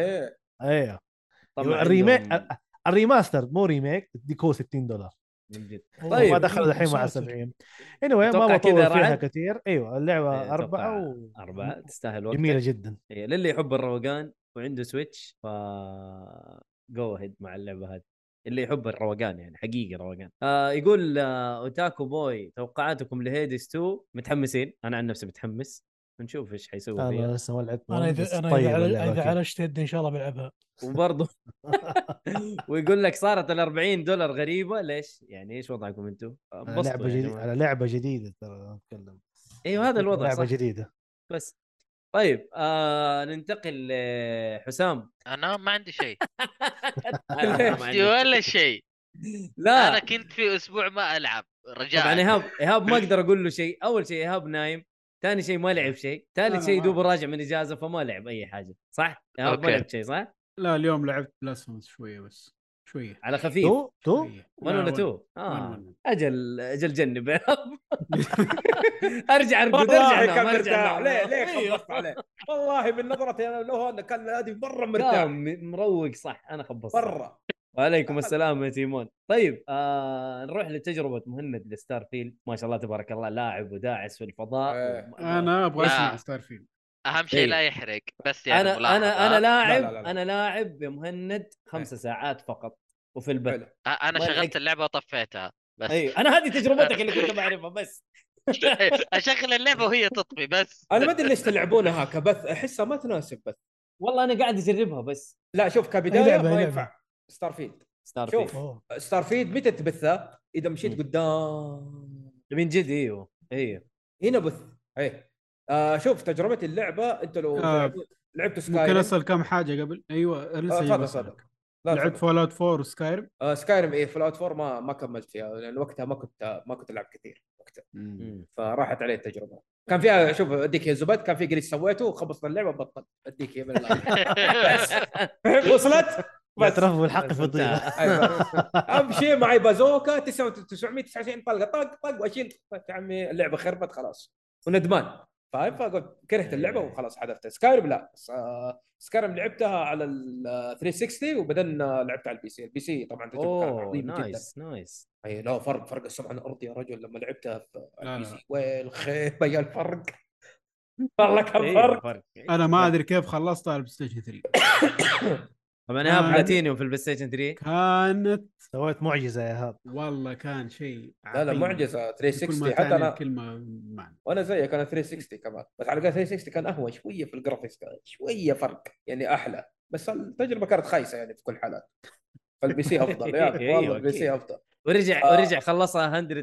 ايه ايوه طبعاً الريميك عندهم- الريماستر مو ريميك ديكو 60 دولار من جد. طيب ما طيب دخل الحين مع 70 اني anyway أتوقع ما كذا بطول فيها رعد. كثير ايوه اللعبه إيه، اربعه أتوقع و... أربعة تستاهل وقتك جميله جدا إيه، للي يحب الروقان وعنده سويتش ف جو هيد مع اللعبه هذه اللي يحب الروقان يعني حقيقي روقان آه يقول آه اوتاكو بوي توقعاتكم لهيدس 2 متحمسين انا عن نفسي متحمس بنشوف ايش حيسوي انا فيها لسه ما لعبت انا بس اذا انا طيب اذا اللعبة اذا أكيد. عالجت يدي ان شاء الله بلعبها وبرضه ويقول لك صارت ال 40 دولار غريبه ليش؟ يعني ايش وضعكم آه، انتم؟ على لعبه انبسطوا يا جديده جماعه على لعبه جديده ترى نتكلم ايوه هذا الوضع صح لعبه جديده بس طيب آه ننتقل لحسام انا ما عندي شيء أنا ما عندي. آه. عندي ولا شيء لا انا كنت في اسبوع ما العب رجاء طبعا ايهاب ايهاب ما اقدر اقول له شيء اول شيء ايهاب نايم ثاني شيء ما لعب شيء أنا ثالث شيء ما- دوب راجع من اجازه فما لعب اي حاجه صح ايهاب ما أوكي. لعب شيء صح لا اليوم لعبت بلاسفمس شويه بس شويه على خفيف تو تو شوية. ولا نعم، لا، ولا تو ولا- اه ولا. اجل اجل جنب يا إيهاب. ارجع ارقد ارجع والله نام، كان ارجع مرتاح نام. ليه ليه أيوه. خبصت عليه والله من نظرتي انا له انا كان نادي مره لا مرتاح م- مروق صح انا خبصت مره وعليكم السلام يا تيمون طيب آه نروح لتجربه مهند لستار فيلد ما شاء الله تبارك الله لاعب وداعس في الفضاء إيه. وم- انا ابغى لا. اسمع ستار فيلد اهم شيء إيه. لا يحرق بس يعني انا انا انا ملاحظة. لاعب لا، لا، لا. انا لاعب يا مهند خمسة ساعات فقط وفي البث حلو. أ- انا ما شغلت لحقت. اللعبه وطفيتها بس ايوه انا هذه تجربتك اللي كنت بعرفها بس اشغل اللعبه وهي تطفي بس انا ما ادري ليش تلعبونها كبث احسها ما تناسب بث والله انا قاعد اجربها بس لا شوف أي كبدايه لعبة، ما أي ينفع ستار فيلد ستار شوف. شوف أوه. ستار فيلد متى تبثها؟ اذا مم. مشيت قدام من جد ايوه ايوه هنا بث ايه آه شوف تجربه اللعبه انت لو آه، لعبت- لعبت سكاي ممكن اسال كم حاجه قبل ايوه لسه جاي تفضل، بسألك. لا لعبت لعبت فول اوت 4 وسكايرم آه سكايرم ايه في الاوت 4 ما ما كملت فيها لان وقتها ما كنت ما كنت العب كثير وقتها مم. فراحت علي التجربه كان فيها شوف اديك يا زبد كان في جليتش سويته خبصت اللعبه بطل اديك يا من الآخر. بس وصلت بس اعترف بالحق في الضيق انتهى. أيوة. امشي معي بازوكا 929 طلقه طق طق واشيل يا عمي اللعبه خربت خلاص وندمان فاهم فقلت كرهت اللعبه وخلاص حذفتها سكايرم لا سكايرم لعبتها على ال 360 وبعدين لعبت على البي سي البي سي طبعا تجربه كانت اوه عظيمه جدا نايس نايس اي لا فرق فرق السمعه عن الارض يا رجل لما لعبتها في لا، البي لا. سي والخيبه يا الفرق والله كان أيوة، فرق فرق انا ما ادري كيف خلصتها على البلاي ستيشن 3 طبعا ايهاب آه. بلاتينيوم في البلاي ستيشن 3 كانت سويت معجزه يا هاب والله كان شيء لا لا عظيم. معجزه كل 360 ما حتى تعني انا الكلمه معنى وانا زيك انا 360 كمان بس على الأقل 360 كان اهون شويه في الجرافيكس كان شويه فرق يعني احلى بس التجربه كانت خايسه يعني في كل حالات فالبي سي افضل يعني أيوة، والله البي أكيد. سي افضل ورجع آه. ورجع خلصها 100 100%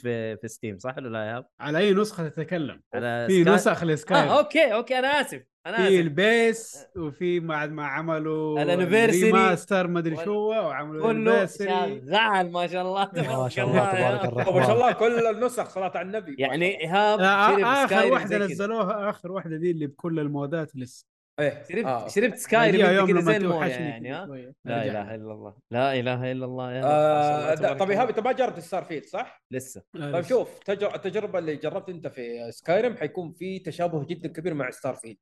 في في ستيم صح ولا لا يا ايهاب؟ على اي نسخه تتكلم على في سكاي- نسخ لسكايرم اه اوكي اوكي انا اسف انا في اسف البيس وفي بعد ما عملوا الأنيفرساري. ريماستر ما ادري وال- شو وعملوا كله الانيفرساري شغال ما شاء الله ما تبارك شاء الله الله يا تبارك ما طيب، شاء الرحمن الله كل النسخ صلاه على النبي ما شاء يعني الله. ايهاب شرب آه اخر سكايريم واحده زي كذا. نزلوها اخر واحده ذي اللي يعني بكل المودات لسه ايه شربت آه. آه. شربت سكايريم أجيها انت كذا زي لما المويه توحشني يعني كذا ها شوية. لا أرجع. اله الا الله لا اله الا الله يا رب. ما شاء الله آه تبارك طب الله. ايهاب انت ما جربت ستار فيلد صح؟ لسه لا، طيب لسه. شوف تجر- التجربه اللي جربت انت في سكايرم حيكون في تشابه جدا كبير مع ستار فيلد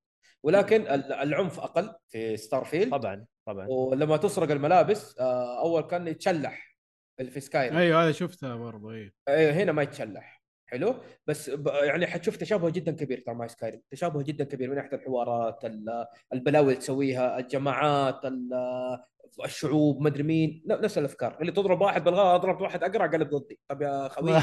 ولكن ال- العنف اقل في ستار فيلد طبعا طبعا ولما تسرق الملابس آه، اول كان يتشلح اللي في سكاي ايوه هذا شفتها برضه ايوه أيوه. هنا ما يتشلح حلو بس ب- يعني حتشوف تشابه جدا كبير ترى مع سكاي تشابه جدا كبير من ناحيه الحوارات ال- البلاوي اللي تسويها الجماعات ال- الشعوب مدري مين ن- نفس الافكار اللي تضرب واحد بالغلط ضربت واحد اقرع قلب ضدي طب يا خوي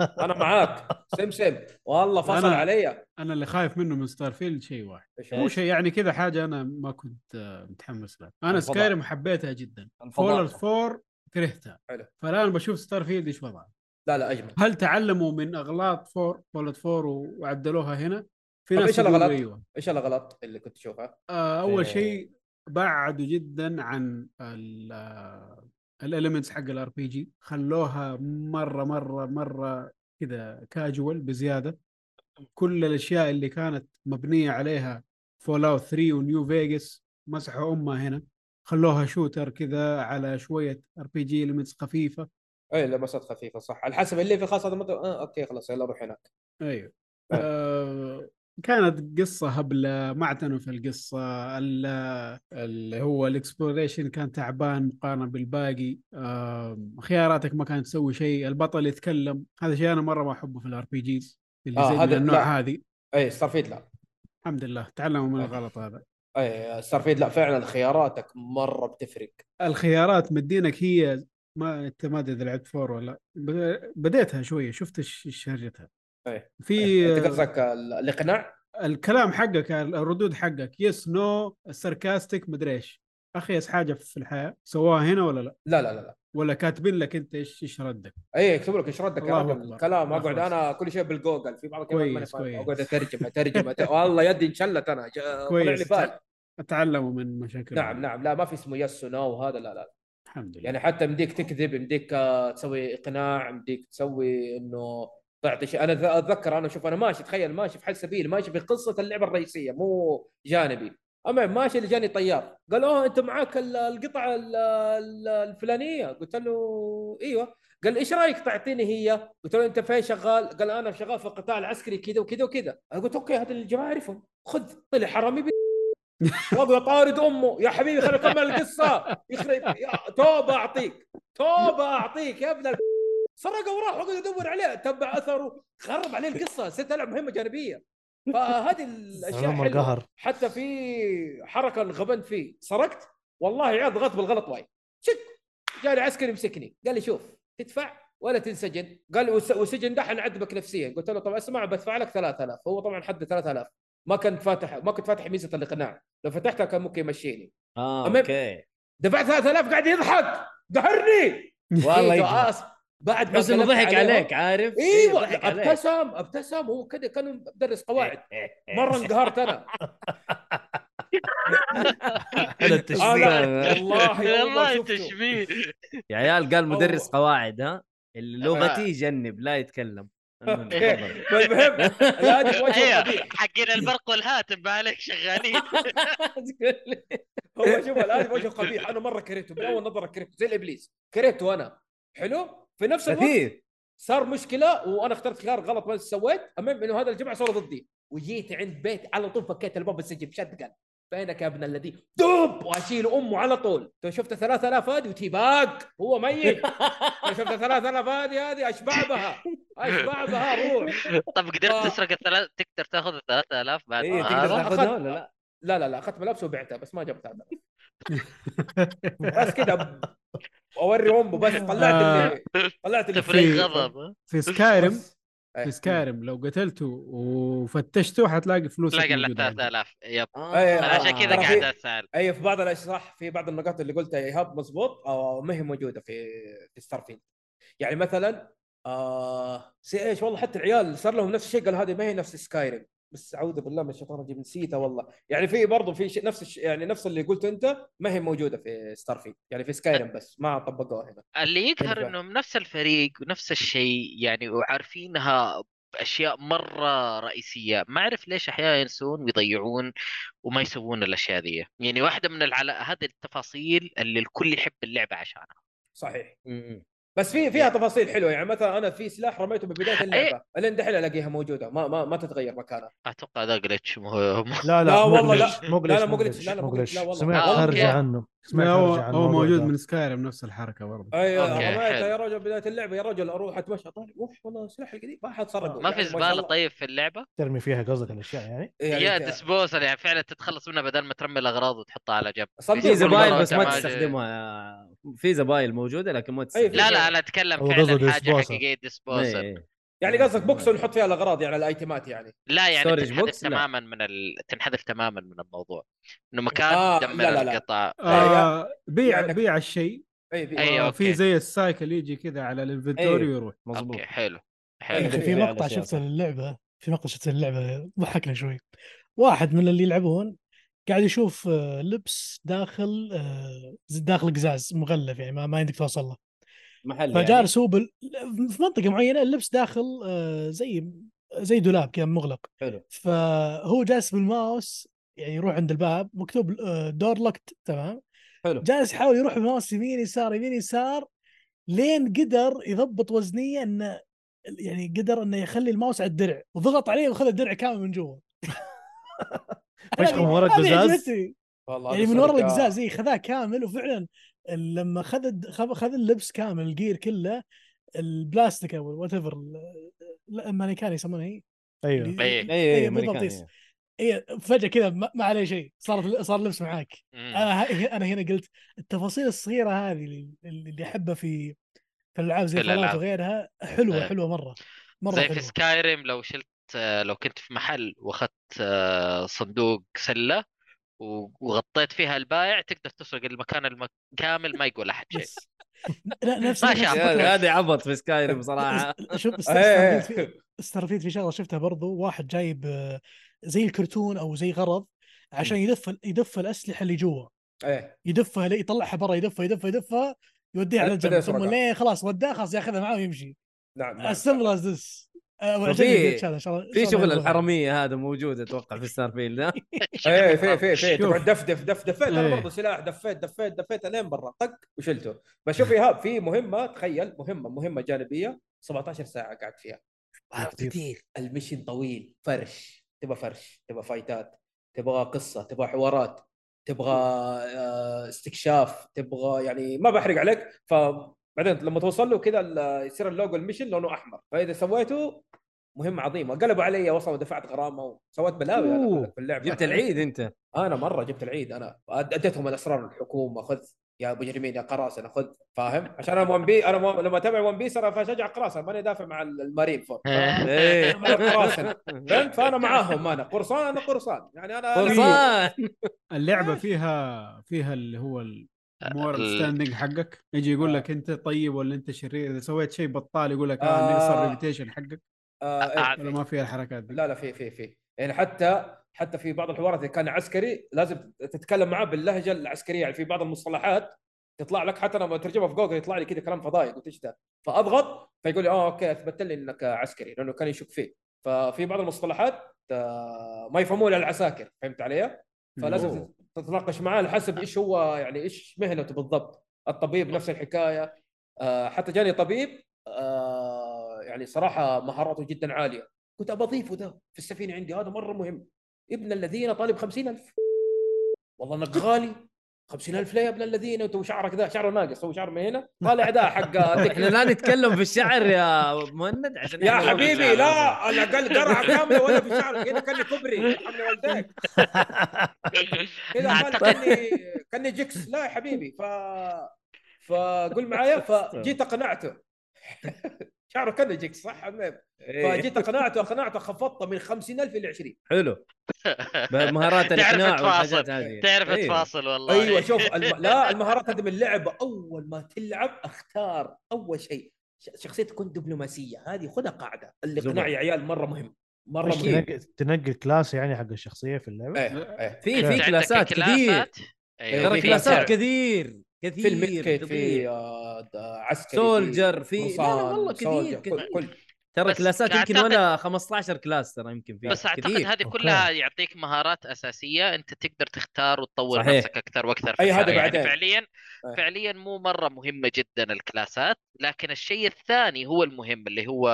انا معاك سيم سيم والله فصل أنا- علي انا اللي خايف منه من ستار فيلد شيء واحد إيش هو؟ مو شيء يعني كذا حاجه انا ما كنت آه، متحمس لها انا الفضاء. سكايرم حبيتها جدا الفضاء. فولر 4 كرهتها حلو. فالان بشوف ستار فيلد ايش وضعه لا لا اجمل هل تعلموا من اغلاط فور فولت فور و- وعدلوها هنا؟ في طب ناس إيش يقولوا الأغلاط؟ ايوه ايش الغلط اللي كنت تشوفها؟ آه اول إيه. شيء بعدوا جدا عن الاليمنتس حق الار بي جي خلوها مره مره مره كذا كاجوال بزياده كل الاشياء اللي كانت مبنيه عليها فول اوت 3 ونيو فيجاس مسحوا امها هنا خلوها شوتر كذا على شويه ار بي جي ليمتس خفيفه اي لمسات خفيفه صح على حسب الليفل خلاص هذا مت- آه اوكي خلاص يلا روح هناك ايوه آه كانت قصة هبلة ما اعتنوا في القصة ال- اللي هو الاكسبلوريشن كان تعبان مقارنة بالباقي آه خياراتك ما كانت تسوي شيء البطل يتكلم هذا شيء انا مرة ما احبه في الار بي جيز اللي آه، زي هذا- من النوع لا. هذه اي إيه، ستارفيد لا الحمد لله تعلموا من آه. الغلط هذا اي ستارفيد لا فعلا خياراتك مره بتفرق الخيارات مدينك هي ما انت ما ادري إذا لعبت فور ولا ب- بديتها شوية شفت ايش إيش شهرتها إيه. في انت قصدك ال- الاقناع الكلام حقك الردود حقك يس نو الساركاستيك مدري ايش اخيس حاجه في الحياه سواها هنا ولا لا لا لا لا لا ولا كاتبين لك انت ايش ايش ردك اي اكتب لك ايش ردك يا الله رجل أكبر. الكلام لا اقعد خلاص. انا كل شيء بالجوجل في بعض الكلمات ماني كويس، فاهمها. اقعد كويس. اترجم اترجم أت- والله يدي انشلت انا جا- طلع لي كويس. بال اتعلموا من مشاكل نعم نعم لا ما في اسمه يس ونو وهذا لا لا الحمد لله يعني حتى مديك تكذب مديك آه، تسوي اقناع مديك تسوي انه تعطي شيء انا أذ- اتذكر انا شوف انا ماشي تخيل ماشي في حد سبيل ماشي في قصه اللعبه الرئيسيه مو جانبي اما ماشي اللي جاني طيار قال اوه انت معاك ال- القطعه ال- ال- الفلانيه قلت له ايوه قال ايش رايك تعطيني هي؟ قلت له انت فين شغال؟ قال انا شغال في القطاع العسكري كذا وكذا وكذا، انا قلت اوكي هذا الجماعه اعرفهم خذ طلع حرامي بي وابغى طارد امه يا حبيبي خليني اكمل القصه يخرب يا توبه اعطيك توبه اعطيك يا ابن ال- سرقه وراح وقعد يدور عليه تبع اثره خرب عليه القصه صرت العب مهمه جانبيه فهذه الاشياء سلام حلوه القهر حتى في حركه انغبنت فيه سرقت والله عيال ضغطت بالغلط وايد شك جاني عسكري مسكني قال لي شوف تدفع ولا تنسجن قال وس- والسجن ده حنعذبك نفسيا قلت له طب اسمع بدفع لك 3000 هو طبعا حد 3000 ما كنت فاتح ما كنت فاتح ميزه الاقناع لو فتحتها كان ممكن يمشيني اه أما- اوكي دفعت 3000 قاعد يضحك دهرني والله إيه، يقهر. آسف. بعد ما تحس انه قلبت ضحك عليهم- عليك عارف إيه، ايوه ضحك عليك. ابتسم ابتسم هو كذا كان مدرس قواعد إيه. مره انقهرت انا حلو آه، لا، التشبيه والله والله والله شفته تشبيه يا عيال قال مدرس أو- قواعد ها اللي لغتي يجنب لا يتكلم المهم، تفضل. المهم لا هذه في وجهه أيوة. قبيح حقين البرق والهاتف ما عليك شغالين آه. هو شوف الان في وجهه قبيح انا مره كرهته من اول نظره كرهته زي الابليس كرهته انا حلو في نفس الوقت لطيف صار مشكله وانا اخترت خيار غلط ما سويت المهم انه هذا الجماعه صاروا ضدي وجيت عند بيت على طول فكيت الباب السجن شد قال فينك يا ابن الذي دب واشيل امه على طول تو شفت 3000 هذه وتيباك هو ميت تو شفت 3000 هذه هذه اشبع بها اشبع بها روح طب قدرت تسرق الثلاث تقدر تاخذ ال 3000 بعد إيه، اي إيه، ما تقدر هذا؟ تاخذها ولا لا؟ آه، لا لا لا اخذت ملابسه وبعتها بس ما جبتها أنا. بس كذا ب- اوري امه بس طلعت اللي آه. طلعت اللي تفريغ في- غضب ها؟ في سكايرم بس. في إيه. سكايرم لو قتلته وفتشته حتلاقي فلوس تلاقي الا 3000 يب آه. إيه، انا عشان كذا ترى في- قاعد اسال اي في بعض الاشياء صح في بعض النقاط اللي قلتها يا ايهاب مضبوط آه ما هي موجوده في في ستارفيلد يعني مثلا آه سي ايش والله حتى العيال صار لهم نفس الشيء قال هذه ما هي نفس سكايريم بس اعوذ بالله من الشيطان الرجيم نسيتها والله يعني في برضه في شيء نفس الش... يعني نفس اللي قلته انت ما هي موجوده في ستارفيلد يعني في سكايريم بس ما طبقوها هنا اللي يقهر بالفعل. انهم نفس الفريق ونفس الشيء يعني وعارفينها باشياء مره رئيسيه ما اعرف ليش احيانا ينسون ويضيعون وما يسوون الاشياء ذي يعني واحده من العلا... هذه التفاصيل اللي الكل يحب اللعبه عشانها صحيح م-م. بس في فيها تفاصيل حلوه يعني مثلا انا في سلاح رميته من بدايه اللعبه الين دحين الاقيها موجوده ما ما, ما تتغير مكانها اتوقع ذا جلتش مو مو- لا، لا لا والله لا. مقلش- مقلش لا، لا، مقلش، مقلش لا، لا، مقلش، مقلش لا، والله. سمعت آه، هرجة أوكي. عنه سمعت هو هرجة عن هو الموضوع موجود ده. من سكايرم نفس الحركه برضه ايوه أوكي، رميتها حلو. يا رجل بدايه اللعبه يا رجل اروح اتمشى طالع اوف والله سلاح القديم ما حد سرقه ما في يعني شاء زباله الله. طيب في اللعبه ترمي فيها قصدك الاشياء يعني يعني يا ك- ديسبوزل يعني فعلا تتخلص منها بدل ما ترمي الاغراض وتحطها على جنب صدق في في زبايل مرة بس ما جماعة- تستخدمها آه. في زبايل موجوده لكن ما تستخدمها لا لا انا اتكلم هو قصده فعلا حاجه disposal. حقيقيه إيه، ديسبوزل إيه. يعني قصدك بوكس ونحط فيها الاغراض يعني الايتمات يعني لا يعني Storage تنحذف box؟ لا. تماما من ال... تنحذف تماما من الموضوع انه مكان آه، تدمر لا، لا، لا. القطع آه بيع يعني- بيع الشيء اي في أيوة، آه، أوكي. في زي السايكل يجي كذا على الانفنتوري أيوة. ويروح مظبوط اوكي حلو يا حلو إيه، اخي في يعني مقطع أشياء شفته للعبه في مقطع شفته للعبه ضحكنا شوي واحد من اللي يلعبون قاعد يشوف آه، لبس داخل آه، داخل قزاز مغلف يعني ما, ما يمديك توصل له محل يعني. فجالس هو بال... في منطقه معينه اللبس داخل آه، زي زي دولاب كذا مغلق حلو. فهو جالس بالماوس يعني يروح عند الباب مكتوب آه، دور لوكت تمام حلو. جالس يحاول يروح بماوس يمين يسار يمين يسار لين قدر يضبط وزنيه انه يعني قدر انه يخلي الماوس على الدرع وضغط عليه وخذ الدرع كامل من جوا مشخم ورا هذه القزاز؟ عجبتني. والله يعني هذا من ورا سرقة. القزاز اي خذاه كامل وفعلا لما خذ الد- خذ خذ اللبس كامل الجير كله البلاستيك او وات ايفر الامريكان يسمونها هي أيوه. ايوه إيه. اي اي إيه، بالضبط، أمريكانية. إيه، فجاه كذا ما ما عليه شيء صار صار لبس معاك مم. انا ه- انا هنا قلت التفاصيل الصغيره هذه اللي- اللي احبها في في الالعاب زي في الألعاب. فالوت وغيرها حلوه إيه. حلوه مره مره زي في حلوه سكايريم لو شلت آه، لو كنت في محل واخذت آه، صندوق سله و- وغطيت فيها البائع تقدر تسرق المكان الم- كامل ما يقول احد شيء بس لا نفس ما نفس شاء الفكرة. هذه عبط في سكايريم بصراحه شوف است- إيه، استرفيد في- استرفيد في شغله شفتها برضو واحد جايب آه، زي الكرتون او زي غرض عشان يدف يدف الاسلحه اللي جوا ايه يدفها لي- يطلعها برا يدفها يدفها يدفها يوديها على بعدين الجنب ثم يسرقها. ليه خلاص وداها خلاص ياخذها معاه ويمشي نعم نعم. السمبل از ذس وفي- في شغل الحرامي الحراميه هذا موجود اتوقع في ستار فيلد ها؟ ايه في في في شوف. تقعد دفدف دف دفيت انا إيه. برضه سلاح دفيت دفيت دفيت الين برا طق وشلته بس شوف ايهاب في مهمه تخيل مهمه مهمه جانبيه 17 ساعه قعدت فيها كثير المشن طويل فرش تبغى فرش تبغى فايتات تبغى قصه تبغى حوارات تبغى آه، استكشاف تبغى يعني ما بحرق عليك فبعدين لما توصل له كذا ال- يصير اللوجو المشن لونه احمر فاذا سويته مهمة عظيمة قلبوا علي وصلوا ودفعت غرامة وسويت بلاوي أوه. أنا في اللعبة جبت العيد انت انا مره جبت العيد انا أد- اديتهم الاسرار الحكومه خذ يا مجرمين يا قراصنه خذ فاهم عشان انا ون بي انا مو... لما اتابع ون بيس انا فشجع قراصنه ماني دافع مع ال- المارين فور إيه. مع القراصنه فهمت فانا معاهم انا قرصان انا قرصان يعني انا فرصان اللعبه فيها فيها اللي هو المورال ال- ستاندنج حقك يجي يقول لك انت طيب ولا انت شرير اذا سويت شيء بطال يقول لك اه آه. نقص الريبيتيشن حقك آه إيه. ولا ما فيها الحركات دي لا لا في في في يعني حتى حتى في بعض الحوارات اذا كان عسكري لازم تتكلم معاه باللهجه العسكريه يعني في بعض المصطلحات تطلع لك حتى لما ترجمها في جوجل يطلع لي كذا كلام فضايح قلت ايش ذا فاضغط فيقول لي اه اوكي اثبت لي انك عسكري لانه كان يشك فيه ففي بعض المصطلحات آه، ما يفهمونها العساكر فهمت علي؟ فلازم أوه. تتناقش معاه على حسب ايش هو يعني ايش مهنته بالضبط الطبيب نفس الحكايه آه، حتى جاني طبيب آه، يعني صراحه مهاراته جدا عاليه كنت ابى اضيفه ده في السفينه عندي هذا مره مهم ابن الذين طالب خمسين ألف والله انك غالي خمسين ألف ليه يا ابن الذين انت وشعرك ذا شعره ناقص هو شعر من هنا طالع ده حق احنا لا نتكلم في الشعر يا مهند عشان يا إحنا ما في حبيبي شعر. لا على الاقل قرعه كامله ولا في شعر هنا كاني كبري حمل والديك كذا أعتقد... أعتقد- كاني كاني جكس لا يا حبيبي ف فقول معايا فجيت اقنعته شعره كانه جكس صح عميم إيه. فجيت اقنعته اقنعته خفضته من 50000 الى 20 حلو مهارات تعرف الاقناع تفاصل. والحاجات هذه تعرف إيه. تفاصل والله ايوه شوف الم... لا المهارات هذه من اللعبه اول ما تلعب اختار اول شيء ش- شخصيه تكون دبلوماسيه هذه خذها قاعده الاقناع زبط. يا عيال مره مهم مره أكيد. مهم تنقي تنقي كلاس يعني حق الشخصيه في اللعبه ايه ايه في عندك في كلاسات كثير كلاسات. ترى ايوه ترى في كلاسات كلاسات. كثير في كثير الميدكيت في كثير آه، د- عسكري سولجر في لا لا قرصان، والله سولجر، كثير كثير كل- كل ترى بس كلاسات يمكن أعتقد- ولا 15 كلاس ترى يمكن فيها بس اعتقد كثير. هذه أوكي. كلها يعطيك مهارات اساسيه انت تقدر تختار وتطور صحيح. نفسك اكثر واكثر في أي هذا الشارع. يعني بعدين. فعليا أي. فعليا مو مره مهمه جدا الكلاسات لكن الشيء الثاني هو المهم اللي هو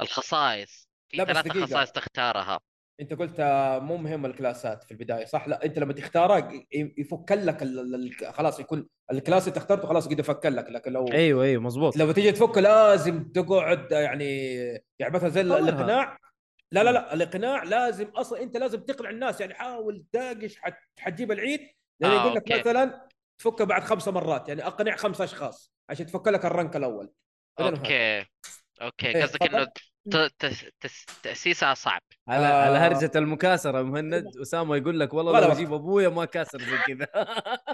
الخصائص لا، في بس ثلاث دقيقة. خصائص تختارها انت قلت آه، مو مهم الكلاسات في البدايه صح لا انت لما تختارها ي- يفك لك ال- ال- ال- خلاص يكون الكلاس اللي اخترته خلاص قد يفك لك لكن لو ايوه ايوه مزبوط لما تيجي تفك لازم تقعد يعني يعني مثلا زي ال- طورها. الاقناع لا لا لا الاقناع لازم اصلا انت لازم تقنع الناس يعني حاول داقش حت- حتجيب العيد يعني آه، يقول لك أوكي. مثلا تفكه بعد خمسة مرات يعني اقنع خمسة اشخاص عشان تفك لك الرنك الاول بعدين اوكي اوكي إيه، قصدك انه ت- ت- تس- تاسيسها صعب على آه. على هرجه المكاسره يا مهند اسامه يقول لك والله ولا لو وقت. اجيب ابويا ما كاسر زي كذا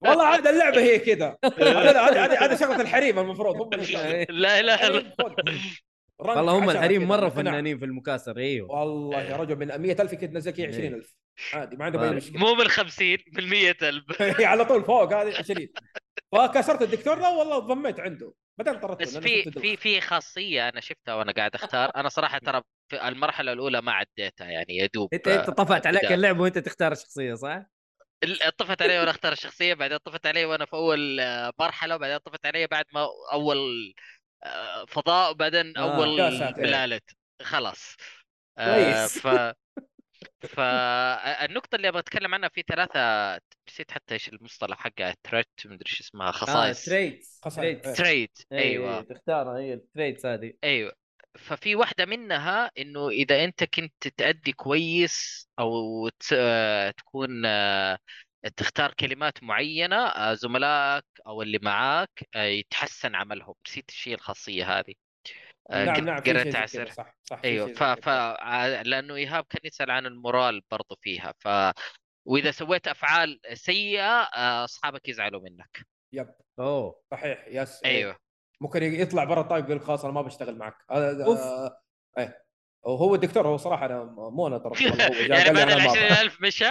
والله عاد اللعبه هي كذا إيه. هذا هذا- هذا هذا شغله الحريم المفروض هم اللي كانوا. لا اله الا الله رنك والله هم عشرة الحريم كده، مره اقناع. فنانين في المكاسر ايوه والله يا رجل من 100000 كده نزلك هي إيه. 20000 عادي ما عندهم اي طيب. مشكله مو من 50 من 100 ألف إيه، هي على طول فوق هذه 20 فكسرت الدكتور لا والله ضميت عنده بعدين طردتوني بس أنا في شفت في دوخ. في خاصيه انا شفتها وانا قاعد اختار انا صراحه ترى في المرحله الاولى ما عديتها يعني يا دوب إيه، انت انت طفت عليك بداية. اللعبه وانت تختار الشخصيه صح؟ آه، ال- طفت علي وانا اختار الشخصيه بعدين طفت علي وانا في اول آه، مرحله وبعدين طفت علي بعد ما اول آه، فضاء وبعدين آه، اول يا ساتر. بلالة خلاص آه، كويس. ف فالنقطة اللي ابغى اتكلم عنها في ثلاثة نسيت حتى ايش المصطلح حقها تريت مدري ايش اسمها خصائص تريتس خسارة. تريتس تريد إيه. ايوه تختارها هي التريتس هذه ايوه ففي واحدة منها انه اذا انت كنت تأدي كويس او ت- آه، تكون آه، تختار كلمات معينة آه، زملائك او اللي معاك آه، يتحسن عملهم نسيت الشيء الخاصية هذه آه، نعم قد- نعم في قريت شيء زي عسر كذا صح صح في شيء ايوه زي ف... ف... كذا. ع- لانه ايهاب كان يسال عن المورال برضو فيها ف واذا سويت افعال سيئه آه، اصحابك يزعلوا منك يب اوه صحيح يس إيه. إيه. ايوه ممكن يطلع برا الطايب يقول خلاص انا ما بشتغل معك هذا أوف. آه، ايه وهو الدكتور هو صراحه انا مو انا ترى والله هو جاء يعني قال لي بعد أنا ال ما 20000 مشى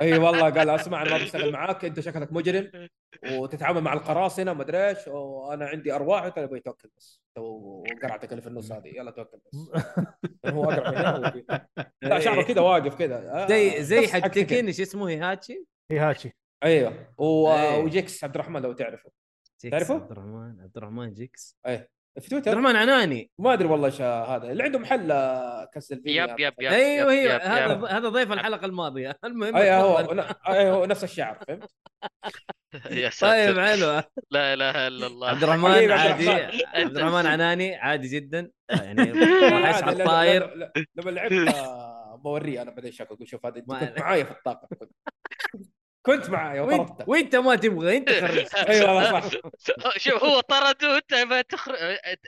اي والله قال اسمع انا ما بشتغل معاك انت شكلك مجرم وتتعامل مع القراصنه ما ادري ايش وانا عندي ارواح وانت ابغى توكل بس تو قرعتك اللي في النص هذه يلا توكل بس يعني هو اقرع من هنا وهو كذا. لا شعره كذا واقف كذا آه، إيه. زي زي نفس حق كذا. تكين ايش اسمه هيهاتشي؟ هيهاتشي ايوه و... إيه. وجيكس عبد الرحمن لو تعرفه جيكس تعرفه؟ عبد الرحمن عبد الرحمن جيكس في عبد تويتر الرحمن عناني ما ادري والله ايش هذا اللي عنده محل آه، كاسلفينيا يب يب يب ايوه يب- ايوه يب- هذا يب. هذا ضيف الحلقه الماضيه المهم اي إيه، هو تفضل. اي هو نفس الشعر فهمت يا ساتر طيب حلو لا اله الا الله عبد الرحمن حبيبي عبد عادي الرحمن. عبد الرحمن عناني عادي جدا يعني عادي، راح عادي، يسحب لما- طاير لما- لما لعبت آه، بوريه انا بعدين شكلك اقول شوف هذا انت ما كنت عليك. معايا في الطاقه كنت- كنت معايا وانت وطردته وانت ما تبغى انت خرجت اي والله صح شوف هو طرده وانت ما تخرج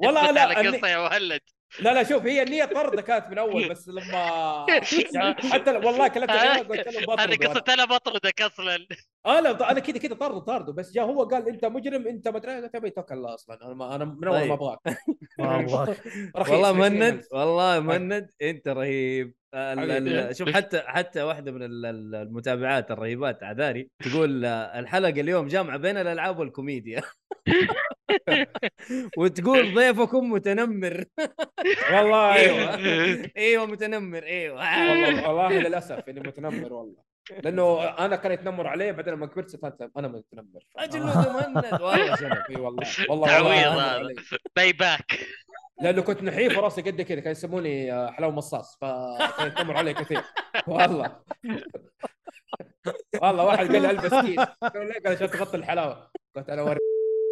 والله اثبت لا، على أني- قصه يا مهلد لا لا شوف هي النية طرده كانت من اول بس لما يعني حتى لو- والله كلمت أنا قلت له بطرده هذه قصه أنا. انا بطردك اصلا انا انا كذا كذا طرده طرده بس جاء هو قال انت مجرم انت ما ادري قلت ابي توكل الله اصلا انا ما انا من اول طيب. ما ابغاك ما ابغاك رخيص، والله 20 مند ألف. والله مند انت رهيب ال- حبيبي. ال- شوف حتى حتى واحده من ال- ال- المتابعات الرهيبات عذاري تقول آه، الحلقه اليوم جامعه بين الالعاب والكوميديا وتقول ضيفكم متنمر والله ايوه ايوه ايوه متنمر ايوه والله والله للاسف اني متنمر والله لانه انا كان يتنمر عليه بعدين لما كبرت صرت انا متنمر آه. اجل مهند والله شنو اي والله والله تعويض والله هذا. علي. باي باك لانه كنت نحيف وراسي قد كذا كانوا يسموني آه، حلاوه مصاص فكان يتنمر علي كثير والله والله واحد قال لي البس كيس قال لي قال عشان تغطي الحلاوه قلت انا وري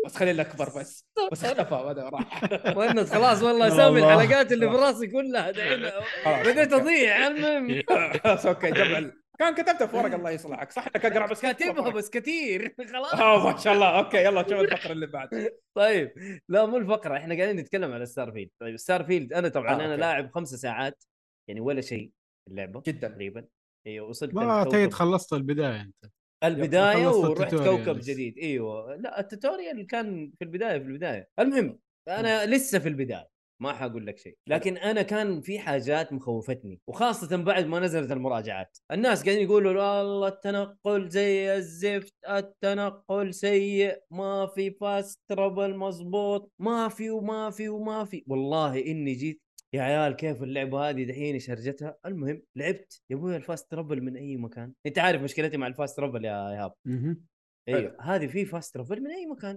بس خليني اكبر بس بس اختفى هذا راح مهند خلاص والله اسامي والله. الحلقات اللي في راسي كلها دحين خلاص، بديت أوكي. اضيع المهم خلاص اوكي جمع ال- كان كتبته في ورقه الله يصلحك صح انك اقرا بس كاتبها بس كثير خلاص اه ما شاء الله اوكي يلا شوف الفقره اللي بعد طيب لا مو الفقره احنا قاعدين نتكلم على ستار فيلد طيب ستار فيلد انا طبعا آه، انا أوكي. لاعب خمسة ساعات يعني ولا شيء اللعبه جدا تقريبا ايوه وصلت ما الكوكب- تيت خلصت البدايه انت البدايه خلصت ورحت التوتوريال كوكب بس. جديد ايوه لا التوتوريال كان في البدايه في البدايه المهم انا لسه في البدايه ما حقول لك شيء لكن انا كان في حاجات مخوفتني وخاصه بعد ما نزلت المراجعات الناس قاعدين يقولوا الله التنقل زي الزفت التنقل سيء ما في فاست ترابل مزبوط ما في وما في وما في والله اني جيت يا عيال كيف اللعبه هذه دحين ايش هرجتها المهم لعبت يا ابوي الفاست ترابل من اي مكان انت عارف مشكلتي مع الفاست ترابل يا ايهاب مهم. ايوه هذه في فاست ترافل من اي مكان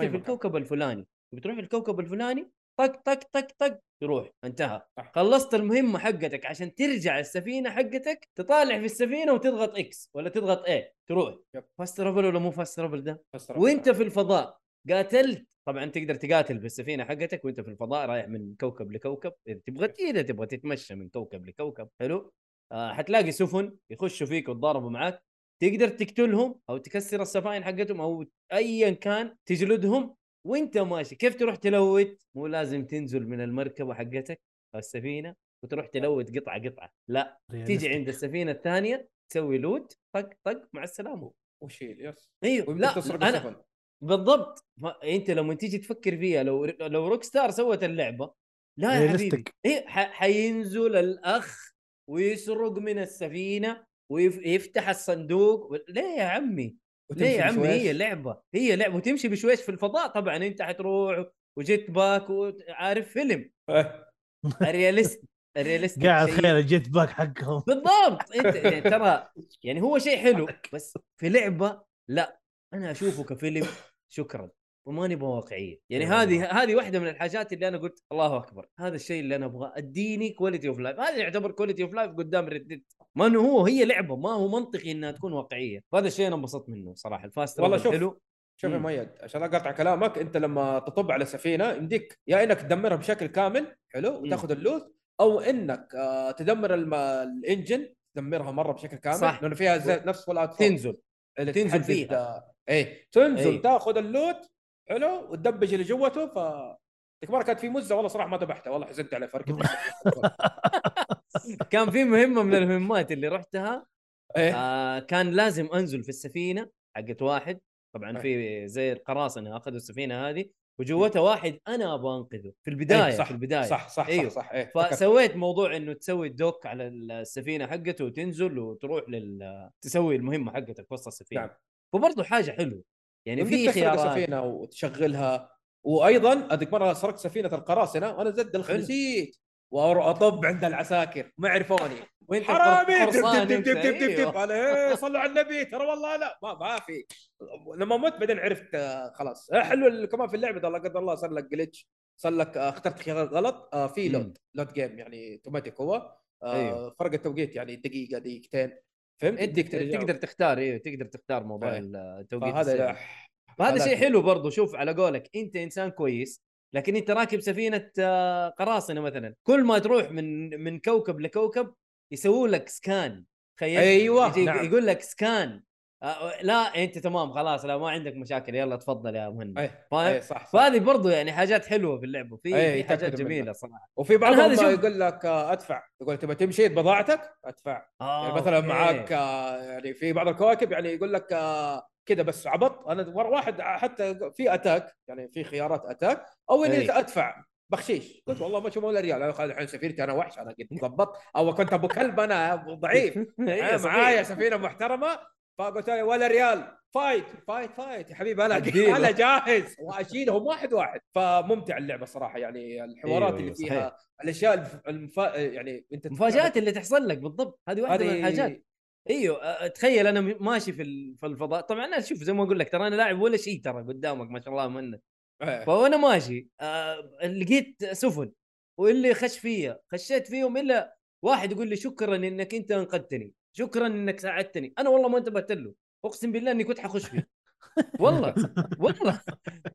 أي في مكان. الكوكب الفلاني بتروح الكوكب الفلاني طق طق طق طق تروح انتهى صح. خلصت المهمه حقتك عشان ترجع السفينه حقتك تطالع في السفينه وتضغط اكس ولا تضغط ايه تروح يب. فاست ترافل ولا مو فاست ترافل ده بس ربنا. وانت في الفضاء قاتلت طبعا تقدر تقاتل بالسفينه حقتك وانت في الفضاء رايح من كوكب لكوكب اذا تبغى اذا تبغى تتمشى من كوكب لكوكب حلو آه حتلاقي سفن يخشوا فيك ويتضاربوا معاك تقدر تقتلهم او تكسر السفائن حقتهم او ايا كان تجلدهم وانت ماشي كيف تروح تلوت مو لازم تنزل من المركبه حقتك او السفينه وتروح تلوت قطعه قطعه لا يعني تيجي عند السفينه الثانيه تسوي لوت طق طق مع السلامه وشيل يس ايوه ويمكن لا تسرق انا السفن بالضبط ما انت لما تيجي تفكر فيها لو لو روك ستار سوت اللعبه لا يا حبيبي Realistic. إيه ح- حينزل الاخ ويسرق من السفينه ويفتح الصندوق و- ليه يا عمي ليه يا عمي هي لعبه هي لعبه وتمشي بشويش في الفضاء طبعا انت حتروح وجيت باك وعارف فيلم إيه. الرياليست الرياليست قاعد شيء- خير الجيت باك حقهم بالضبط انت يعني ترى يعني هو شيء حلو بس في لعبه لا انا اشوفه كفيلم شكرا وما نبغى واقعيه يعني هذه هذه واحده من الحاجات اللي انا قلت الله اكبر هذا الشيء اللي انا ابغاه اديني كواليتي اوف لايف هذا يعتبر كواليتي اوف لايف قدام ريد ما انه هو هي لعبه ما هو منطقي انها تكون واقعيه وهذا الشيء انا انبسطت منه صراحه الفاست والله والله شوف. حلو شوف يا مم. مؤيد عشان اقطع كلامك انت لما تطب على سفينه يمديك يا انك تدمرها بشكل كامل حلو وتاخذ اللوت او انك آه تدمر الم... الانجن تدمرها مره بشكل كامل صح. لانه فيها زي... نفس فول اوت تنزل تنزل فيها. اي تنزل إيه. تاخذ اللوت حلو وتدبج اللي جوته ف ذيك مره كانت في مزه والله صراحه ما ذبحتها والله حزنت على فرق كان في مهمه من المهمات اللي رحتها ايه آه كان لازم انزل في السفينه حقت واحد إيه. طبعا في زي القراصنه اخذوا السفينه هذه وجوتها واحد انا ابغى انقذه في البدايه إيه، صح في البدايه صح صح أيوه. صح, صح. ايه فكرت. فسويت موضوع انه تسوي الدوك على السفينه حقته وتنزل وتروح لل تسوي المهمه حقتك وسط السفينه نعم. نعم. فبرضه حاجه حلوه يعني يمديك في تسرق خيارات السفينه وتشغلها وايضا هذيك مره سرقت سفينه القراصنه وانا زد الخنزير واطب عند العساكر ما عرفوني وانت حرامي دب قرصان دب دب أنت، دب دب دب أيوه. دب انا إيه، صلوا على النبي ترى والله لا ما ما في لما مت بعدين عرفت آه، خلاص آه، حلو ال- كمان في اللعبه ده لا قدر الله صار لك جلتش صار لك آه، اخترت خيار غلط آه، في مم. لود لود جيم يعني اوتوماتيك هو آه، أيوه. فرق التوقيت يعني دقيقه دقيقتين فهمت؟ انت ترجع. إيه، تقدر تختار ايوه تقدر تختار موضوع إيه. التوقيت فهذا السري. لا، فهذا حالات شيء يعني. حلو برضو شوف على قولك انت انسان كويس لكن انت راكب سفينه آه، قراصنه مثلا كل ما تروح من من كوكب لكوكب يسووا لك سكان تخيل ايوه يجي نعم يقول لك سكان آه، لا انت تمام خلاص لا ما عندك مشاكل يلا تفضل يا مهند اي فاهم؟ اي صح, صح. فهذه برضو يعني حاجات حلوه في اللعبه في أي، في حاجات يتأكدوا جميله منها. صراحه وفي بعضهم أنا هذا شوف- يقول لك آه، ادفع يقول تبغى تمشي بضاعتك ادفع آه، يعني مثلا أوكي. معاك آه، يعني في بعض الكواكب يعني يقول لك آه، كذا بس عبط انا مره واحد آه، حتى في اتاك يعني في خيارات اتاك او اني أي. ادفع بخشيش قلت والله ما اشوف ولا ريال انا خالد الحين سفينتي انا وحش انا قد ضبط او كنت ابو كلب انا ضعيف إيه، أنا صحيح. أيوة، معايا سفينه محترمه فقلت له ولا ريال فايت فايت فايت يا حبيبي انا اديله. انا جاهز واشيلهم واحد واحد فممتع اللعبه صراحه يعني الحوارات أيوه، اللي أيوه، فيها صحيح. الاشياء الف- المفا... يعني انت المفاجات اللي تحصل لك بالضبط هذه واحده من هذه- الحاجات ايوه أ- تخيل انا م- ماشي في ال- في الفضاء طبعا انا شوف زي ما اقول لك ترى انا لاعب ولا شيء ترى قدامك ما شاء الله منك إيه. فانا ماشي أه لقيت سفن واللي خش فيها خشيت فيهم الا واحد يقول لي شكرا انك انت انقذتني شكرا انك ساعدتني انا والله ما انتبهت له اقسم بالله اني كنت حخش فيه والله والله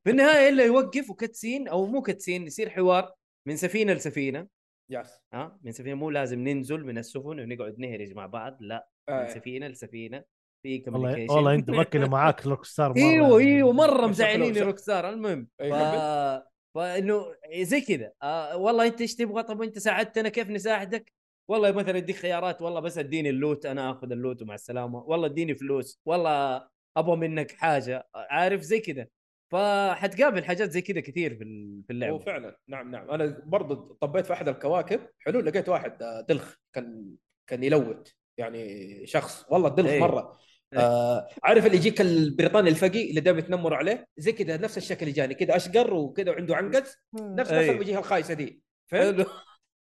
في النهايه الا يوقف وكتسين او مو كتسين يصير حوار من سفينه لسفينه يس ها من سفينه مو لازم ننزل من السفن ونقعد نهرج مع بعض لا من إيه. سفينه لسفينه في آه. والله كوميونيكيشن والله انت مكنه معاك روك ستار يعني مرة. ايوه ايوه مره شكله- مزعليني شكله- روكستار المهم ف... أي كمل. فانه زي كذا آه والله انت ايش تبغى طب انت ساعدتنا كيف نساعدك؟ والله مثلا اديك خيارات والله بس اديني اللوت انا اخذ اللوت ومع السلامه والله اديني فلوس والله ابغى منك حاجه عارف زي كذا فحتقابل حاجات زي كذا كثير في ال- في هو اللعبه فعلا نعم نعم انا برضو طبيت في احد الكواكب حلو لقيت واحد آه، دلخ كان كان يلوت يعني شخص والله دلخ إيه. مره إيه. آه عارف اللي يجيك البريطاني الفقي اللي دائما يتنمر عليه زي كذا نفس الشكل اللي جاني كذا اشقر وكذا وعنده عنقز نفس إيه. نفس الوجهه الخايسه دي فهمت؟ حلو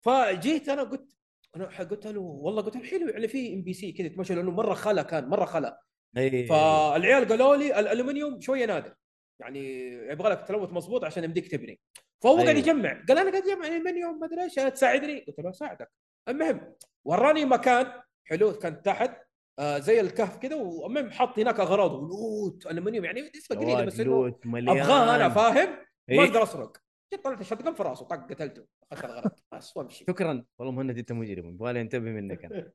فجيت انا قلت انا قلت له والله قلت له حلو يعني في ام بي سي كذا تمشي لانه مره خلا كان مره خلا اي فالعيال قالوا لي الالومنيوم شويه نادر يعني يبغى لك تلوث مضبوط عشان يمديك تبني فهو قاعد أيوه. يجمع قال انا قاعد اجمع الالومنيوم ما ادري ايش تساعدني قلت له اساعدك المهم وراني مكان حلو كان تحت آه زي الكهف كذا والمهم حط هناك اغراض ولوت الومنيوم يعني نسبه قليله بس انه ابغاها انا فاهم ما إيه. اقدر اسرق جيت طلعت الشotgun في راسه طق قتلته اخذت الاغراض بس وامشي شكرا والله مهند انت مجرم يبغالي انتبه منك انا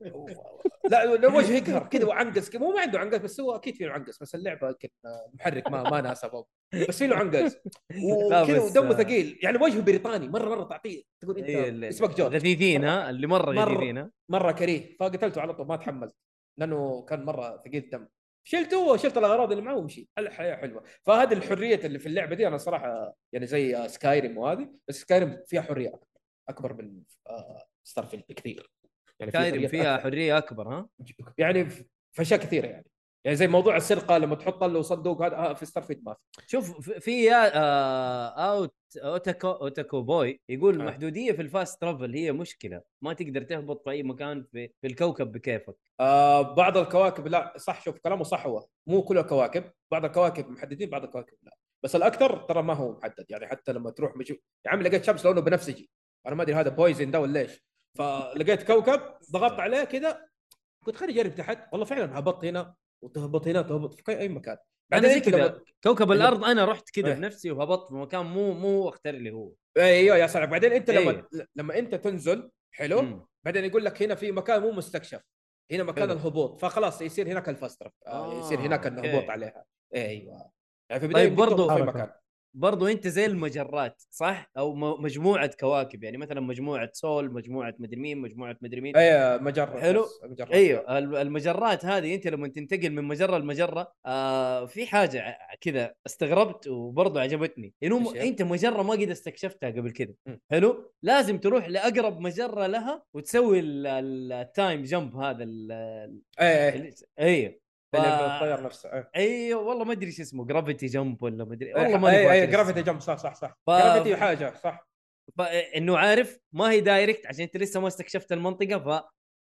لا لا وجهه يقهر كذا وعنقص كذا مو ما عنده عنقص بس هو اكيد فيه عنقص بس اللعبه يمكن محرك ما ما ناسبه بس فيه له عنقص لا، وكذا بس- ودمه ثقيل يعني وجهه بريطاني مره مره تعطيه تقول إيه، انت ال- اسمك جورج غثيثين ها اللي مره مرة. غثيثين ها مره كريه فقتلته على طول ما تحملت لانه كان مره ثقيل الدم شلته وشلت الاغراض اللي معه ومشي الحياه حلوه فهذه الحريه اللي في اللعبه دي انا صراحه يعني زي سكايريم وهذه بس سكايريم فيها حريه اكبر اكبر من ستار فيلد بكثير يعني في كايرم حريات فيها أكثر. حريه اكبر ها يعني في اشياء كثيره يعني يعني زي موضوع السرقه لما تحط له صندوق هذا آه، في ستارفيد ما في شوف في- في يا آه اوت اوتاكو اوتاكو بوي يقول آه. المحدوديه في الفاست ترافل هي مشكله ما تقدر تهبط في اي مكان في, في الكوكب بكيفك آه بعض الكواكب لا صح شوف كلامه صح هو مو كل الكواكب بعض الكواكب محددين بعض الكواكب لا بس الاكثر ترى ما هو محدد يعني حتى لما تروح مجو... يا عم لقيت شمس لونه بنفسجي انا ما ادري هذا بويزن ده ولا ايش فلقيت كوكب ضغطت عليه كذا قلت خليني اجرب تحت والله فعلا هبطت هنا وتهبط هنا تهبط في اي مكان بعدين أنا زي زي كذا كوكب اللي- الارض انا رحت كذا إيه. بنفسي وهبطت في مكان مو مو اختار اللي هو ايوه يا صاحبي بعدين انت لما أيوة. لما انت تنزل حلو مم. بعدين يقول لك هنا في مكان مو مستكشف هنا مكان حلو. الهبوط فخلاص يصير هناك الفسترة آه آه، يصير هناك أوكي. الهبوط عليها ايوه يعني في البدايه طيب، طيب برضو- برضه في حركة. مكان برضو انت زي المجرات صح او م- مجموعه كواكب يعني مثلا مجموعه سول مجموعه مدري مين مجموعه مدري مين ايوه مجره حلو. بس، مجرة. ايوه الم- المجرات هذه انت لما تنتقل من مجره لمجره آه في حاجه ع- كذا استغربت وبرضه عجبتني انه م- إيش هي؟ إمم. انت مجره ما قد استكشفتها قبل كذا مم. حلو لازم تروح لاقرب مجره لها وتسوي ال- ال- التايم جمب هذا ال- ال- اي اي ال- ايوه ف- إيه، اللي في الطير نفسه إيه. أي. ايوه والله ما ادري ايش اسمه جرافيتي جمب ولا ما ادري والله أي، ما اي أدري اي إيه، جرافيتي جمب صح صح صح ف- جرافيتي حاجه صح انه عارف ما هي دايركت عشان انت لسه ما استكشفت المنطقه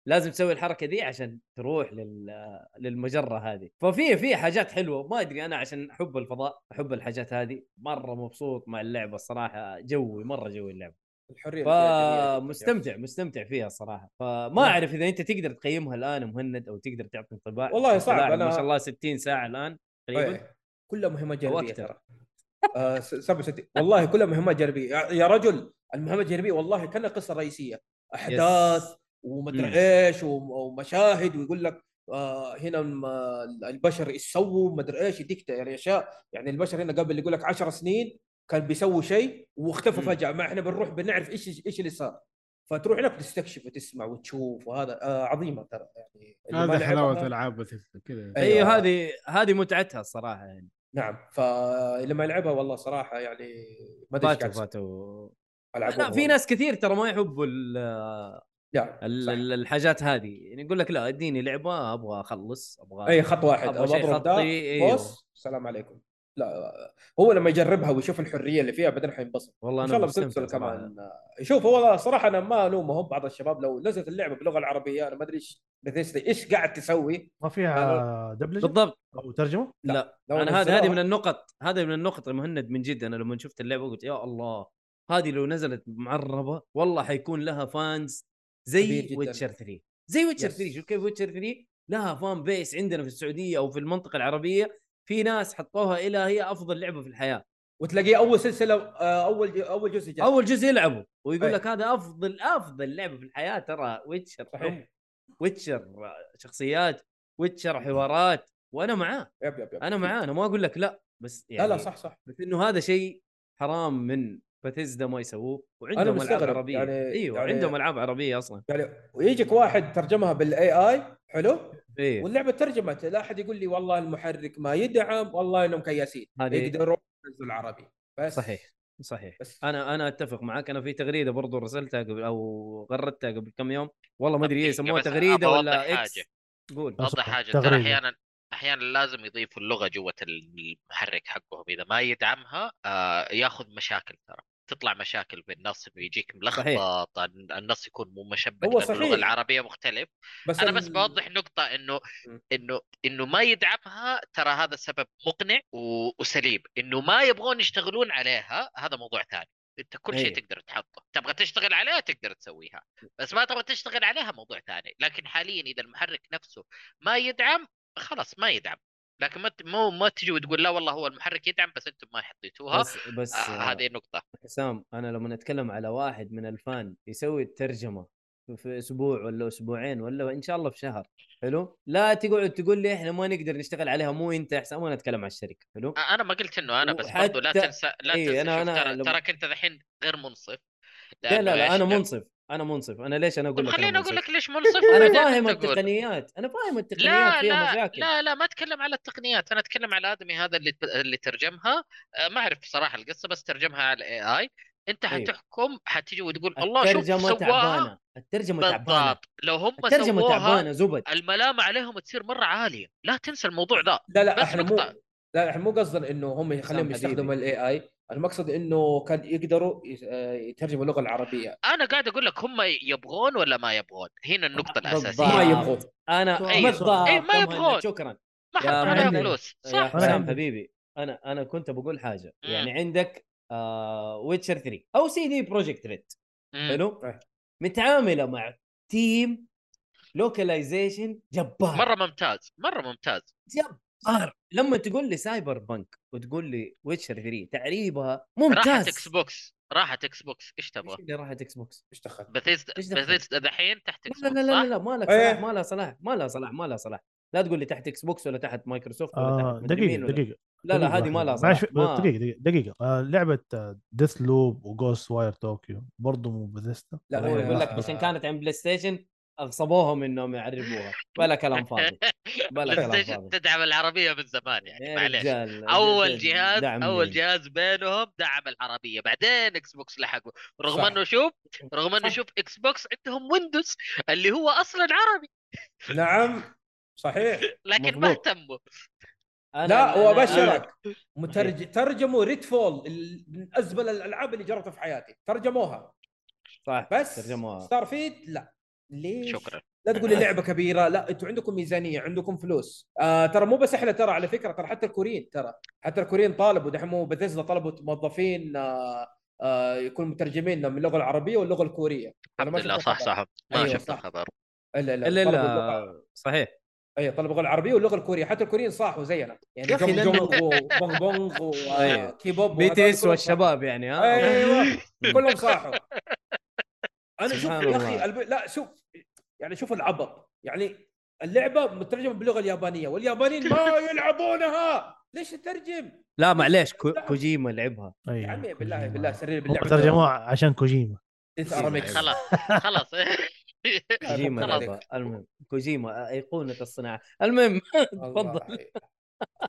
فلازم تسوي الحركه دي عشان تروح لل... للمجره هذه ففي في حاجات حلوه ما ادري انا عشان احب الفضاء احب الحاجات هذه مره مبسوط مع اللعبه الصراحه جوي مره جوي اللعبه الحريه اللي فيها جميلة جداً. نعم. فمستمتع مستمتع فيها الصراحه فما اعرف اذا انت تقدر تقيمها الان يا مهند او تقدر تعطي انطباع والله أنت صعب، لاعب ما أنا- شاء الله 60 ساعه الان تقريبا أي. إيه. كلها مهمات أو جانبيه أكثر. ترى آه، س- 67 والله كلها مهمات جانبيه يا- يا رجل المهمات الجانبيه والله كانها قصه رئيسيه احداث مم. ومدري ايش وم- ومشاهد ويقول لك آه هنا الم- البشر ايش سووا مدري ايش يديك يعني اشياء يعني البشر هنا قبل يقول لك 10 سنين كان بيسووا شيء واختفوا مم. فجاه ما احنا بنروح بنعرف ايش ايش اللي صار فتروح هناك تستكشف وتسمع وتشوف وهذا آه عظيمه ترى يعني اللي ما أيوه، هذا لعبها- حلاوه العاب مثل كذا ايوه هذه هذه متعتها الصراحه يعني نعم فلما يلعبها والله صراحه يعني ما ادري ايش فاتوا قاعد أسوي. فاتوا ألعبوها لا في والله. ناس كثير ترى ما يحبوا ال- لا ال- صح. ال- الحاجات هذه يعني يقول لك لا اديني لعبه ابغى اخلص ابغى اي خط واحد أبغى شيء أضرب ده، خطي، أيوه. بوس السلام عليكم لا هو لما يجربها ويشوف الحريه اللي فيها بعدين حينبسط والله ان انا شاء الله مستمتع بتنزل صراحة. كمان شوف هو صراحه انا ما الومهم بعض الشباب لو نزلت اللعبه باللغه العربيه انا ما ادري ايش بثيستا ايش قاعد تسوي ما فيها دبلجه بالضبط او ترجمه؟ لو انا هذا آه، هذه من نزلوها- النقط هذه من النقط يا مهند من جد انا لما شفت اللعبه قلت يا الله هذه لو نزلت معربه والله حيكون لها فانز كبير زي جداً. ويتشر 3 زي ويتشر Yes. 3 شوف كيف ويتشر 3 لها فان بيس عندنا في السعوديه او في المنطقه العربيه في ناس حطوها الى هي افضل لعبه في الحياه وتلاقيه اول سلسله آه، اول ج- اول جزء جاي اول جزء يلعبه ويقول أي. لك هذا افضل افضل لعبه في الحياه ترى ويتشر صحيح ويتشر شخصيات ويتشر حوارات وانا معاه يب يب يب انا معاه انا ما اقول لك لا بس لا يعني لا صح صح بس انه هذا شيء حرام من باتيزدا ما يسووه أنا وعندهم العاب مستغرب، عربيه يعني- ايوه يعني- عندهم العاب عربيه اصلا يعني ويجيك واحد ترجمها بالاي اي حلو ايه واللعبه ترجمت لا احد يقول لي والله المحرك ما يدعم والله انهم كياسين هذه- يقدروا ينزلوا العربي بس صحيح صحيح بس انا انا اتفق معك انا في تغريده برضو رسلتها قبل او غردتها قبل كم يوم والله ما ادري ايه دقيقة يسموها بس، أبغى تغريده أوضح ولا اكس حاجة. قول أصلاً اوضح حاجه ترى تغريدة. احيانا احيانا لازم يضيفوا اللغه جوه المحرك حقهم اذا ما يدعمها آه ياخذ مشاكل ترى تطلع مشاكل بالنص بيجيك ملخبط ال- النص يكون مو مشبك هو لأن اللغه صحيح. العربيه مختلف بس انا بس ال- بوضح نقطه انه م. انه انه ما يدعمها ترى هذا سبب مقنع و- وسليم انه ما يبغون يشتغلون عليها هذا موضوع ثاني انت كل شيء أيوه. تقدر تحطه تبغى تشتغل عليها تقدر تسويها بس ما تبغى تشتغل عليها موضوع ثاني لكن حاليا اذا المحرك نفسه ما يدعم خلاص ما يدعم لكن ما ت- مو ما تجي وتقول لا والله هو المحرك يدعم بس انتم ما حطيتوها بس بس آه، هذه النقطه حسام انا لما اتكلم على واحد من الفان يسوي الترجمه في- في اسبوع ولا اسبوعين ولا ان شاء الله في شهر حلو لا تقعد تقول لي احنا ما نقدر نشتغل عليها مو انت يا حسام وانا اتكلم على الشركه حلو انا ما قلت انه انا بس برضو لا وحتى- تنسى لا إيه، تنسى أنا- شوف أنا ترى- لما- تراك انت الحين غير منصف لا لا, لا انا منصف منصف انا منصف انا ليش انا اقول طب لك خليني أنا اقول منصف؟ لك ليش منصف انا بعدين فاهم أنت قول. التقنيات انا فاهم التقنيات لا فيها لا مشاكل لا لا ما اتكلم على التقنيات انا اتكلم على ادمي هذا اللي اللي ترجمها آه، ما اعرف صراحه القصه بس ترجمها على الاي اي إيه. انت حتحكم حتيجي وتقول الله شوف الترجمه سواها تعبانه الترجمه تعبانه بالضبط لو هم الترجمه سووها تعبانه زبد الملامه عليهم تصير مره عاليه لا تنسى الموضوع ذا لا لا بس احنا مو نقطة. لا احنا مو قصدنا انه هم يخليهم حبيبي. يستخدموا الاي اي المقصد انه كان يقدروا يس- آه، يترجموا اللغه العربيه انا قاعد اقول لك هم يبغون ولا ما يبغون هنا النقطه ما الاساسيه بالضبط. يبغون انا أي- بالضبط أي طيب. إيه، ما تمام، يبغون. شكرا ما حط يا عليها مهند. فلوس يا صح إمم. حسام عندي. حبيبي انا انا كنت بقول حاجه مم. يعني عندك آه ويتشر 3 او سي دي بروجكت ريد مم. حلو طيب. متعامله مع تيم لوكاليزيشن جبار مره ممتاز مره ممتاز جبار لما تقول لي سايبر بنك وتقول لي ويتشر 3 تعريبها راحت ممتاز اكس بوكس راحت اكس بوكس ايش ايش تبغى؟ اللي راحت اكس بوكس؟ ايش دخل؟ بثيسدا إيش دخل؟ بثيسدا دحين تحت اكس لا بوكس لا لا صح؟ لا ما لك إيه. صلاح ما لها صلاح ما لها صلاح ما لها صلاح لا تقول لي تحت اكس بوكس ولا تحت مايكروسوفت ولا آه تحت مدري مين دقيقه ولا- دقيقه لا لا دقيقة هذه ما لها واحدة. صلاح معلش، ما- دقيقه دقيقه دقيقه آه لعبه ديث لوب وجوست واير طوكيو برضه مو آه، بذيستا لا، يعني هو يقول لك عشان كانت عند بلاي ستيشن اغصبوهم انهم يعربوها بلا كلام فاضي بلا كلام PlayStation فاضي تدعم العربيه من زمان يعني يا معليش رجال، اول دعم جهاز مين؟ اول جهاز بينهم دعم العربيه بعدين اكس بوكس لحقه رغم صح. انه شوف رغم انه صح. شوف اكس بوكس عندهم ويندوز اللي هو اصلا عربي نعم صحيح لكن ما مظبوط. اهتموا أنا- لا أنا- وابشرك صحيح. مترج... ترجموا ريد فول ال- من ازبل الالعاب اللي جربتها في حياتي ترجموها صح بس ترجموها ستار فيد لا ليش؟ شكرا لا تقول لي لعبه كبيره لا انتوا عندكم ميزانيه عندكم فلوس آه ترى مو بس احنا ترى على فكره ترى حتى الكوريين ترى حتى الكوريين طالبوا دحين مو بثيسدا طلبوا موظفين آه آه يكونوا مترجمين من اللغه العربيه واللغه الكوريه أنا ما الحمد لله شفت صح الخبر. صح ما أيوة، أيوه، شفت صح. الخبر الا لا الا طلبوا اللغة- الا صحيح اي طلبوا اللغه العربيه واللغه الكوريه حتى الكوريين صاحوا زينا يعني يا أخي، جونج لأنه- جونج وبونغ بونغ آه، أيوة. وكيبوب بي تي اس والشباب يعني ها ايوه كلهم صاحوا انا شوف سبحان يا الله. اخي الب... لا شوف يعني شوف العبط يعني اللعبه مترجمه باللغه اليابانيه واليابانيين ما يلعبونها ليش تترجم؟ لا معليش كو- كوجيما لعبها يا عمي بالله بالله سرير أيوة. هم باللعبه ترجموه عشان كوجيما ترجموها خلاص خلاص كوجيما فكر لعبها المهم كوجيما ايقونه الصناعه المهم تفضل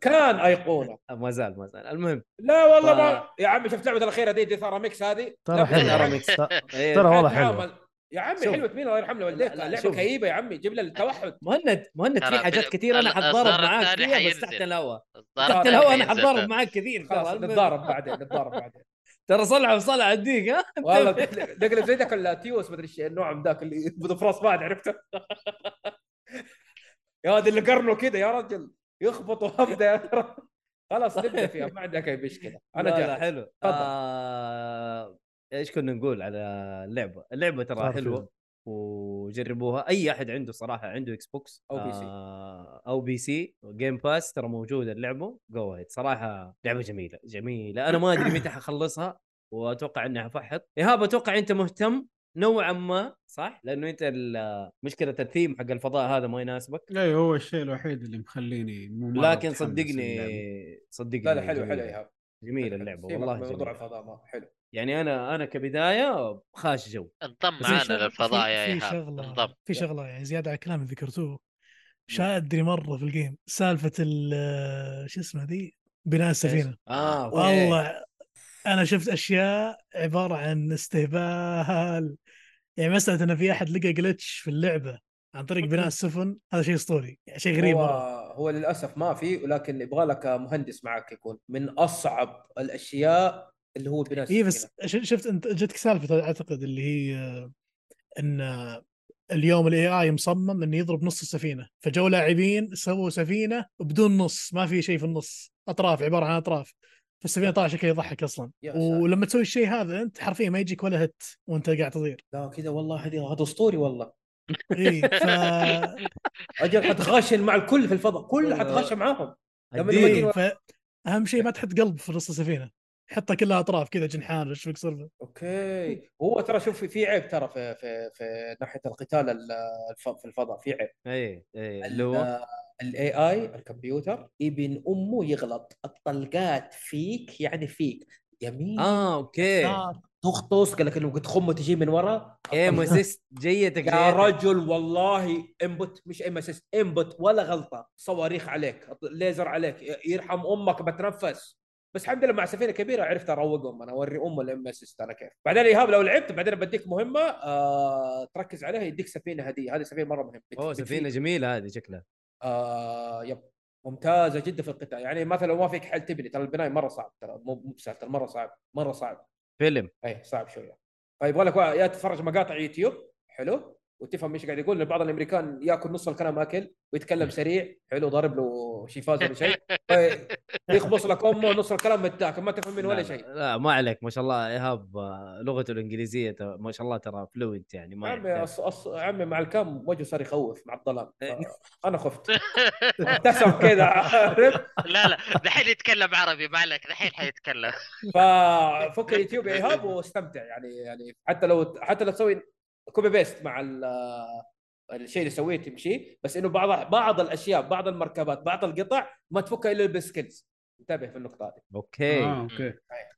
كان ايقونه ما زال ما زال المهم لا والله ف- ما يا عمي شفت لعبه الاخيره دي دي ثراميكس هذه ترى حلو لا، ترى ترى- إيه، ترى والله حلو تتعامل. يا عمي شوف. حلوه مين الله يرحمه والديك لا، لا، لعبه شوف. كئيبه يا عمي جيب لنا التوحد مهند مهند في ترى حاجات بال- كثير انا ال- حتضارب الأصدار معاك الثاني فيها بس حينزل. تحت الهواء الظاهر تحت الهواء انا حينزل. حتضارب معاك كثير خلاص ترى نتضارب بعدين نتضارب بعدين ترى صلع وصلع اديك ها والله نقلب زي ذاك التيوس مدري ايش النوع من ذاك اللي يثبت في راس بعد عرفته يا هذا اللي قرنه كذا يا رجل يخبط وهبده يا رجل. خلاص نبدا فيها ما عندك اي مشكله انا لا، لا جاهز حلو آه، ايش كنا نقول على اللعبه اللعبه ترى صار حلوه فيلم. وجربوها اي احد عنده صراحه عنده اكس بوكس أو بي سي. آه، او بي سي جيم باس ترى موجوده اللعبه جو هيد صراحه لعبه جميله جميله انا ما ادري متى حخلصها واتوقع اني حفحط ايهاب اتوقع انت مهتم نوعا ما صح لانه انت ال- مشكله الثيم حق الفضاء هذا ما يناسبك اي إيه، هو الشيء الوحيد اللي مخليني مو مرة لكن متحمس للعبة. صدقني صدقني لا لا حلو حلو جميلة. يا هاب جميله اللعبه سيبك والله من موضوع جميله الفضاء ما حلو يعني انا انا كبدايه خاش جو انضم بس في معانا شغ- للفضاء في- يا في ايهاب شغلة- انضم في شغله يعني زياده على كلام ذكرتوه شادري مره في الجيم سالفه ال آه، شو اسمه ذي بناء السفينه اه أوكي. والله إيه. انا شفت اشياء عباره عن استهبال يعني مساله ان في احد لقى جلتش في اللعبه عن طريق بناء السفن هذا شيء اسطوري يعني شيء غريب هو مره هو للاسف ما في ولكن يبغى لك مهندس معك يكون من اصعب الاشياء اللي هو بناء إيه، اي السفينة. إيه، بس ش- شفت انت جتك سالفه اعتقد اللي هي آه، ان آه، اليوم الاي اي مصمم انه يضرب نص السفينه فجو لاعبين سووا سفينه بدون نص ما في شيء في النص اطراف عباره عن اطراف فالسفينه طالعه شكلها يضحك اصلا يا ساتر. ولما تسوي الشيء هذا انت حرفيا ما يجيك ولا هت وانت قاعد تطير لا كذا والله هذه- هذا اسطوري والله اي ف اجل حتغاشن مع الكل في الفضاء كل حتغاشن معاهم لما أديك. يوديك- إيه، ف اهم شيء ما تحط قلب في نص السفينه حطها كلها اطراف كذا جنحان وش بيك صرفه اوكي هو ترى شوف في- في عيب ترى في في في ناحيه القتال ال- الف- في الفضاء في عيب اي اي إيه، اللي هو الاي اي الكمبيوتر ابن امه يغلط الطلقات فيك يعني فيك يمين اه اوكي يسار، تخطس آه. قال لك انه قد خمه تجي من ورا ايم اسيست جيتك يا جيتك. رجل والله انبت مش اي اسيست انبت ولا غلطه صواريخ عليك ليزر عليك يرحم امك بتنفس بس الحمد لله مع سفينه كبيره عرفت اروقهم انا اوري ام الام اس انا كيف بعدين ايهاب لو لعبت بعدين بديك مهمه آه تركز عليها يديك سفينه هديه هذه سفينه مره مهمه اوه سفينه جميله هذه شكلها آه يب ممتازه جدا في القتال يعني مثلا لو ما فيك حل تبني ترى البنايه مره صعب ترى مو مو بسهل ترى مره صعب مره صعب فيلم اي إيه، صعب شويه فيبغى لك يا تتفرج مقاطع يوتيوب حلو وتفهم ايش قاعد يقول لأن بعض الامريكان ياكل نص الكلام اكل ويتكلم سريع حلو ضارب له شيفاز ولا شيء في- يخبص لك امه نص الكلام متاكل ما تفهم منه لا- ولا شيء لا ما عليك ما شاء الله ايهاب آه، لغته الانجليزيه ترى- ما شاء الله ترى فلوينت يعني ما عمي يحتاج. إيه. أص... أص... عمي مع الكام وجهه صار يخوف مع الظلام انا خفت ابتسم كذا عارف لا لا دحين يتكلم عربي ما عليك دحين حيتكلم ففك اليوتيوب يا ايهاب واستمتع يعني يعني حتى لو حتى لو تسوي كوبي بيست مع ال- الشيء اللي سويته تمشي بس انه بعض بعض الاشياء بعض المركبات بعض القطع ما تفكها الا بالسكيلز انتبه في النقطه هذه اوكي آه، اوكي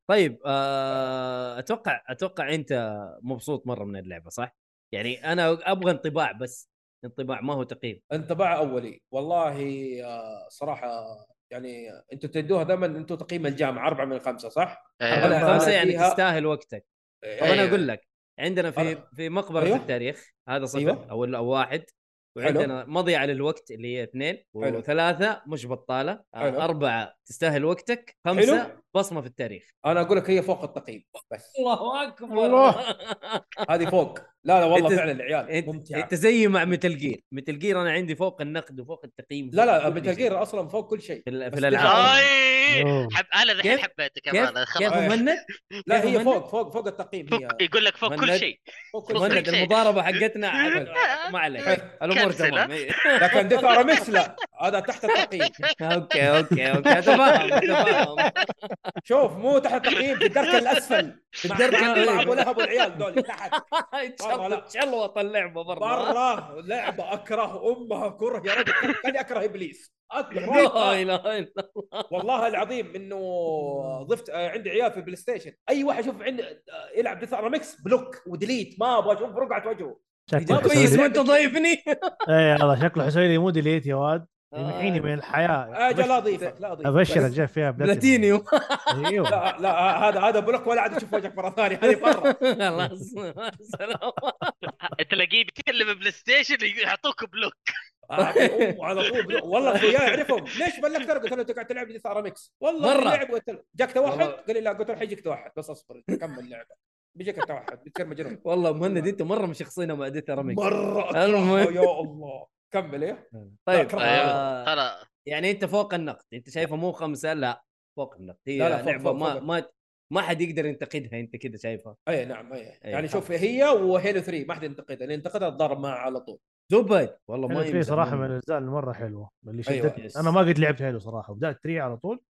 طيب آه، اتوقع اتوقع انت مبسوط مره من اللعبه صح؟ يعني انا ابغى انطباع بس انطباع ما هو تقييم انطباع اولي والله آه، صراحه يعني انتم تدوها دائما انتم تقييم الجامعه أربعة من خمسة صح؟ إيه، أيوة. أنا- خمسه أنا يعني فيها- تستاهل وقتك طب أيوة. انا اقول لك عندنا في أيوه. أنا- في مقبره أيوة. التاريخ هذا صفر أيوة. او او واحد وعندنا مضيعه للوقت اللي هي اثنين حلو. وثلاثه مش بطاله آه، حلو. اربعه تستاهل وقتك خمسه بصمه في التاريخ انا اقول لك هي فوق التقييم بس الله اكبر الله. هذه فوق لا لا والله أنت- فعلا العيال انت, ممتعه انت زي مع متل جير متل جير انا عندي فوق النقد وفوق التقييم لا لا فوق كل متل شيء. جير اصلا فوق كل شيء في, ال- في بس طيب. الالعاب أي. إيه. أوه. حب انا دحين كيف؟ حبيتك كيف كمان كيف خلاص أيوة. مهند لا كيف هي مهند؟ فوق فوق فوق التقييم هي فوق- يقول لك فوق كل مهند. شيء فوق كل شيء مهند كل شيء. المضاربه حقتنا عاد ما عليك الامور كنسل، تمام لكن ديثارا مس لا هذا تحت التقييم اوكي اوكي اوكي تفاهم تفاهم شوف مو تحت التقييم في الدرك الاسفل في الدرك الأسفل. ابو لهب والعيال دول تحت والله لا. تشلوط اللعبه مره برا لعبه اكره امها كره يا رجل خلي اكره ابليس لا اكره اله الا والله العظيم انه ضفت آه، عندي عيال في بلاي ستيشن اي واحد يشوف عند آه، يلعب ديثارا ميكس بلوك وديليت ما ابغى اشوف رقعه وجهه شكله ما الله بيس كويس حسين لعبة- وانت ضيفني اي والله شكله حسين يمو ديليت يا واد يمحيني آه، من الحياه اجل لا اضيفك لا اضيفك ابشرك جاي فيها بلاتينيوم آه، ايوه لا لا هذا هذا بلوك ولا عاد اشوف وجهك مره ثانيه هذه مره خلاص سلام تلاقيه بيتكلم بلاي ستيشن يعطوك بلوك أعطيهم على طول بلوك. والله اخويا يعرفهم ليش بلغت قلت له انت قاعد تلعب دي ار ميكس والله مرة. مرة. لعب قلت له جاك توحد والله. قال لي لا قلت له حيجيك توحد بس اصبر أنت كمل لعبه بيجيك التوحد بتصير مجنون والله مهند انت مره مشخصينه مع ديث رميك مره المهم. أكرهه، يا الله كمل ايه طيب لا، آه، ترى يعني انت فوق النقد انت شايفه مو خمسه لا فوق النقد هي لا، لا، فوق- لعبه فوق- ما فوق. ما ما حد يقدر ينتقدها انت كذا شايفها اي نعم اي أي. يعني شوف هي وهيلو 3 ما حد ينتقدها اللي ينتقدها الضرب معه على طول زبد والله ما أيوه. في يمزح صراحه منه. من الاجزاء المره حلوه اللي أيوة. شدتني انا ما قد لعبت حلو صراحه بدات تري على طول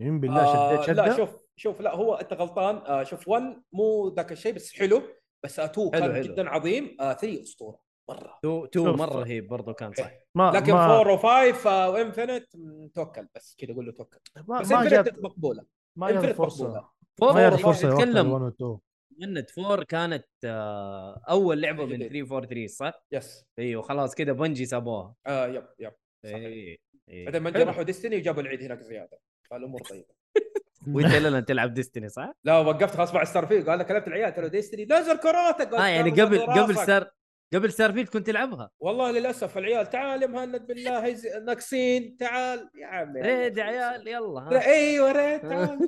يمين بالله آه، شدت شده لا شوف شوف لا هو انت غلطان آه شوف 1 مو ذاك الشيء بس حلو بس 2 حلو، كان حلو. جدا عظيم آه، 3 اسطوره مره تو تو شوف. مره رهيب برضو كان صح ما لكن ما 4 و5 وانفنت توكل بس كذا قول له توكل آه، ما, بس ما جاب انفنت مقبوله ما جاب Infinite فرصه مقبولة. فور ما جاب والله فرصه يتكلم. يتكلم 1 و 2 مهند فور كانت آه، اول لعبه من جديد. 343 صح؟ يس ايوه خلاص كذا بنجي سابوها إيه، آه يب يب صحيح. اي إي. بعدين منجي حلو. راحوا ديستني وجابوا العيد هناك زياده فالامور طيبه وانت لنا تلعب ديستني صح؟ لا وقفت خلاص مع ستار فيلد قال لك كلمت العيال قالوا ديستني نزل كراتك اه يعني قلت قبل لهم قبل راسك. سار قبل سارفيلد كنت تلعبها والله للاسف العيال تعال يا مهند بالله هز- ناقصين تعال يا عمي ريد يا إيه، عيال آه. يلا ها. ايوه ريد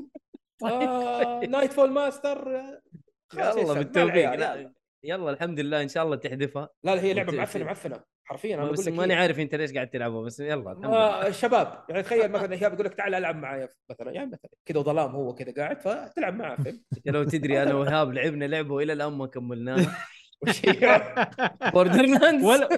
تعال نايت فول ماستر آه، خلاص يلا يسلم، مع بالتوفيق العيال، لا يلا. يلا الحمد لله ان شاء الله تحذفها لا لا هي لعبه ممتاز. معفنه معفنه حرفيا انا بس بقول لك ماني هي- عارف انت ليش قاعد تلعبها بس يلا الحمد لله ما شباب يعني تخيل مثلا ايهاب يقول لك تعال العب معي مثلا يعني مثلا كذا ظلام هو كذا قاعد فتلعب معاه فهمت؟ انت لو تدري انا وايهاب لعبنا لعبه والى الان ما كملناها بوردر ولا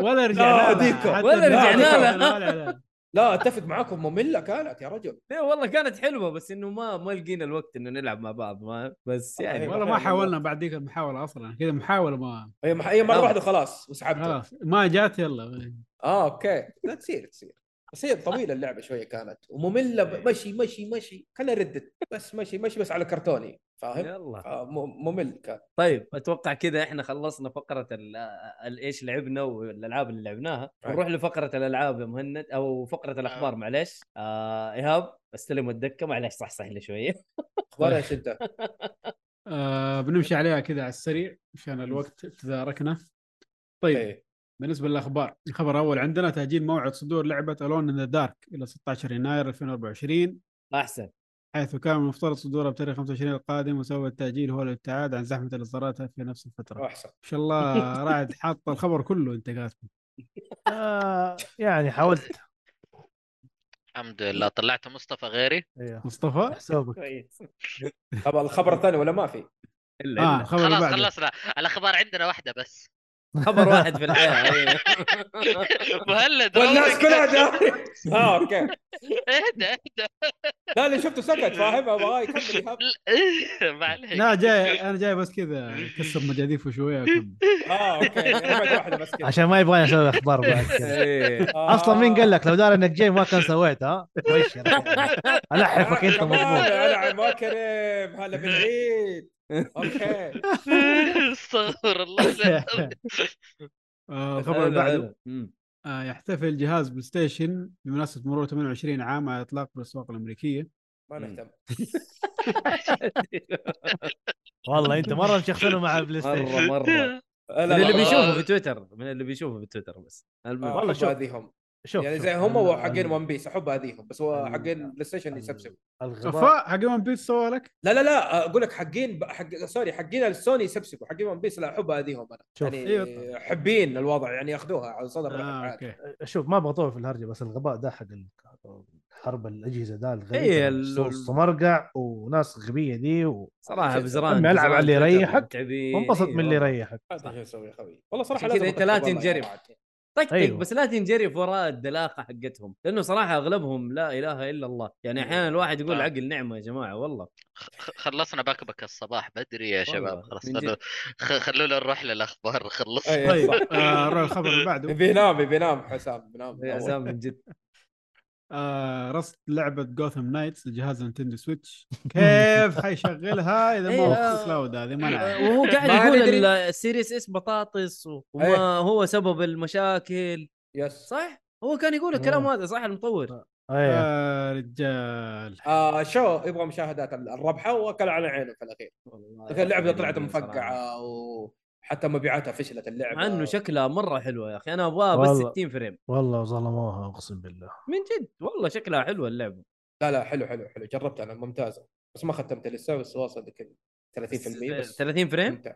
ولا رجعنا أديكم. لها. حتى ولا لا، رجعنا أديكم. لها. لا، لا، لا. لا اتفق معاكم ممله كانت يا رجل لا إيه، والله كانت حلوه بس انه ما ما لقينا الوقت انه نلعب مع بعض ما بس والله يعني أيوة. والله ما حاولنا بعد ذيك المحاوله اصلا كذا محاوله ما هي آه. مح- هي مره لا. آه. واحده خلاص وسحبته خلاص ما جات يلا اه اوكي لا تصير تصير بس هي طويله اللعبه شويه كانت وممله آه. ب- مشي مشي مشي خلينا نردد بس مشي مشي بس على كرتوني فاهم؟ يلا آه، م- ممل كان طيب اتوقع كذا احنا خلصنا فقره ال- ال- ايش لعبنا والالعاب اللي لعبناها نروح لفقره الالعاب يا مهند او فقره الاخبار معلش آه ايهاب استلم الدكه معلش صح صح لي شويه طيب. اخبار ايش انت؟ آه بنمشي عليها كذا على السريع عشان الوقت تداركنا طيب إيه. بالنسبه للاخبار الخبر الاول عندنا تاجيل موعد صدور لعبه الون ذا دارك الى 16 يناير 2024 احسن حيث كان المفترض صدورها بتاريخ 25 القادم وسبب التاجيل هو الابتعاد عن زحمه الاصدارات في نفس الفتره ما احسن شاء الله رعد حاط الخبر كله انت كاتبه آه يعني حاولت الحمد لله طلعت مصطفى غيري ايوه مصطفى حسابك كويس طب الخبر الثاني ولا ما في؟ الا اه آه. الخبر اللي خلاص بعده خلصنا الاخبار عندنا واحده بس خبر واحد في الحياه أيوة. مهند والناس روحك. كلها داري اه اوكي اهدى اهدى لا اللي شفته سكت فاهم ابغاه يكمل يهب لا، ما عليك لا جاي انا جاي بس كذا اكسر مجاديف شويه واكمل اه اوكي رميت واحده بس كذا عشان ما يبغاني اسوي اخبار بعد كذا إيه. آه. اصلا مين قال لك لو دار انك جاي ما كان سويتها مبشر الحفك انت أنا- مضمون انا ما كريم هلا بالعيد اوكي استغفر الله العظيم. آه الخبر اللي هلا، بعده هلا. مم. آه، يحتفل جهاز بلاي ستيشن بمناسبه مرور 28 عام على اطلاق بالاسواق الامريكيه ما نهتم والله انت مره مشخصنه مع البلاي مره ستيشن مره لا، من لا، اللي لا. بيشوفه في تويتر من اللي بيشوفه في تويتر بس آه، المهم والله أحب شوف. هذيهم شوف يعني شوف، زي هم ال- وحقين ال- ون بيس احب هذيهم بس هو ال- حقين بلاي ستيشن ال- يسبسب الغباء صفاء حق ون بيس سوى لك لا لا لا اقول لك حقين ب- حق سوري حقين السوني يسبسبوا حقين ون بيس لا احب هذيهم انا شوف. إيه، إيوه. يعني حبين الوضع يعني ياخذوها على صدر آه رحب. اوكي شوف ما بطول في الهرجه بس الغباء ده حق ال- حرب الاجهزه ده إيه، الغبية ال- مرقع وناس غبيه دي و... صراحه شوف، بزران أمي ألعب بزران على اللي تويتر يريحك متعبين. وانبسط إيه، من اللي والله. يخليك هذا شو يسوي خوي والله صراحه عشان لازم كذا انت لا أتكلم والله يا تنجرف. عاد. طقطق أيوه. أيوة. بس لا تنجرف وراء الدلاقه حقتهم لانه صراحه اغلبهم لا اله الا الله يعني أيوه. احيانا الواحد يقول آه. عقل نعمه يا جماعه والله خ- خلصنا باكبك الصباح بدري يا شباب والله، خلاص من جد. أيوة، خلو- خ- خلونا نروح للاخبار خلصنا إيه، طيب صح. آه نروح الخبر اللي بعده يبي ينام يبي ينام حسام بينام يا أول. سام من جد آه رصد لعبه جوثم نايتس لجهاز نينتندو سويتش كيف حيشغلها اذا ما هو إيه، في كلاود هذه ما نعرف وهو قاعد ما يقول ندري. ال- السيريس اس بطاطس و- وما إيه. هو سبب المشاكل يس صح هو كان إيه. يقول الكلام هذا صح المطور ايه آه رجال آه شو يبغى مشاهدات ال- الربحه واكل على عينه في الاخير آه، لكن اللعبه يعني طلعت مفقعه وحتى مبيعاتها فشلت اللعبه مع انه شكلها مره حلوه يا اخي انا ابغاها والله. بس 60 فريم والله ظلموها اقسم بالله من جد والله شكلها حلوه اللعبه لا لا حلو حلو حلو جربتها انا ممتازه بس ما ختمت لسه بس واصل يمكن 30% بس 30 فريم ممتع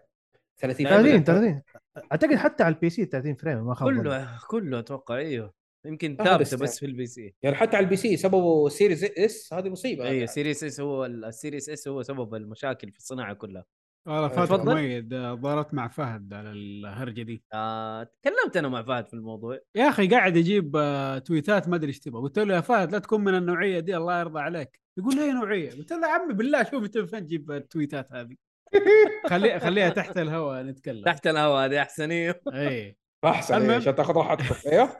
30 30 30 اعتقد حتى على البي سي 30 فريم ما خاب ظني. يعني كله كله اتوقع ايوه يمكن آه، ثابته بس بس في البي سي يعني حتى على البي سي سببوا سيريز اس هذه مصيبه هذه ايوه عاد. سيريس اس هو السيريس اس هو سبب المشاكل في الصناعه كلها والله فاتك تفضل. مؤيد آه، ظهرت مع فهد على الهرجه دي آه تكلمت انا مع فهد في الموضوع يا اخي قاعد يجيب آه، تويتات ما ادري ايش تبغى قلت له يا فهد لا تكون من النوعيه دي الله يرضى عليك يقول لي أي نوعيه قلت له يا عمي بالله شوف انت من فين تجيب التويتات هذه خلي خليها تحت الهواء نتكلم تحت الهواء هذه احسن ايوه اي احسن إيه، المهم. عشان تاخذ راحتكم ايوه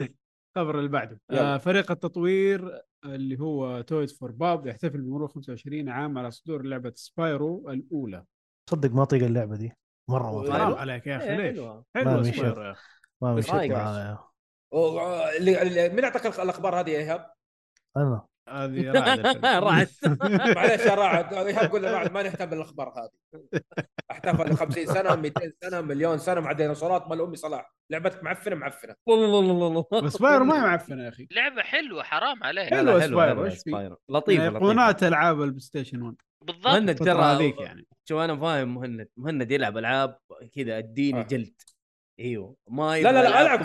الخبر اللي بعده يلا. آه فريق التطوير اللي هو تويز فور باب يحتفل بمرور 25 عام على صدور لعبه سبايرو الاولى تصدق ما طيق اللعبه دي مره حرام ما طيق أيوة. عليك يا اخي إيه، ليش؟ حلوة. ما حلوه في سبايرو شك. يا أخي. ما بس مشيت رايق. معايا و- آه، اللي- اللي- مين اعطاك الخ- الاخبار هذه يا ايهاب؟ انا هذه رعد الفيلم. راحت معلش يا راعد ايهاب قول له راعد ما نهتم بالاخبار هذه احتفل 50 سنه 200 سنه مليون سنه مع ديناصورات مال امي صلاح لعبتك معفنه معفنه والله والله والله بس سبايرو ما هي معفنه يا اخي لعبه حلوه حرام عليك لا، لا، حلوة حلوة، سبايرو، حلوة إيش في؟ يعني سبايرو. لطيفه لطيفه ايقونات العاب البلاي ستيشن 1 بالضبط مهند الفترة ترى هذيك يعني شو انا فاهم مهند مهند يلعب العاب كذا اديني آه. جلد ايوه ما لا لا يبغى لا العب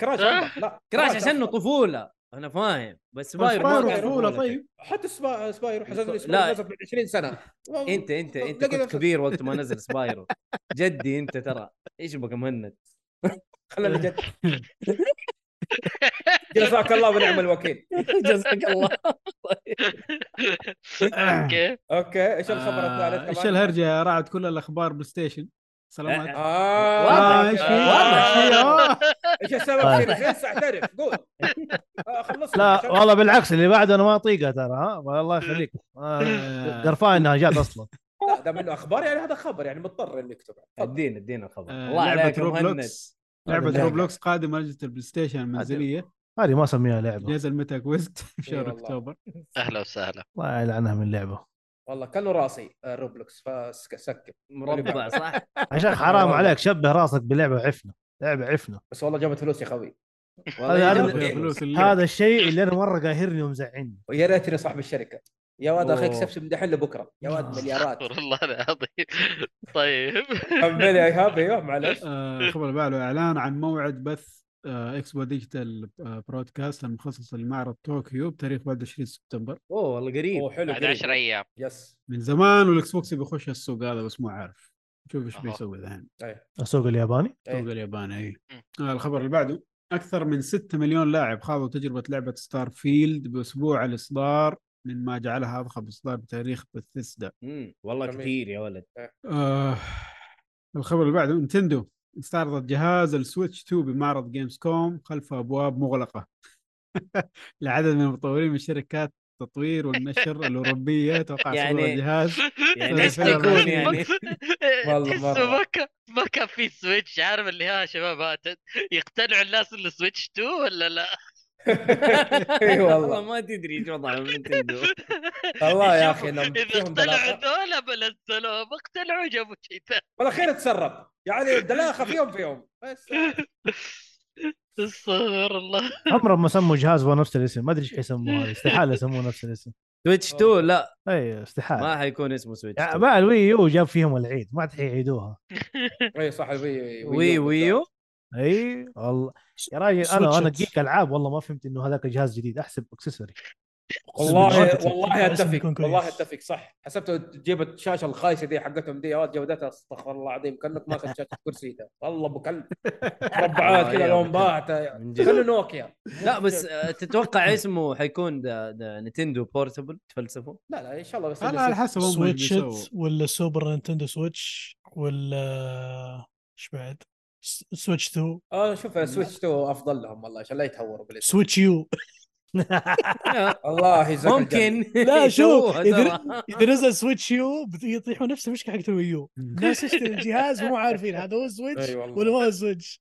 كراش لا، كراش طفولية. أفضل، لا أه؟ كراش عشان أفضل. طفوله انا فاهم بس سبايرو ما سبايرو كان طفوله طفولته. طيب حتى سبا- سبايرو حسسني لا. سبايرو نزل من 20 سنه انت انت انت لقي كنت نفسك. كبير وقت ما نزل سبايرو جدي انت ترى ايش بك يا مهند خلينا جد جزاك الله ونعم الوكيل جزاك الله اوكي اوكي ايش الخبر آه، الثالث ايش كمان؟ الهرجه يا رعد كل الاخبار بلاي ستيشن سلامات اه واضح. آه، ايش في واضح. أيوه. إيش في؟ آه. ايش السبب سيرفيس اعترف قول آه، خلصنا لا عشان- والله بالعكس اللي بعده انا ما اطيقها ترى ها والله يخليك آه، قرفان انها جات اصلا لا، ده منه اخبار يعني هذا خبر يعني مضطر اني اكتب تفضل. ادينا ادينا الخبر آه، الله عليك لعبه يا مهند روبلوكس لعبه هذا روبلوكس قادمه لجنه البلاي ستيشن المنزليه هذه ما اسميها لعبه نزل متى كويست في شهر والله. اكتوبر اهلا وسهلا الله يلعنها من لعبه والله كانوا راسي آه، روبلوكس فسكت مربع صح؟ عشان حرام عليك شبه راسك بلعبه عفنه لعبه عفنه بس والله جابت فلوس يا خوي والله هذا- يجرب. إيه. يا فلوس اللعبة. هذا الشيء اللي انا مره قاهرني ومزعلني ويا ريتني صاحب الشركه يا واد اخيك أوه. سبسب دحين لبكره يا واد مليارات استغفر الله العظيم طيب كمل يا ايهاب ايوه معلش آه، خبر بعده اعلان عن موعد بث آه، اكسبو ديجيتال آه، برودكاست المخصص لمعرض طوكيو بتاريخ 21 سبتمبر اوه والله قريب اوه حلو بعد 10 قريب. ايام يس من زمان والاكس بوكس بيخش السوق هذا بس مو عارف نشوف ايش أها. بيسوي ذحين السوق الياباني إيه. السوق الياباني اي مم. آه، الخبر اللي بعده اكثر من 6 مليون لاعب خاضوا تجربه لعبه ستار فيلد باسبوع الاصدار مما جعلها اضخم اصدار بتاريخ بثيسدا مم، والله جميل. كثير يا ولد آه الخبر اللي بعده نتندو استعرضت جهاز السويتش 2 بمعرض جيمز كوم خلف ابواب مغلقه لعدد من المطورين من شركات التطوير والنشر الاوروبيه توقع صدور يعني- الجهاز يعني هذا ايش فعلاً تكون رهيب. يعني؟ والله تحسه مرة. ما كان ما كان في سويتش عارف اللي ها يا شباب ها، ت- يقتنعوا الناس انه سويتش 2 ولا لا؟ اي والله والله ما تدري ايش وضعهم نتندو والله يا يشوفوا أخي، لما اذا فيهم اقتنعوا دلافة. ذولا بنزلوه ما اقتنعوا جابوا شيء ثاني والله خير تسرب يعني دلاخه فيهم فيهم بس استغفر الله عمرهم ما سموا جهاز هو نفس الاسم ما ادري ايش حيسموه هذا استحاله يسموه نفس الاسم سويتش 2 لا اي استحاله آه. ما حيكون اسمه سويتش يعني 2 مع الوي يو جاب فيهم العيد ما عاد حيعيدوها اي صح الوي وي ويو اي والله يا راجل انا انا جيك العاب والله ما فهمت انه هذاك جهاز جديد احسب اكسسوري والله بالله. والله اسم اتفق يكون كويس. والله اتفق صح حسبته تجيب الشاشه الخايسه دي حقتهم دي يا ولد جودتها استغفر الله العظيم كانك ماسك شاشه كرسي ده والله ابو كلب مربعات كذا لون باهته من جد. خلوا نوكيا لا بس آه، تتوقع اسمه حيكون ده ده نتندو بورتبل تفلسفوا لا لا ان شاء الله بس انا على حسب هم إيش سويتش بيسووا. إت ولا سوبر نينتندو سويتش ولا ايش بعد؟ س- سويتش 2 انا اشوف سويتش 2 افضل لهم والله عشان لا يتهوروا بالاسم سويتش يو الله يجزاك الجنة. ممكن لا شوف يسووها اذا ترى. اذا نزل سويتش يو يطيحوا نفس المشكله حقت الويو الناس تشتري الجهاز ومو عارفين هذا هو سويتش أي والله. ولا ما هو سويتش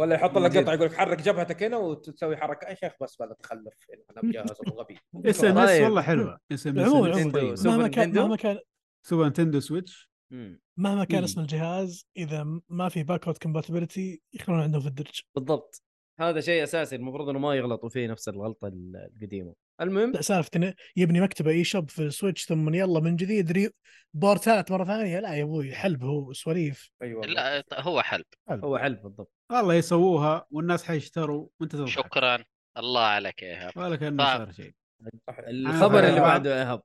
ولا يحط من لك جد. قطعه يقول لك حرك جبهتك هنا وتسوي حركه يا شيخ بس بلا تخلف انا مجهز ابو غبي اس ام اس طيب. والله حلوه اس ام عموما اس نينتندو. طيبة. عموماً. سوبر مهما كان نينتندو؟ مهما كان سوبر نتندو سويتش مم، مهما كان مم. اسم الجهاز اذا ما في باكورد كومباتبلتي يخلون عندهم في الدرج بالضبط هذا شيء اساسي المفروض انه ما يغلطوا فيه نفس الغلطه ال- القديمه المهم لا سالفه إنه يبني مكتبه اي شوب في السويتش ثم يلا من جديد ري بورتات مره ثانيه لا يا ابوي حلب هو سواليف ايوه لا هو حلب هو حلف بالضبط والله يسووها والناس حيشتروا وانت تضحك شكرا الله عليك يا ايهاب ولا كانه طيب. صار شيء الخبر اللي أيوة. آه. بعده إيه، يا ايهاب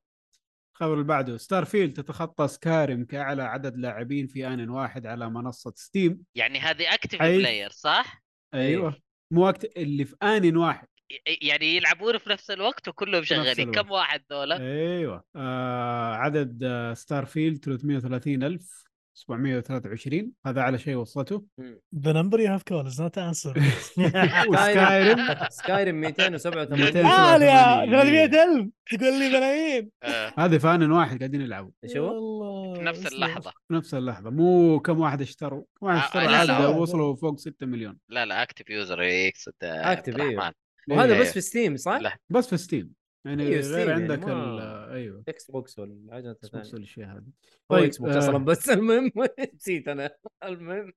الخبر اللي بعده ستار فيلد تتخطى سكارم كاعلى عدد لاعبين في ان واحد على منصه ستيم يعني هذه اكتف حيث- بلاير صح؟ ايوه إيه. مو وقت اللي في ان واحد ي- يعني يلعبون في نفس الوقت وكلهم شغالين الوقت. كم واحد ذولا؟ ايوه آه عدد آه ستار فيلد 330723 هذا اعلى شيء وصلته ذا نمبر يو هاف كول از نوت انسر طيب. وسكايرم سكايرم 287 تعال يا 287. 300000 تقول لي ملايين آه، هذه في ان واحد قاعدين يلعبوا شو والله في نفس أسلم. اللحظة في نفس اللحظه مو كم واحد اشتروا كم واحد آه، اشتروا آه، لا، عدد لا. وصلوا فوق 6 مليون لا لا اكتف يوزر يقصد آه، Active، عبد الرحمن وهذا إيه. بس في ستيم صح؟ لا. بس في ستيم يعني أيوة، ستيم غير يعني عندك ما- ال- ايوه اكس بوكس ولا حاجه Xbox ولا ثانيه الاشياء هذه هو طيب، اكس بوكس آه، اصلا بس المهم نسيت انا المهم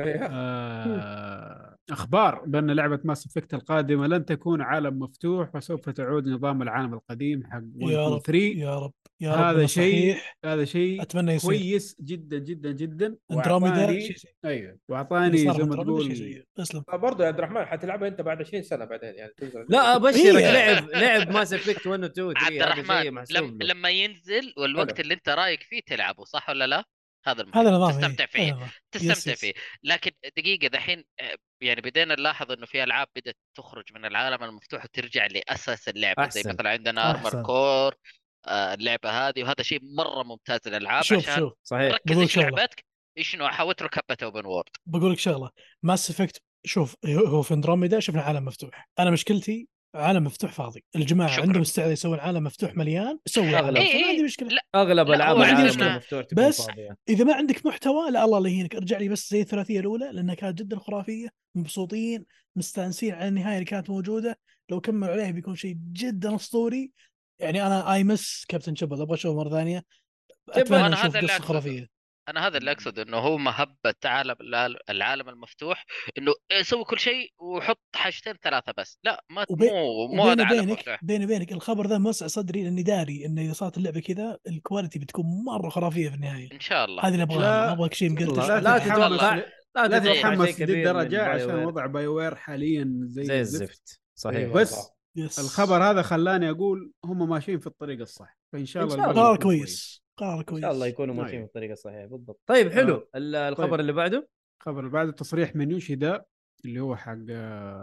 أيوة. آه، اخبار بان لعبه ماس افكت القادمه لن تكون عالم مفتوح وسوف تعود نظام العالم القديم حق 1 يا 2 رب 3 يا رب يا رب هذا إنه شيء صحيح. هذا شيء اتمنى يصير كويس جدا جدا جدا اندروميدا وأعطاني- شيء زي- ايوه اللي واعطاني صار في زي ما أندروميدا شيء تقول زي- اسلم برضه يا عبد الرحمن حتلعبها انت بعد 20 سنه بعدين يعني تنزل لا ابشرك إيه. لعب لعب ماس افكت 1 و 2 عبد 3 هذا شيء الرحمن محسوب لم له. لما ينزل والوقت حلو. اللي انت رايق فيه تلعبه صح ولا لا؟ هذا المهم هذا نظام تستمتع إيه، فيه هذا نظام. تستمتع يس. فيه لكن دقيقة دحين آه، يعني بدينا نلاحظ انه في العاب بدأت تخرج من العالم المفتوح وترجع لاساس اللعبة زي أحسن. مثلا عندنا ارمر أحسن. كور اللعبة هذه وهذا شيء مرة ممتاز للالعاب شوف عشان شوف صحيح ركز بقول ايش شغلة. لعبتك ايش نوعها واترك حبة اوبن وورد بقول لك شغله ماس افكت شوف هو في اندروميدا شفنا عالم مفتوح انا مشكلتي عالم مفتوح فاضي الجماعه شكراً. عندهم استعداد يسوون عالم مفتوح مليان سووا عالم إيه، مفتوح ما إيه. عندي مشكله لا. اغلب لا، العاب هو العالم عندنا- مفتوح تكون بس- فاضية. اذا ما عندك محتوى لا الله لا يهينك ارجع لي بس زي الثلاثيه الاولى لانها كانت جدا خرافيه مبسوطين مستانسين على النهايه اللي كانت موجوده لو كملوا عليها بيكون شيء جدا اسطوري يعني انا اي مس كابتن شبل ابغى اشوفه مره ثانيه اتمنى أنا اشوف هذا اللي قصه أقصده. خرافيه انا هذا اللي اقصده انه هو مهبه عالم العالم المفتوح انه سوي كل شيء وحط حاجتين ثلاثه بس لا ما وبي- مو مو هذا وبيني عالم وبينك مفتوح بيني وبينك الخبر ذا موسع صدري لاني داري انه اذا صارت اللعبه كذا الكواليتي بتكون مره خرافيه في النهايه ان شاء الله هذه اللي ابغاها لا. ما ابغاك شيء مقلتش لا لا تتحمس تتوقع- ل- لا لا تتوقع تتحمس شيء دي كبير من الدرجه باي عشان وير. وضع باي وير حاليا زي, زي الزفت صحيح أيوة. بس يس. الخبر هذا خلاني اقول هم ماشيين في الطريق الصح فان شاء إن الله شاء الباقي قرار يكون كويس قرار ان كويس شاء الله يكونوا طيب. ماشيين بالطريقه الصحيحه بالضبط طيب حلو ال- الخبر طيب. اللي بعده الخبر اللي بعده تصريح من يوشيدا اللي هو حق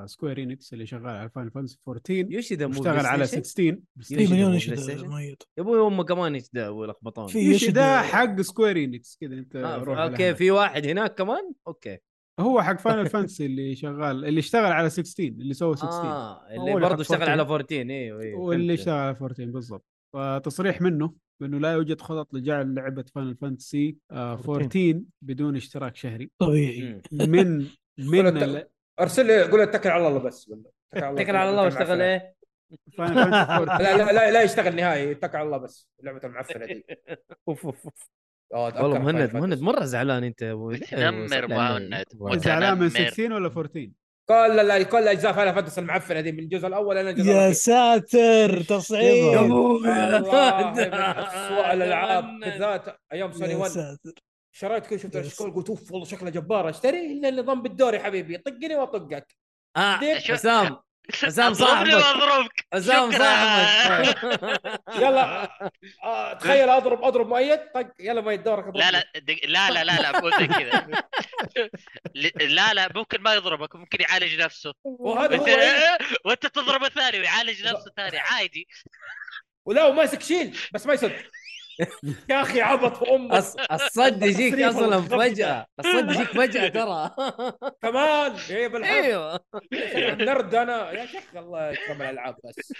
سكوير انكس اللي شغال على فاين فانس 14 يوشيدا مو واشتغل بلاي على ستيشن؟ 16 في يشد مليون بلاي يشد ستيشن. ميت يا ابوي هم كمان يشدا ولخبطون في يشد يوشيدا حق سكوير انكس كذا انت آه، روح اوكي لها. في واحد هناك كمان اوكي هو حق فاينل فانسي اللي شغال اللي اشتغل على 16 اللي سوى 16 اه اللي هو اللي برضه حط اشتغل 14. على 14 ايوه ايوه واللي فهمت. اشتغل على 14 بالضبط فتصريح منه بانه لا يوجد خطط لجعل لعبه فاينل فانتسي 14 آه، بدون اشتراك شهري طبيعي مم. من من قول أنت- ارسل لي قول له اتكل على الله بس بالله اتكل على إيه؟ الله اللعبة واشتغل المعفنة. ايه فاينل فانتسي 14 لا لا لا لا يشتغل نهائي اتكل على الله بس لعبه المعفنه دي اوف اوف أوف. آه، أتذكر والله Final مهند Fantasy. مهند مره زعلان إيه، انت يا ابوي ليه؟ متنمر صلي على النبي. مهند، زعلان من متنمر. 16 ولا 14 كل لا كل اجزاء فاينل فانتسي المعفنه دي من الجزء الاول الى الجزء يا الاخير ساتر يا تصعيد ابوي والله من اسوء الالعاب بالذات ايام سوني يا 1 ساتر شريت كل شفت يس. الشكول قلت اوف والله شكله جبار اشتري الا النظام بالدور يا حبيبي طقني واطقك آه، ديب. حسام حسام اضربني صاحبك. واضربك حسام شكراً. صاحبك آه، يلا آه، تخيل اضرب اضرب مؤيد طق يلا مؤيد دورك اضرب لا لا دق- لا لا لا لا مو زي كذا ل- لا لا ممكن ما يضربك ممكن يعالج نفسه وهذا هو وانت, إيه؟ وانت تضرب الثاني ويعالج نفسه ثاني عادي ولا وماسك شيل بس ما يصد يا اخي عبط في امك أص- الصد يجيك التصريف اصلا والخبطة. فجاه الصد يجيك فجاه ترى كمان ايه بالحق ايوه نرد انا يا شيخ الله يكرم الالعاب بس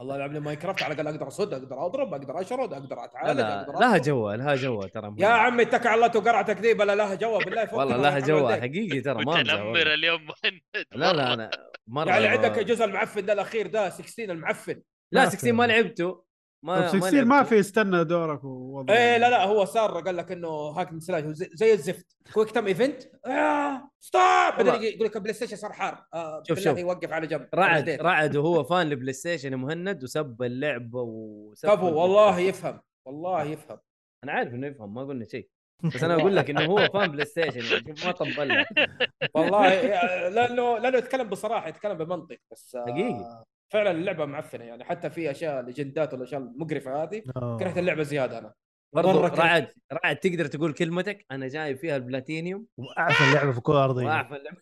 الله يلعب لي ماينكرافت على الاقل اقدر اصد اقدر اضرب اقدر اشرد اقدر لا اتعالج لا أقدر لها أضرب. جوه لها جوه ترى يا عمي اتكل على الله وقرع تكذيب لا لها جوا بالله فوق والله لها جوه حقيقي ترى ما أمزح والله. متنمر اليوم مهند لا لا والله. انا مره يعني عندك الجزء المعفن ده الاخير ده 16 المعفن لا 16 ما لعبته طب ما 16 ما لعبته. في استنى دورك ووضع ايه لا لا هو صار قال لك انه هاك من سلاج هو زي زي الزفت كويك تم ايفنت آه ستوب بعدين والله. يجي يقول لك البلاي ستيشن صار حار آه شوف، بالله شوف. يوقف على جنب رعد رديت. رعد وهو فان لبلاي ستيشن مهند وسب اللعبه وسب كفو والله يفهم والله يفهم انا عارف انه يفهم ما قلنا شيء بس انا اقول لك انه هو فان بلاي ستيشن يعني شوف ما طبل والله آه، لانه لانه يتكلم بصراحه يتكلم بمنطق بس آه، حقيقي. فعلا اللعبه معفنه يعني حتى في اشياء ليجندات والاشياء المقرفه هذه آه. كرهت اللعبه زياده انا برضو مرة كرهت. رعد رعد تقدر تقول كلمتك انا جايب فيها البلاتينيوم واعفن لعبه في كل طيب. ارضيه واعرف اللعبة.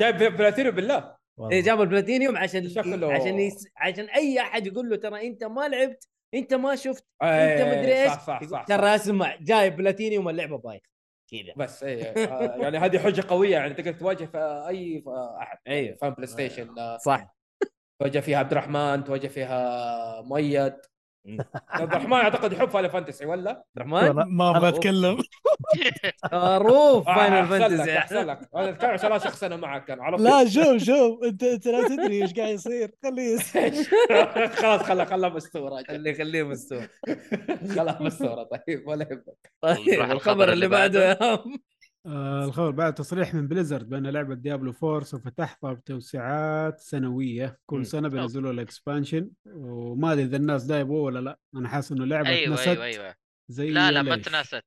جايب بلاتينيوم بالله إيه، جاب البلاتينيوم عشان شكله- عشان يس... عشان اي احد يقول له ترى انت ما لعبت انت ما شفت انت إيه، مدري ايش صح صح يقول صح, صح. ترى اسمع جايب بلاتينيوم اللعبه بايخ كذا بس اي آه، يعني هذه حجه قويه يعني تقدر تواجه في اي في احد ايوه فان بلاي ستيشن آه، صح تواجه فيها عبد الرحمن تواجه فيها مؤيد مم. عبد الرحمن اعتقد يحب فاينل فانتسي ولا؟ عبد الرحمن ما ابغى اتكلم آه، معروف فاينل آه، أحسن لك، فانتسي احسن لك انا اتكلم عشان لا شخص انا معك انا عرفت لا شوف شوف انت انت لا تدري ايش قاعد يصير خليه يصير. خلاص خلا خلا مستوره اللي يخليه مستوى خلا مستوره طيب ولا يهمك طيب نروح الخبر اللي بعده يا عم آه الخبر بعد تصريح من بليزرد بان لعبه ديابلو 4 سوف تحظى بتوسعات سنويه مم. كل سنه بينزلوا الاكسبانشن وما ادري اذا الناس دا يبغوه ولا لا انا حاسس انه لعبه ايوه اتنست ايوه ايوه زي لا لا ما ليش. تناست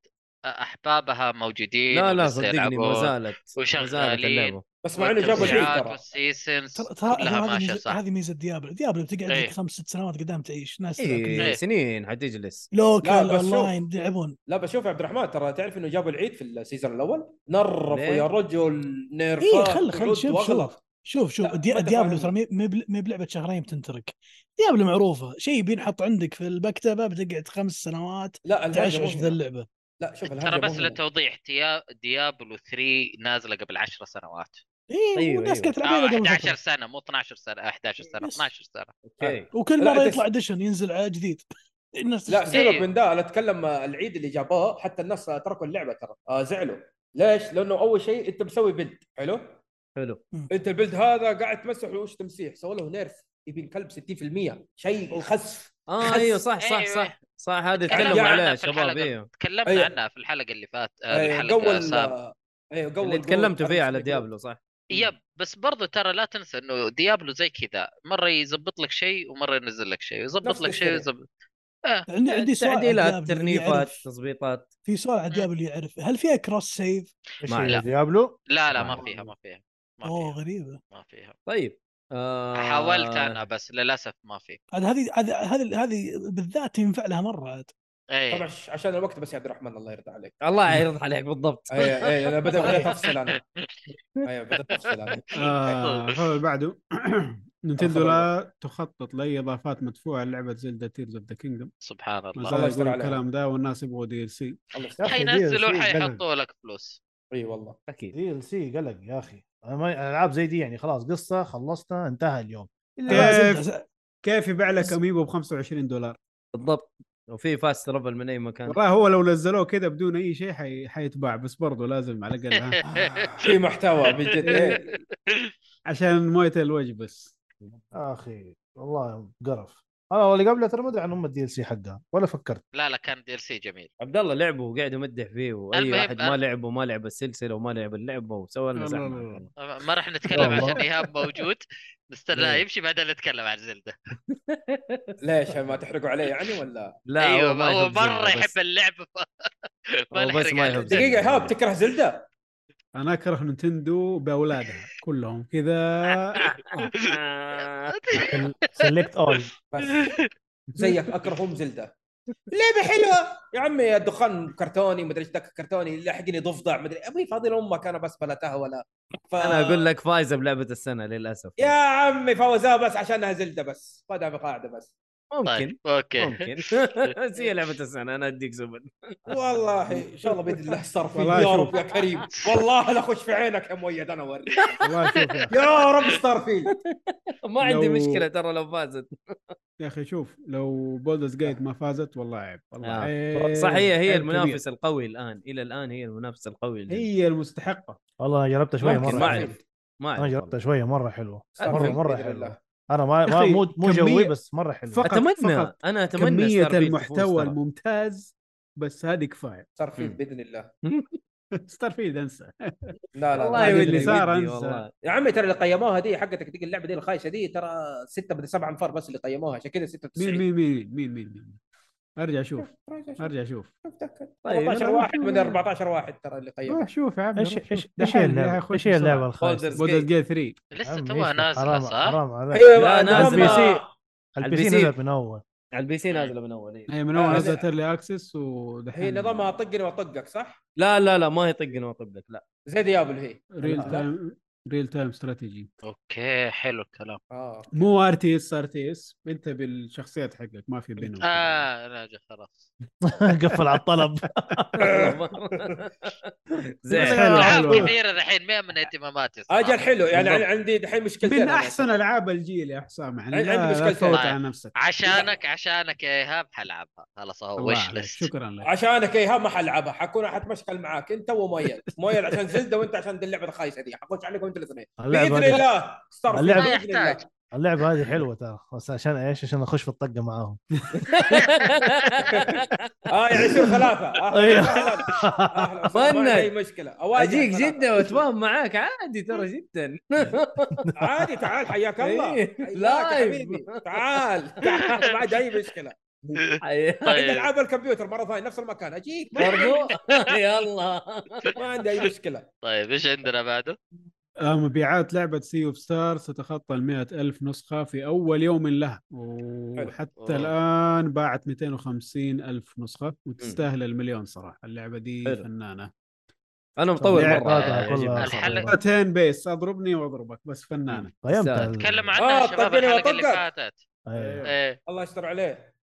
احبابها موجودين لا لا ولسه صدقني يلعبون. ما زالت ما زالت وشغالين. اللعبه بس مع انه جابوا شيء والتوسيعات ترى والسيزنز ترى- ترى كلها هذه ماشيه ميزه صح هذه ميزه ديابلو ديابلو بتقعد إيه. لك خمس ست سنوات قدام تعيش ناس تلعب كل اي يوم. إيه. سنين حتجلس لوكال لا، بس شوف. اونلاين يلعبون لا بس شوف يا عبد الرحمن ترى تعرف انه جابوا العيد في السيزون الاول نرفوا ليه؟ يا رجل نيرفات اي إيه، خل خل ولد شوف وأغلط. شوف شوف شوف لا، دي- ما أنت ديابلو فاهم. ترى مي- مي بل- مي بلعبه شهرين بتنترك ديابلو معروفه شيء بينحط عندك في المكتبه بتقعد خمس سنوات لا الهرجه تعشعش مو في ذا هنا. اللعبه لا شوف الهرجه ترى مو بس هنا. للتوضيح ديا- ديابلو 3 نازله قبل 10 سنوات اي أيوه، والناس أيوه. كانت تلعبها آه، قبل 11 فترة. سنه مو آه، 12 سنه 11 سنه يس. 12 سنه اوكي وكل لا، مره أنت- يطلع اديشن ينزل على جديد الناس إيه. لا إيه، تشتري. سيبك من ده انا اتكلم العيد اللي جابوه حتى الناس تركوا اللعبه ترى آه زعلوا ليش؟ لانه اول شيء انت مسوي بلد حلو؟ حلو انت البلد هذا قاعد تمسح وش تمسيح سووا له نيرف ابن كلب 60% شيء خسف اه ايوه صح صح صح صح هذه تكلمنا تكلموا عنها عليها في الحلقة. شباب ايوه تكلمنا أيوه. عنها في الحلقه اللي فات آه، آه، الحلقه قول السابقه آه، ايوه قول اللي قول تكلمتوا فيها على أرنس ديابلو صح يب بس برضو ترى لا تنسى انه ديابلو زي كذا مره يظبط لك شيء ومره ينزل لك شيء نفس يظبط لك شيء السريع. ويظبط عندي عندي سؤال على ديابلو تعديلات اللي ترنيفات يعرف- تظبيطات في سؤال على ديابلو اللي يعرف هل فيها كروس سيف؟ ايش ما هي لا. ديابلو لا لا آه. ما فيها ما فيها ما اوه فيها غريبه ما فيها طيب آه حاولت انا بس للاسف ما في عاد هذه هذه هذه هذه بالذات تنفع لها مره عاد طبعا اي ش- عشان الوقت بس يا عبد الرحمن الله يرضى عليك أيوة، الله يرضى عليك بالضبط اي اي انا بدأ- بدات افصل انا ايوه بدات افصل انا آه، الخبر اللي بعده نينتندو لا تخطط لاي اضافات مدفوعه للعبه زلدا تيرز اوف ذا كينجدم سبحان ما الله الله زال يستر يقول عليها. الكلام ده والناس يبغوا دي ال سي الله يا يستر. أيوة. أخي، حينزلوا DLC حيحطوا لك فلوس اي والله اكيد دي ال سي قلق يا اخي أنا ما العاب زي دي يعني خلاص قصه خلصتها انتهى اليوم كيف- زلدة- كيف يبيع لك اميبو ب 25 دولار بالضبط وفي فاست ترافل من اي مكان والله هو لو نزلوه كذا بدون اي شيء حي... حيتباع بس برضه لازم على الاقل ها، آه. في محتوى بجد إيه. عشان مويه الوجه بس يا اخي والله قرف انا اللي قبله ترى ما ادري عن ام الدي ال سي حقها ولا فكرت لا لا كان دي ال سي جميل عبد الله لعبه وقاعد يمدح فيه واي المهم، أه. واحد ما لعبه ما لعب السلسله وما لعب اللعبه وسوى لنا لا، لا، لا، زحمه لا. ما راح نتكلم والله. عشان ايهاب موجود نستناه إيه. يمشي بعدين نتكلم عن زلده ليش ما تحرقوا عليه يعني ولا لا ايوه ما هو يحب زلدة مره بس. يحب اللعبه ما هو بس نحرق ما عليه. يحب زلدة. دقيقه ايهاب تكره زلده انا اكره نينتندو باولادها كلهم كذا سلكت اول بس زيك اكرههم زلده لعبه حلوه يا عمي الدخان كرتوني مدري ايش ذاك كرتوني لاحقني ضفدع مدري ابي فاضي امك انا بس بلا تهوى ف... انا اقول لك فايزه بلعبه السنه للاسف يا عمي فوزها بس عشانها زلده بس فادها بقاعده بس ممكن طيب اوكي ممكن بس هي لعبه السنه انا اديك زبد والله ان شاء الله باذن الله صار فيه والله يا شوف. رب يا كريم والله لا اخش في عينك يا مؤيد انا اوريك والله شوف يا أخي. يا رب ستار فيلد ما عندي لو- مشكله ترى لو فازت يا اخي شوف لو بولدرز جيت ما فازت والله عيب والله آه. عيب صحيح إيه، عيب هي كبير. المنافس القوي الان الى الان هي المنافس القوي لل- هي المستحقه والله انا جربتها شويه ممكن، مره ما حلوة. أعرف. ما انا أعرف جربتها شويه مره حلوه ألف مره مبروك مره بإذن الله. حلوه انا ما ما أخي، مو مو جوي كمية بس مره حلوه فقط- اتمنى فقط انا اتمنى كميه Starfield تفوز المحتوى ترى. الممتاز بس هذه كفايه ستار فيلد مم. باذن الله ستار فيلد انسى لا لا والله لا واللي بإذن ودي- الله. صار ودي أنسى. والله. يا عمي ترى اللي قيموها دي حقتك دي اللعبه دي الخايسه دي ترى ستة بدي سبعة انفار بس اللي قيموها عشان كذا مين 96 مين مين مين مين مين ارجع شوف ارجع شوف طيب، 14 واحد من 14 واحد ترى اللي أيوه. قيموها روح أه، شوف يا عمي روح ايش شوف. ايش ايش هي دحين يا اللعبه أخوي ايش هي بسرعة. اللعبه الخايسه Baldur's بولدرز Gate. جيت 3 لسه عمي، توها ايش لك؟ نازله حرام صح؟ حرام عليك ايوه لا، بقى هم- نازل. البي سي على البي البي سي سي. نزلت من اول على البي سي نازله من اول إيه. هي من آه، اول هذا- نزلت ايرلي اكسس ودحين هي نظامها طقني واطقك صح؟ لا لا لا ما يطقني واطبك لا زي ديابل هي ريل لا. تايم ريل تايم استراتيجي اوكي حلو الكلام اه مو ار تي اس ار تي اس انت بالشخصيات حقك ما في بينهم اه لا جا خلاص قفل على الطلب زين حلو، العاب حلو. كثيره آه، الحين ما من اهتماماتي صراحة. اجل حلو يعني بالضبط. عندي دحين مشكلتين من أنا. احسن العاب الجيل يا حسام يعني عندي لا- لا مشكلتين. تفوت على نفسك عشانك عشانك يا ايهاب حلعبها خلاص اهو الله وش عليك، ليست شكرا لك عشانك ايهاب ما حلعبها حكون حتمشكل معاك انت ومؤيد مؤيد عشان زلده وانت عشان دي اللعبه الخايسه دي حخش عليكم انتوا الاثنين اللعبه باذن هذه الله ستار اللعبة- ما يحتاج. اللعبه هذه حلوه ترى بس عشان ايش عشان اخش في الطقه معاهم اه يعني يصير ثلاثه أيوه. ايوه ظنك. اي مشكله أواجه اجيك ثلاثة. جده واتفاهم معاك عادي ترى جدا عادي تعال حياك الله إيه، حياك يا لايف. حبيبي تعال تعال ما عندي اي مشكله عندي طيب العاب الكمبيوتر مره ثانيه نفس المكان اجيك ما- برضو يلا ما عندي اي مشكله طيب ايش عندنا بعده؟ آه، مبيعات لعبة سي اوف ستار تتخطى ال ألف نسخة في أول يوم لها وحتى أوه. الآن باعت 250 ألف نسخة وتستاهل المليون صراحة اللعبة دي حلو. فنانة انا مطول طبيعي مره قاطع يا جماعة. كلها. الحلقة- 10 بيس أضربني وأضربك بس فنانة قيمت تستاهل. ال- تكلم آه، عنها يا شباب طقني الحلقه اللي وطقك. فاتت أيوة. ايه الله يستر عليه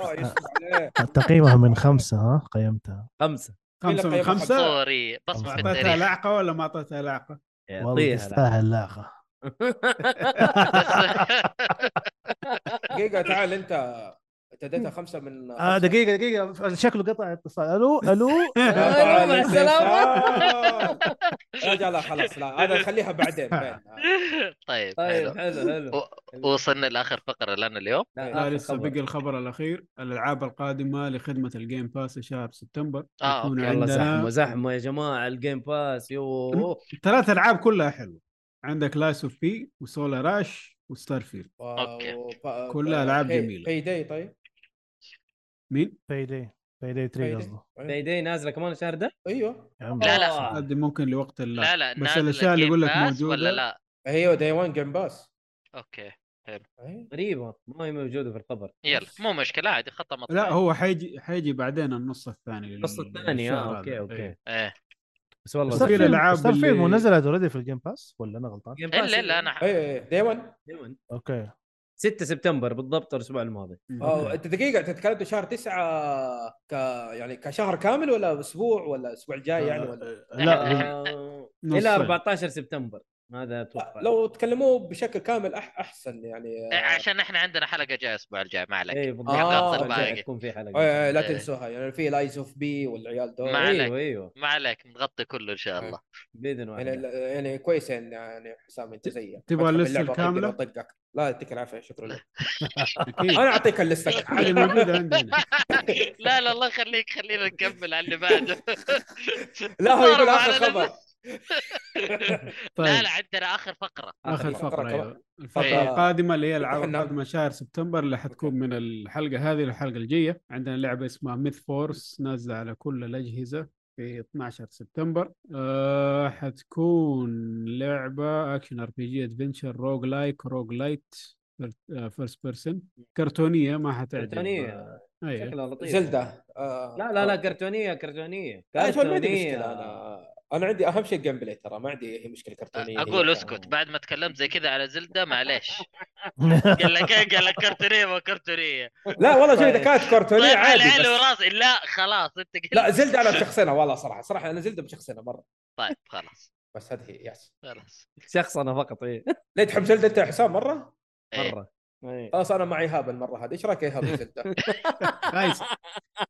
الله يستر عليه تقييمها من خمسة ها قيمتها خمسه قيمة خمسة من خمسة. خمسة صوري بصمه أعطيتها التاريخ لعقة ولا ما أعطيتها لعقة؟ والله يعطيها العافية. تستاهل لا اخي دقيقه تعال انت انت اديتها خمسه من آه خمسة. دقيقه دقيقه شكله قطع اتصال الو الو قطع مع السلامة. الاتصال. رجع لا خلاص لا هذا خليها بعدين بعدين. طيب طيب حلو حلو حلو وصلنا لاخر فقره لنا اليوم لا، آخر آه، لا لسه خبر. بقى الخبر الاخير الالعاب القادمه لخدمه الجيم باس شهر سبتمبر آه، يكون أوكي. والله زحمه عندنا زحمه يا جماعه الجيم باس يو ثلاث العاب كلها حلوه عندك لايس اوف بي وسولا راش وستار فيلد أوكي. وبا- كلها ألعاب هي- جميلة. هي داي طيب مين؟ باي داي باي داي 3 قصده طيب. داي داي نازله كمان الشهر ده ايوه يا عمي. لا، لا. آه. هذه ممكن لوقت اللعب لا لا بس نازل الأشياء اللي Game يقول لك Pass موجودة. ولا لا ايوه داي 1 جيم باس اوكي أيوة. غريبه ما هي موجوده في الخبر يلا مو مشكله عادي خطه مطلوب لا هو حيجي حيجي بعدين النص الثاني النص لل- الثاني للشهر اه اوكي هذا. اوكي إيه. ايه بس والله بس في زحمة. الألعاب ستار فيلد مو اللي- نزلت اوريدي في الجيم باس ولا انا غلطان؟ Game Pass الا الا انا ايوه ايوه داي 1 يوم. اوكي 6 سبتمبر بالضبط الاسبوع الماضي اه انت دقيقه انت تكلمت شهر تسعه ك يعني كشهر كامل ولا اسبوع ولا الاسبوع الجاي يعني ولا لا آه، نص الى سنة. 14 سبتمبر هذا اتوقع لو تكلموه بشكل كامل أح احسن يعني إيه، عشان احنا عندنا حلقه جايه الاسبع الجاي ما عليك اي بالضبط آه، الأسبوع الجاي أوكي. تكون في حلقه آه، لا إيه. تنسوها يعني في لايز اوف بي والعيال دول ما عليك. ايوه ايوه ما عليك نغطي كله ان شاء الله باذن يعني واحده يعني كويس إن- يعني حسام انت زيي تبغى اللستة الكاملة؟ طقك لا يعطيك العافيه شكرا لك اكيد انا اعطيك اللسته هذه موجوده عندنا إيه. لا لا الله يخليك خلينا نكمل على اللي بعده لا هو يقول ضرب اخر على خبر طيب لا لا عندنا اخر فقره اخر فقرة فقره كمان. أيوة. الفقره إيه. القادمه اللي هي العاب إحنا- القادمه شهر سبتمبر اللي حتكون من الحلقه هذه للحلقه الجايه عندنا لعبه اسمها ميث فورس نازله على كل الاجهزه في 12 سبتمبر أه حتكون لعبه اكشن ار بي جي ادفنشر روج لايك روج لايت فيرست بيرسون كرتونيه ما حتعجب كرتونيه إيه. أيوة. شكلها لطيف زلده آه، لا لا لا كرتونيه كرتونيه آه، شوف، ما عندي كرتونيه مشكله انا انا عندي اهم شيء الجيم بلاي ترى ما عندي هي مشكله كرتونيه هي اقول كان- اسكت بعد ما تكلمت زي كذا على زلده معليش قال لك إيه؟ قال لك كرتونيه ما كرتونيه لا والله شوف اذا كانت كرتونيه طيب على عادي عيني بس- وراسي لا خلاص انت قلت لا زلده انا بشخصنها والله صراحه صراحه انا زلده بشخصنها مره طيب خلاص بس هذه هي يس خلاص شخص انا فقط إيه. اي ليه تحب زلده انت يا حسام مره؟ إيه. مره إيه. خلاص انا مع ايهاب المره هذه ايش رايك يا ايهاب في زلده؟ خايس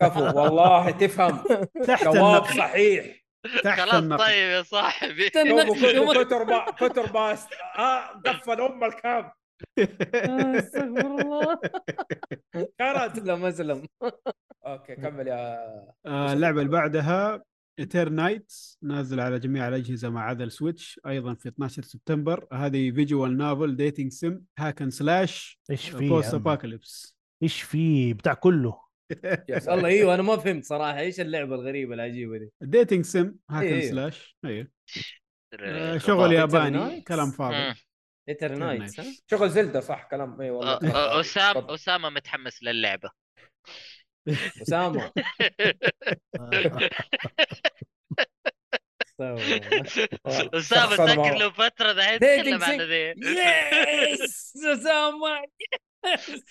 كفو والله تفهم تحت جواب النقد صحيح تحت خلاص النقد طيب يا صاحبي يوم كتر كتر ما كتر ما است- آه، قفل ام الكاب آه، استغفر الله كانت اسلم اسلم اوكي كمل يا آه، اللعبة اللي بعدها ايترنايتس نازل على جميع الأجهزة ما عدا السويتش أيضا في 12 سبتمبر هذه فيجوال نافل ديتنج سيم هاكن سلاش ايش في يا بوست عمي؟ ابوكاليبس ايش في بتاع كله يا سلام. والله ايوه انا ما فهمت صراحه ايش اللعبه الغريبه العجيبه دي ديتنج سيم هاكن إيه. سلاش ايوه آه، آه، شغل ياباني إيترنايتس. كلام فاضي مم. ايتر نايتس ها؟ شغل زلده صح كلام اي والله آه، آه، تفضل. اسامه اسامه متحمس للعبه اسامه استغفر الله. اسامه آه، شخص أنا ما- تذكر له فتره ذا Dating تتكلم عن sim. ذي يس اسامه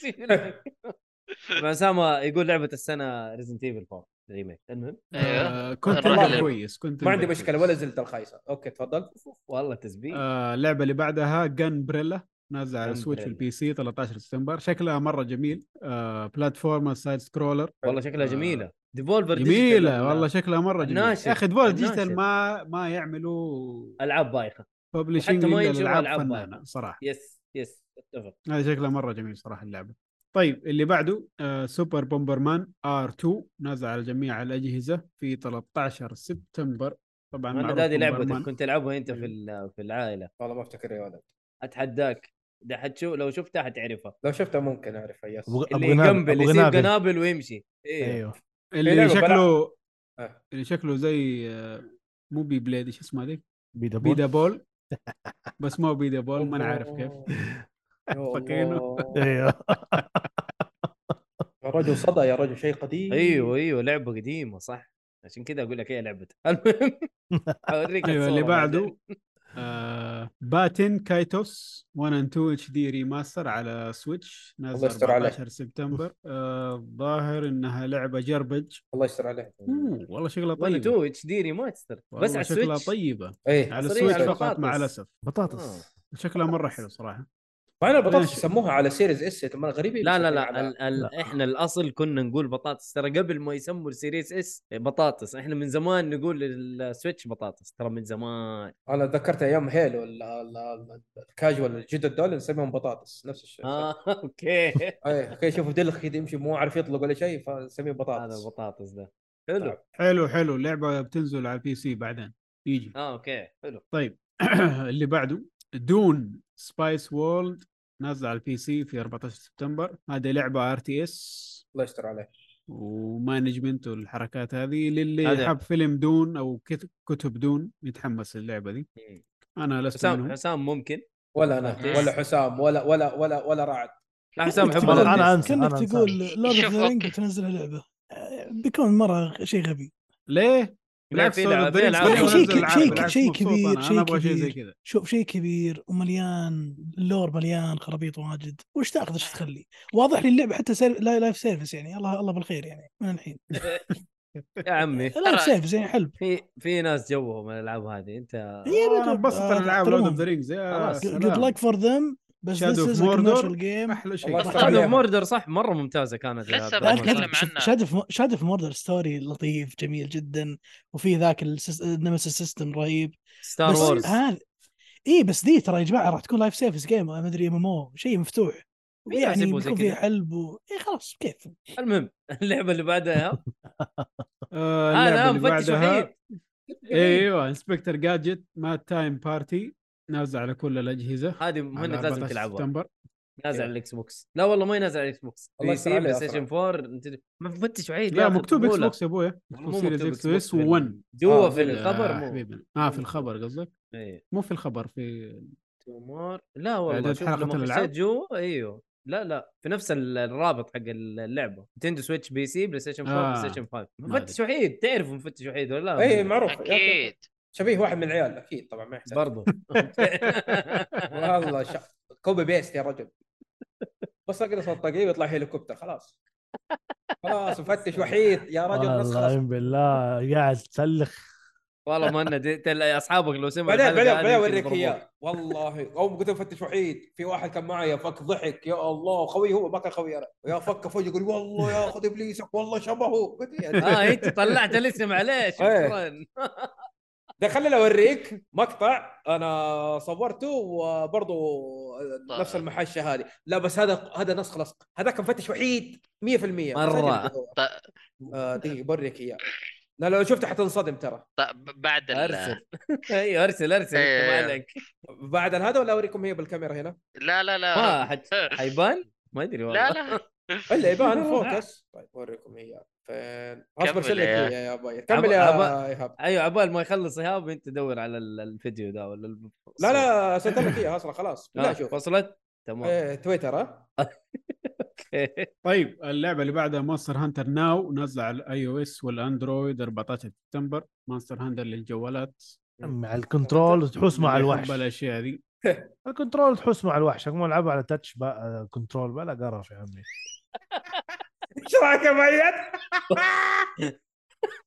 يس. اسامه يقول لعبه السنه ريزنت ايفل 4 ريميك المهم ايوه آه، كنت الراجل مرة اللي- كويس كنت ما مرة عندي كويس. مشكله ولا زلده الخايسه اوكي تفضل والله تسبيح آه، اللعبة اللي بعدها جن بريلا نازلة على سويتش Gunbrella. والبي سي 13 سبتمبر شكلها مرة جميل آه، بلاتفورمر سايد سكرولر والله شكلها جميله ديفولفر جميله والله شكلها مره جميله الناشر- يا اخي دول الناشر. ديجيتال ما ما يعملوا العاب بايخه ببلشنج حتى ما الا ينشروا الالعاب ألعاب فنانه بعد. صراحه يس يس اتفق هذا شكلها مره جميل صراحه اللعبه طيب اللي بعده آه سوبر بومبرمان ار 2 نازل على جميع الاجهزه في 13 سبتمبر طبعا انا معروف هذه لعبتك بومبرمان. كنت العبها انت في إيه. أيوه. ال- في العائله والله ما افتكر يا ولد اتحداك ده حتشوف لو شفتها حتعرفها لو شفته ممكن اعرفها يس ابو اللي أبو غنابل- يقنبل أبو يصير غنابل. قنابل ويمشي ايوه ايوه اللي لعبة شكله آه. اللي شكله زي آه، مو بي بليد ايش اسمها ذيك؟ بيدا بول بيدا بول بس مو بيدا بول ما انا عارف كيف يا الله. فاكرينه ايوه يا رجل صدى يا رجل شيء قديم ايوه ايوه لعبه قديمه صح عشان كذا اقول لك هي لعبتها المهم اوريك ايوه الصورة اللي بعدين. بعده طيب. آه، باتن كايتوس 1 اند 2 اتش دي ريماستر على سويتش الله نازل يستر عليك. 14 سبتمبر آه، الظاهر انها لعبه جربج الله يستر عليه أوه، والله شغله طيب طيبه 2 اتش دي ريماستر بس والله على شكلها طيب. السويتش طيبه ايه على صريح، السويتش على فقط مع البطاطس. الاسف آه. بطاطس شكلها مره حلو صراحه مع ان ليش؟ البطاطس يسموها على سيريز اس ترى غريبين لا لا على- لا ال ال احنا الاصل كنا نقول بطاطس ترى قبل ما يسموا السيريس اس بطاطس احنا من زمان نقول السويتش بطاطس ترى من زمان انا تذكرت ايام هيلو ال- ال- ال- الكاجوال الجدد دول نسميهم بطاطس نفس الشيء اه اوكي ايه اوكي شوفوا دلخ كذا يمشي مو عارف يطلق ولا شيء فنسميه هذا بطاطس البطاطس ده طيب. حلو حلو حلو اللعبه بتنزل على البي سي بعدين يجي اه اوكي حلو طيب اللي بعده دون سبايس وولد نازله على البي سي في 14 سبتمبر هذه لعبه ار تي اس الله يستر عليه ومانجمنت والحركات هذه للي هذا- حب فيلم دون او كت- كتب دون يتحمس للعبه دي مم. انا لست حسام منهم حسام ممكن ولا انا Yes. ولا حسام ولا ولا ولا ولا رعد لا حسام كأنك يحب تقول- الأرض. أنا أنسى، كانك أنا أنسى. تقول لورد شوف، اوف ذا رينج أوكي. بتنزلها لعبه آه، بيكون مره شيء غبي ليه؟ بالعكس في Lord of لعب- the في Rings لعب. بدأوا شيء ينزلوا كب- ألعاب، شيء بالعكس شيء مبسوط كبير، أنا. شيء انا ابغى شيء زي كبير. كذا شوف شيء كبير ومليان اللور مليان خرابيط واجد وش تاخذ ايش تخلي واضح لي اللعبه حتى سير... لا- لايف سيرفيس يعني الله الله بالخير يعني من الحين يا عمي لايف سيرفيس يعني حلب في في ناس جوهم الالعاب هذه انت يا انا بنت- انبسط آه، الالعاب لورد اوف ذا احترمهم. رينجز يا خلاص. جود سلام لك فور ذم بس Shadow ذس of از Mordor. كوميرشال جيم احلى شيء الله يستر شاد اوف عليهم. موردر صح مره ممتازه كانت لسه يا عبد بعد الرحمن. نتكلم كنت- عنها. شادف شادف موردر ستوري لطيف جميل جدا وفي ذاك النمس سيستم رهيب ستار بس وورز هذا اي بس دي ترى يا جماعه راح تكون لايف سيرفيس جيم ما ادري ام ام او شيء مفتوح مين يعني يحسبه زي بيكون فيه كذا؟ حلب و... اي خلاص كيف المهم اللعبه اللي بعدها آه، اللعبه هذا اللي مفتش بعدها وحيد ايوه انسبكتر جادجت مات تايم بارتي نازل على كل الاجهزه هذه على مهند لازم 14 تلعبها سبتمبر نازل أيوه. على الاكس بوكس لا والله ما ينزل على الاكس بوكس الله بي يستر سي عليه بلاي أصلاً. ستيشن 4 نت- مفتش وعيد لا ياخذ مكتوب اكس طفولة. بوكس يا ابويا مكتوب مو سيريز مكتوب اكس Xbox اس في ال- و1 جوا آه، في في ال- الخبر مو حبيبنا اه في الخبر قصدك إيه. مو في الخبر في تمار لا والله إعداد شوف حلقة لما الألعاب؟ خشيت جوا ايوه لا لا في نفس ال- الرابط حق اللعبه نتندو سويتش بي سي بلاي ستيشن 4 بلاي آه. ستيشن 5 ما أدري. إيه، مفتش وحيد تعرف مفتش وحيد ولا لا اي إيه، معروف اكيد شبيه واحد من العيال اكيد طبعا ما يحتاج برضو والله شا... كوبي بيست يا رجل بس اقرا صوت طقيب يطلع هليكوبتر خلاص خلاص مفتش وحيد يا رجل بس والله خلاص أعين بالله قاعد تسلخ والله مهند انت اللي اصحابك لو سمعوا بعدين الحلقة بعدين هذه بعدين يمكن اوريك يضربوك. اياه والله او قلت مفتش وحيد في واحد كان معي فك ضحك يا الله خوي هو ما كان خوي انا يا فك فوق يقول والله ياخذ ابليسك والله شبهه قلت إيه؟ يا اه انت طلعت الاسم عليه إيه. شكرا ده خليني اوريك مقطع انا صورته وبرضه نفس طيب. المحشه هذه لا بس هذا هذا نسخ لصق هذاك مفتش وحيد 100% مرة. ط- آه، دقيقه بوريك اياه لا لو شفته حتنصدم ترى ط- طيب، بعد ال... ارسل ايوه ارسل ارسل انت إيه. مالك بعد هذا ولا اوريكم هي بالكاميرا هنا لا لا لا ما حت- حيبان ما ادري والله آه. لا لا الا يبان فوكس طيب اوريكم اياه فين كمل اصبر ارسل لك يا- اياه يا باي كمل عبا- يا ايهاب ايوه عبال ما يخلص ايهاب انت دور على ال- الفيديو ده ولا الب- لا لا ارسلت لك اياه اصلا خلاص آه لا شوف وصلت تمام إيه، تويتر ها إيه. طيب اللعبه اللي بعدها مونستر هانتر ناو نازله على الاي او اس والاندرويد 14 سبتمبر مونستر هانتر للجوالات مع الكنترول وتحوس مع اللي يحب الوحش الاشياء ذي الكنترول تحوس مع الوحش هم العبها على تاتش بقى كنترول بلا قرف يا عمي ايش رايك يا مؤيد؟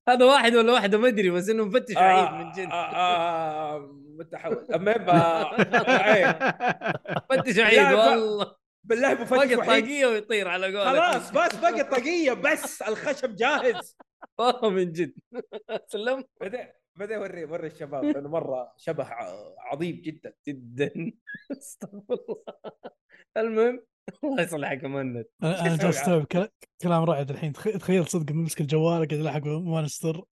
هذا واحد ولا واحده ما ادري بس انه مفتش وحيد من جد آه، آه، آه، متحول المهم آه، إيه. مفتش لا، وحيد ب- والله بالله مفتش فقط وحيد طاقيه ويطير على قولك خلاص بس باقي الطاقيه بس الخشب جاهز والله من جد سلم بعدين بعدين وري وري الشباب لانه مره شبه ع- عظيم جدا جدا استغفر الله المهم الله يصلحك يا مهند انا شو أنا يسوي جالس استوعب كل- كلام رعد الحين تخ- تخيل صدق ممسك الجوال قاعد الحق مونستر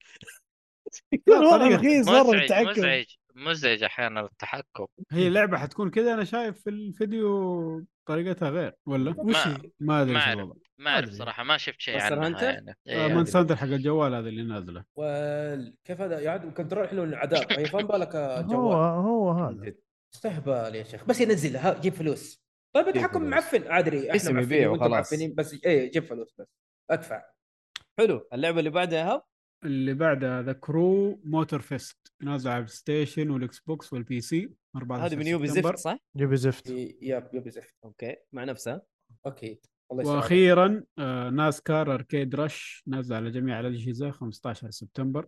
والله طريقة- رخيص مره مزعج بالتعكم مزعج مزعج احيانا التحكم هي لعبه حتكون كذا انا شايف في الفيديو طريقتها غير ولا وش ما- هي؟ ما ادري ما ايش أعرف. الوضع ما اعرف أدري. صراحه ما شفت شيء Monster Hunter؟ عنها يعني آه، إيه. ما مونستر هانتر حق الجوال هذا اللي نازله وال- كيف هذا يا عاد كنترول حلو العذاب اي فين بالك آه، هو جوال هو من هذا جد. استهبال يا شيخ بس ينزلها ها، جيب فلوس طيب التحكم فلوس. معفن ادري احنا اسم معفنين إيه، يبيع وانتم وخلاص. معفنين بس اي جيب فلوس بس ادفع حلو اللعبه اللي بعدها يا هب اللي بعدها ذا كرو موتور فيست نازل على البلاي ستيشن والاكس بوكس والبي سي 14 هذه من يوبي سبتمبر. زفت صح؟ يوبي زفت ياب ياب زفت اوكي مع نفسها اوكي الله يسلمك. واخيرا آه ناسكار اركيد رش نازل على جميع الاجهزه 15 سبتمبر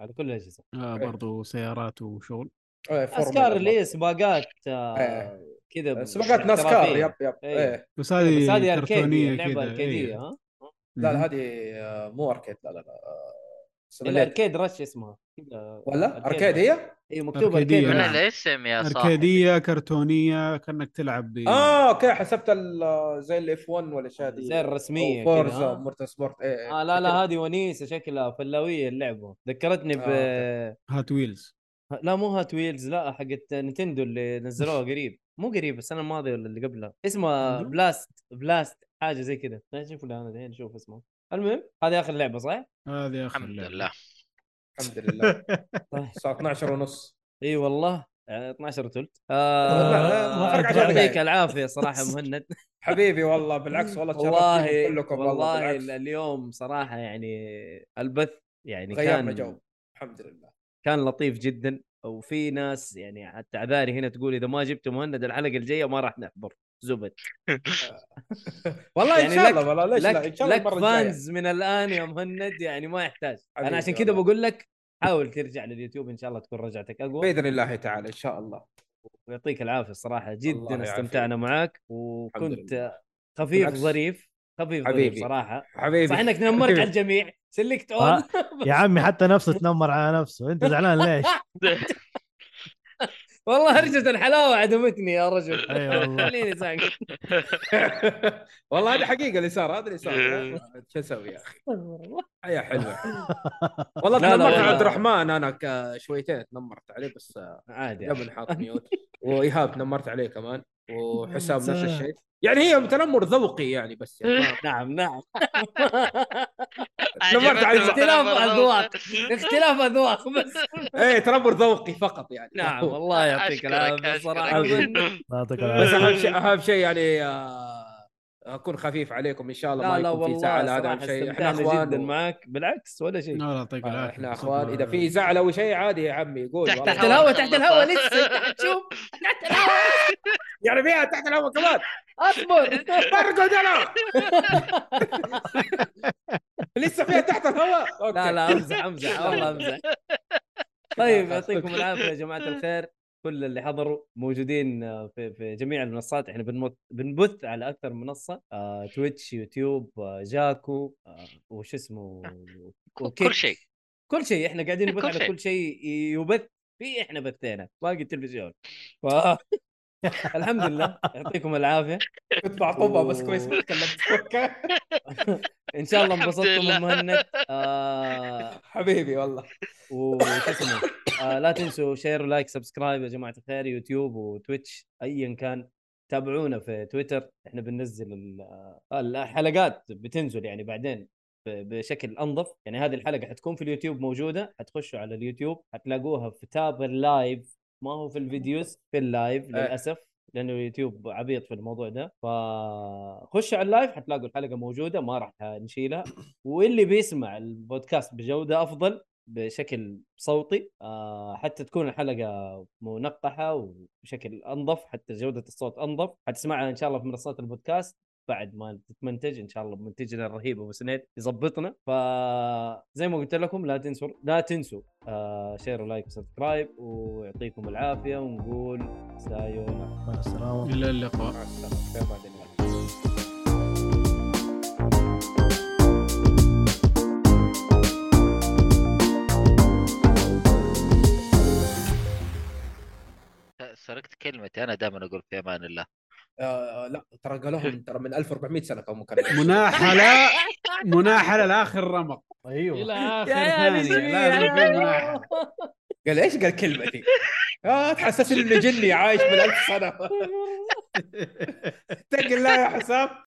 على كل الاجهزه آه إيه. برضو سيارات وشغل آه، فورمولا ناسكار برضه. اللي هي سباقات آه، إيه. كذا ب- سباقات ناسكار احترافية. ياب ياب إيه. إيه. بس بس هذه هذه اركيديه كرتونيه كذا لعبه اركيديه إيه. ها لا مهم. لا هذه آه، مو اركيد لا لا لا آه، الا سيميليتر. اركيد رش اسمها كذا ولا أركيد إيه. اركيد هي؟ اي مكتوب أركيدية. اركيد نعم. من رش. الاسم يا صاحبي اركيديه كرتونيه كانك تلعب ب اه اوكي حسبت ال- آه، زي الاف 1 ولا شيء هذه زي الرسميه نعم. أو كذا فورزا ها؟ مورتا سبورت ايه إيه، اه لا لا كده. هذه ونيسه شكلها فلاويه اللعبه ذكرتني ب آه، هات ويلز لا مو هات ويلز لا حقت نتندو اللي نزلوها قريب مو قريب السنه الماضيه ولا اللي قبلها اسمها نتندو؟ بلاست بلاست حاجه زي كذا لا نشوف الان الحين نشوف اسمه المهم هذه اخر لعبه صح؟ هذه اخر الحمد لعبة. لله الحمد لله طيب صار 12 ونص اي والله آه، 12 وثلث لا، آه فرق عشر دقايق. يعطيك العافيه صراحه مهند حبيبي والله بالعكس والله تشرفت والله فيكم كلكم والله والله بالعكس اليوم صراحه يعني البث يعني غيرنا كان جو الحمد لله كان لطيف جدا وفي ناس يعني حتى عذاري هنا تقول اذا ما جبت مهند الحلقه الجايه ما راح نحضر زبد والله ان يعني شاء لك- الله والله ليش لا ان لك شاء الله لك المره الجايه فانز من الان يا مهند يعني ما يحتاج انا حبيبي عشان كذا والله. بقول لك حاول ترجع لليوتيوب ان شاء الله تكون رجعتك اقوى باذن الله تعالى ان شاء الله ويعطيك العافيه الصراحه الله جدا يعافيك. استمتعنا معك وكنت خفيف بالعكس. ظريف خفيف حبيبي. ظريف صراحه حبيبي صح انك نمرت على الجميع سلكت اون آه، يا عمي حتى نفسه تنمر على نفسه انت زعلان ليش؟ والله هرجة الحلاوه عدمتني يا رجل اي والله خليني ساكت والله هذا حقيقه اللي صار هذا اللي صار إيه. شو اسوي يا اخي حياه حلوه والله لا، لا، تنمرت على والله. عبد الرحمن انا ك- شويتين تنمرت عليه بس آه، عادي عادي. قبل حاط ميوت وايهاب تنمرت عليه كمان وحسام نفس الشيء يعني هي تنمر ذوقي يعني بس يعني ما- نعم نعم نمرت على عجبتني اختلاف مرة. أذواق. اختلاف اذواق بس ايه تنمر ذوقي فقط يعني نعم والله يعطيك أشكرك، العافيه صراحه أشكرك. مهند. يعطيك بس العافيه اهم شيء اهم شيء يعني آه، اكون خفيف عليكم ان شاء الله لا ما لا يكون في والله زعل هذا صراحه اهم شيء نعم. احنا استمتعنا اخوان جدا و... معك بالعكس ولا إيه. شيء لا طيب، يعطيك العافيه احنا بس اخوان والله- اذا في زعل او شيء عادي يا عمي قول تحت والله. تحت الهواء تحت الهواء خلصت. لسه أنت تشوف تحت الهواء يعني فيها تحت الهواء كمان اصبر برقد انا لسه فيها تحت الهواء أوكي. لا لا امزح امزح والله امزح طيب يعطيكم العافيه يا جماعه الخير كل اللي حضروا موجودين آه، في, في جميع المنصات احنا بنمط... بنبث على اكثر من منصه آه، تويتش يوتيوب آه، جاكو آه، وش اسمه وكيك. كل شيء كل شيء احنا قاعدين نبث كل على شيء. كل شيء يبث فيه احنا بثينا باقي التلفزيون ف... الحمد لله يعطيكم العافيه كنت معطوبه بس كويس ما تكلمت أوكي. ان شاء الله الحمد انبسطتم لله. مهند آه... حبيبي والله وش اسمه آه لا تنسوا شير ولايك سبسكرايب يا جماعه الخير يوتيوب وتويتش ايا كان تابعونا في تويتر احنا بننزل ال- آه، الحلقات بتنزل يعني بعدين ب- بشكل انظف يعني هذه الحلقه حتكون في اليوتيوب موجوده حتخشوا على اليوتيوب حتلاقوها في تاب اللايف ما هو في الفيديوز في اللايف للاسف لانه اليوتيوب عبيط في الموضوع ده فخشوا على اللايف حتلاقوا الحلقه موجوده ما راح نشيلها واللي بيسمع البودكاست بجوده افضل بشكل صوتي آه، حتى تكون الحلقه منقحه وبشكل انظف حتى جوده الصوت انظف حتسمعها ان شاء الله في منصات البودكاست بعد ما تتمنتج ان شاء الله منتجنا الرهيب ابو سنيد يظبطنا فزي ما قلت لكم لا تنسوا لا تنسوا آه، شير ولايك وسبسكرايب ويعطيكم العافيه ونقول سايونا مع السلامه الى اللقاء مع السلامه في امان الله سرقت كلمتي انا دائما اقول في امان الله آه، لا ترى قالوهم ترى من 1400 سنه كانوا مكلمين مناحله مناحله لاخر رمق ايوه أيوه. الى اخر عيال ثانيه إيش لازم فيه؟ في مناحله قال ايش قال كلمه دي؟ اه تحسسني انه جني عايش من 1000 سنه اتق الله يا حسام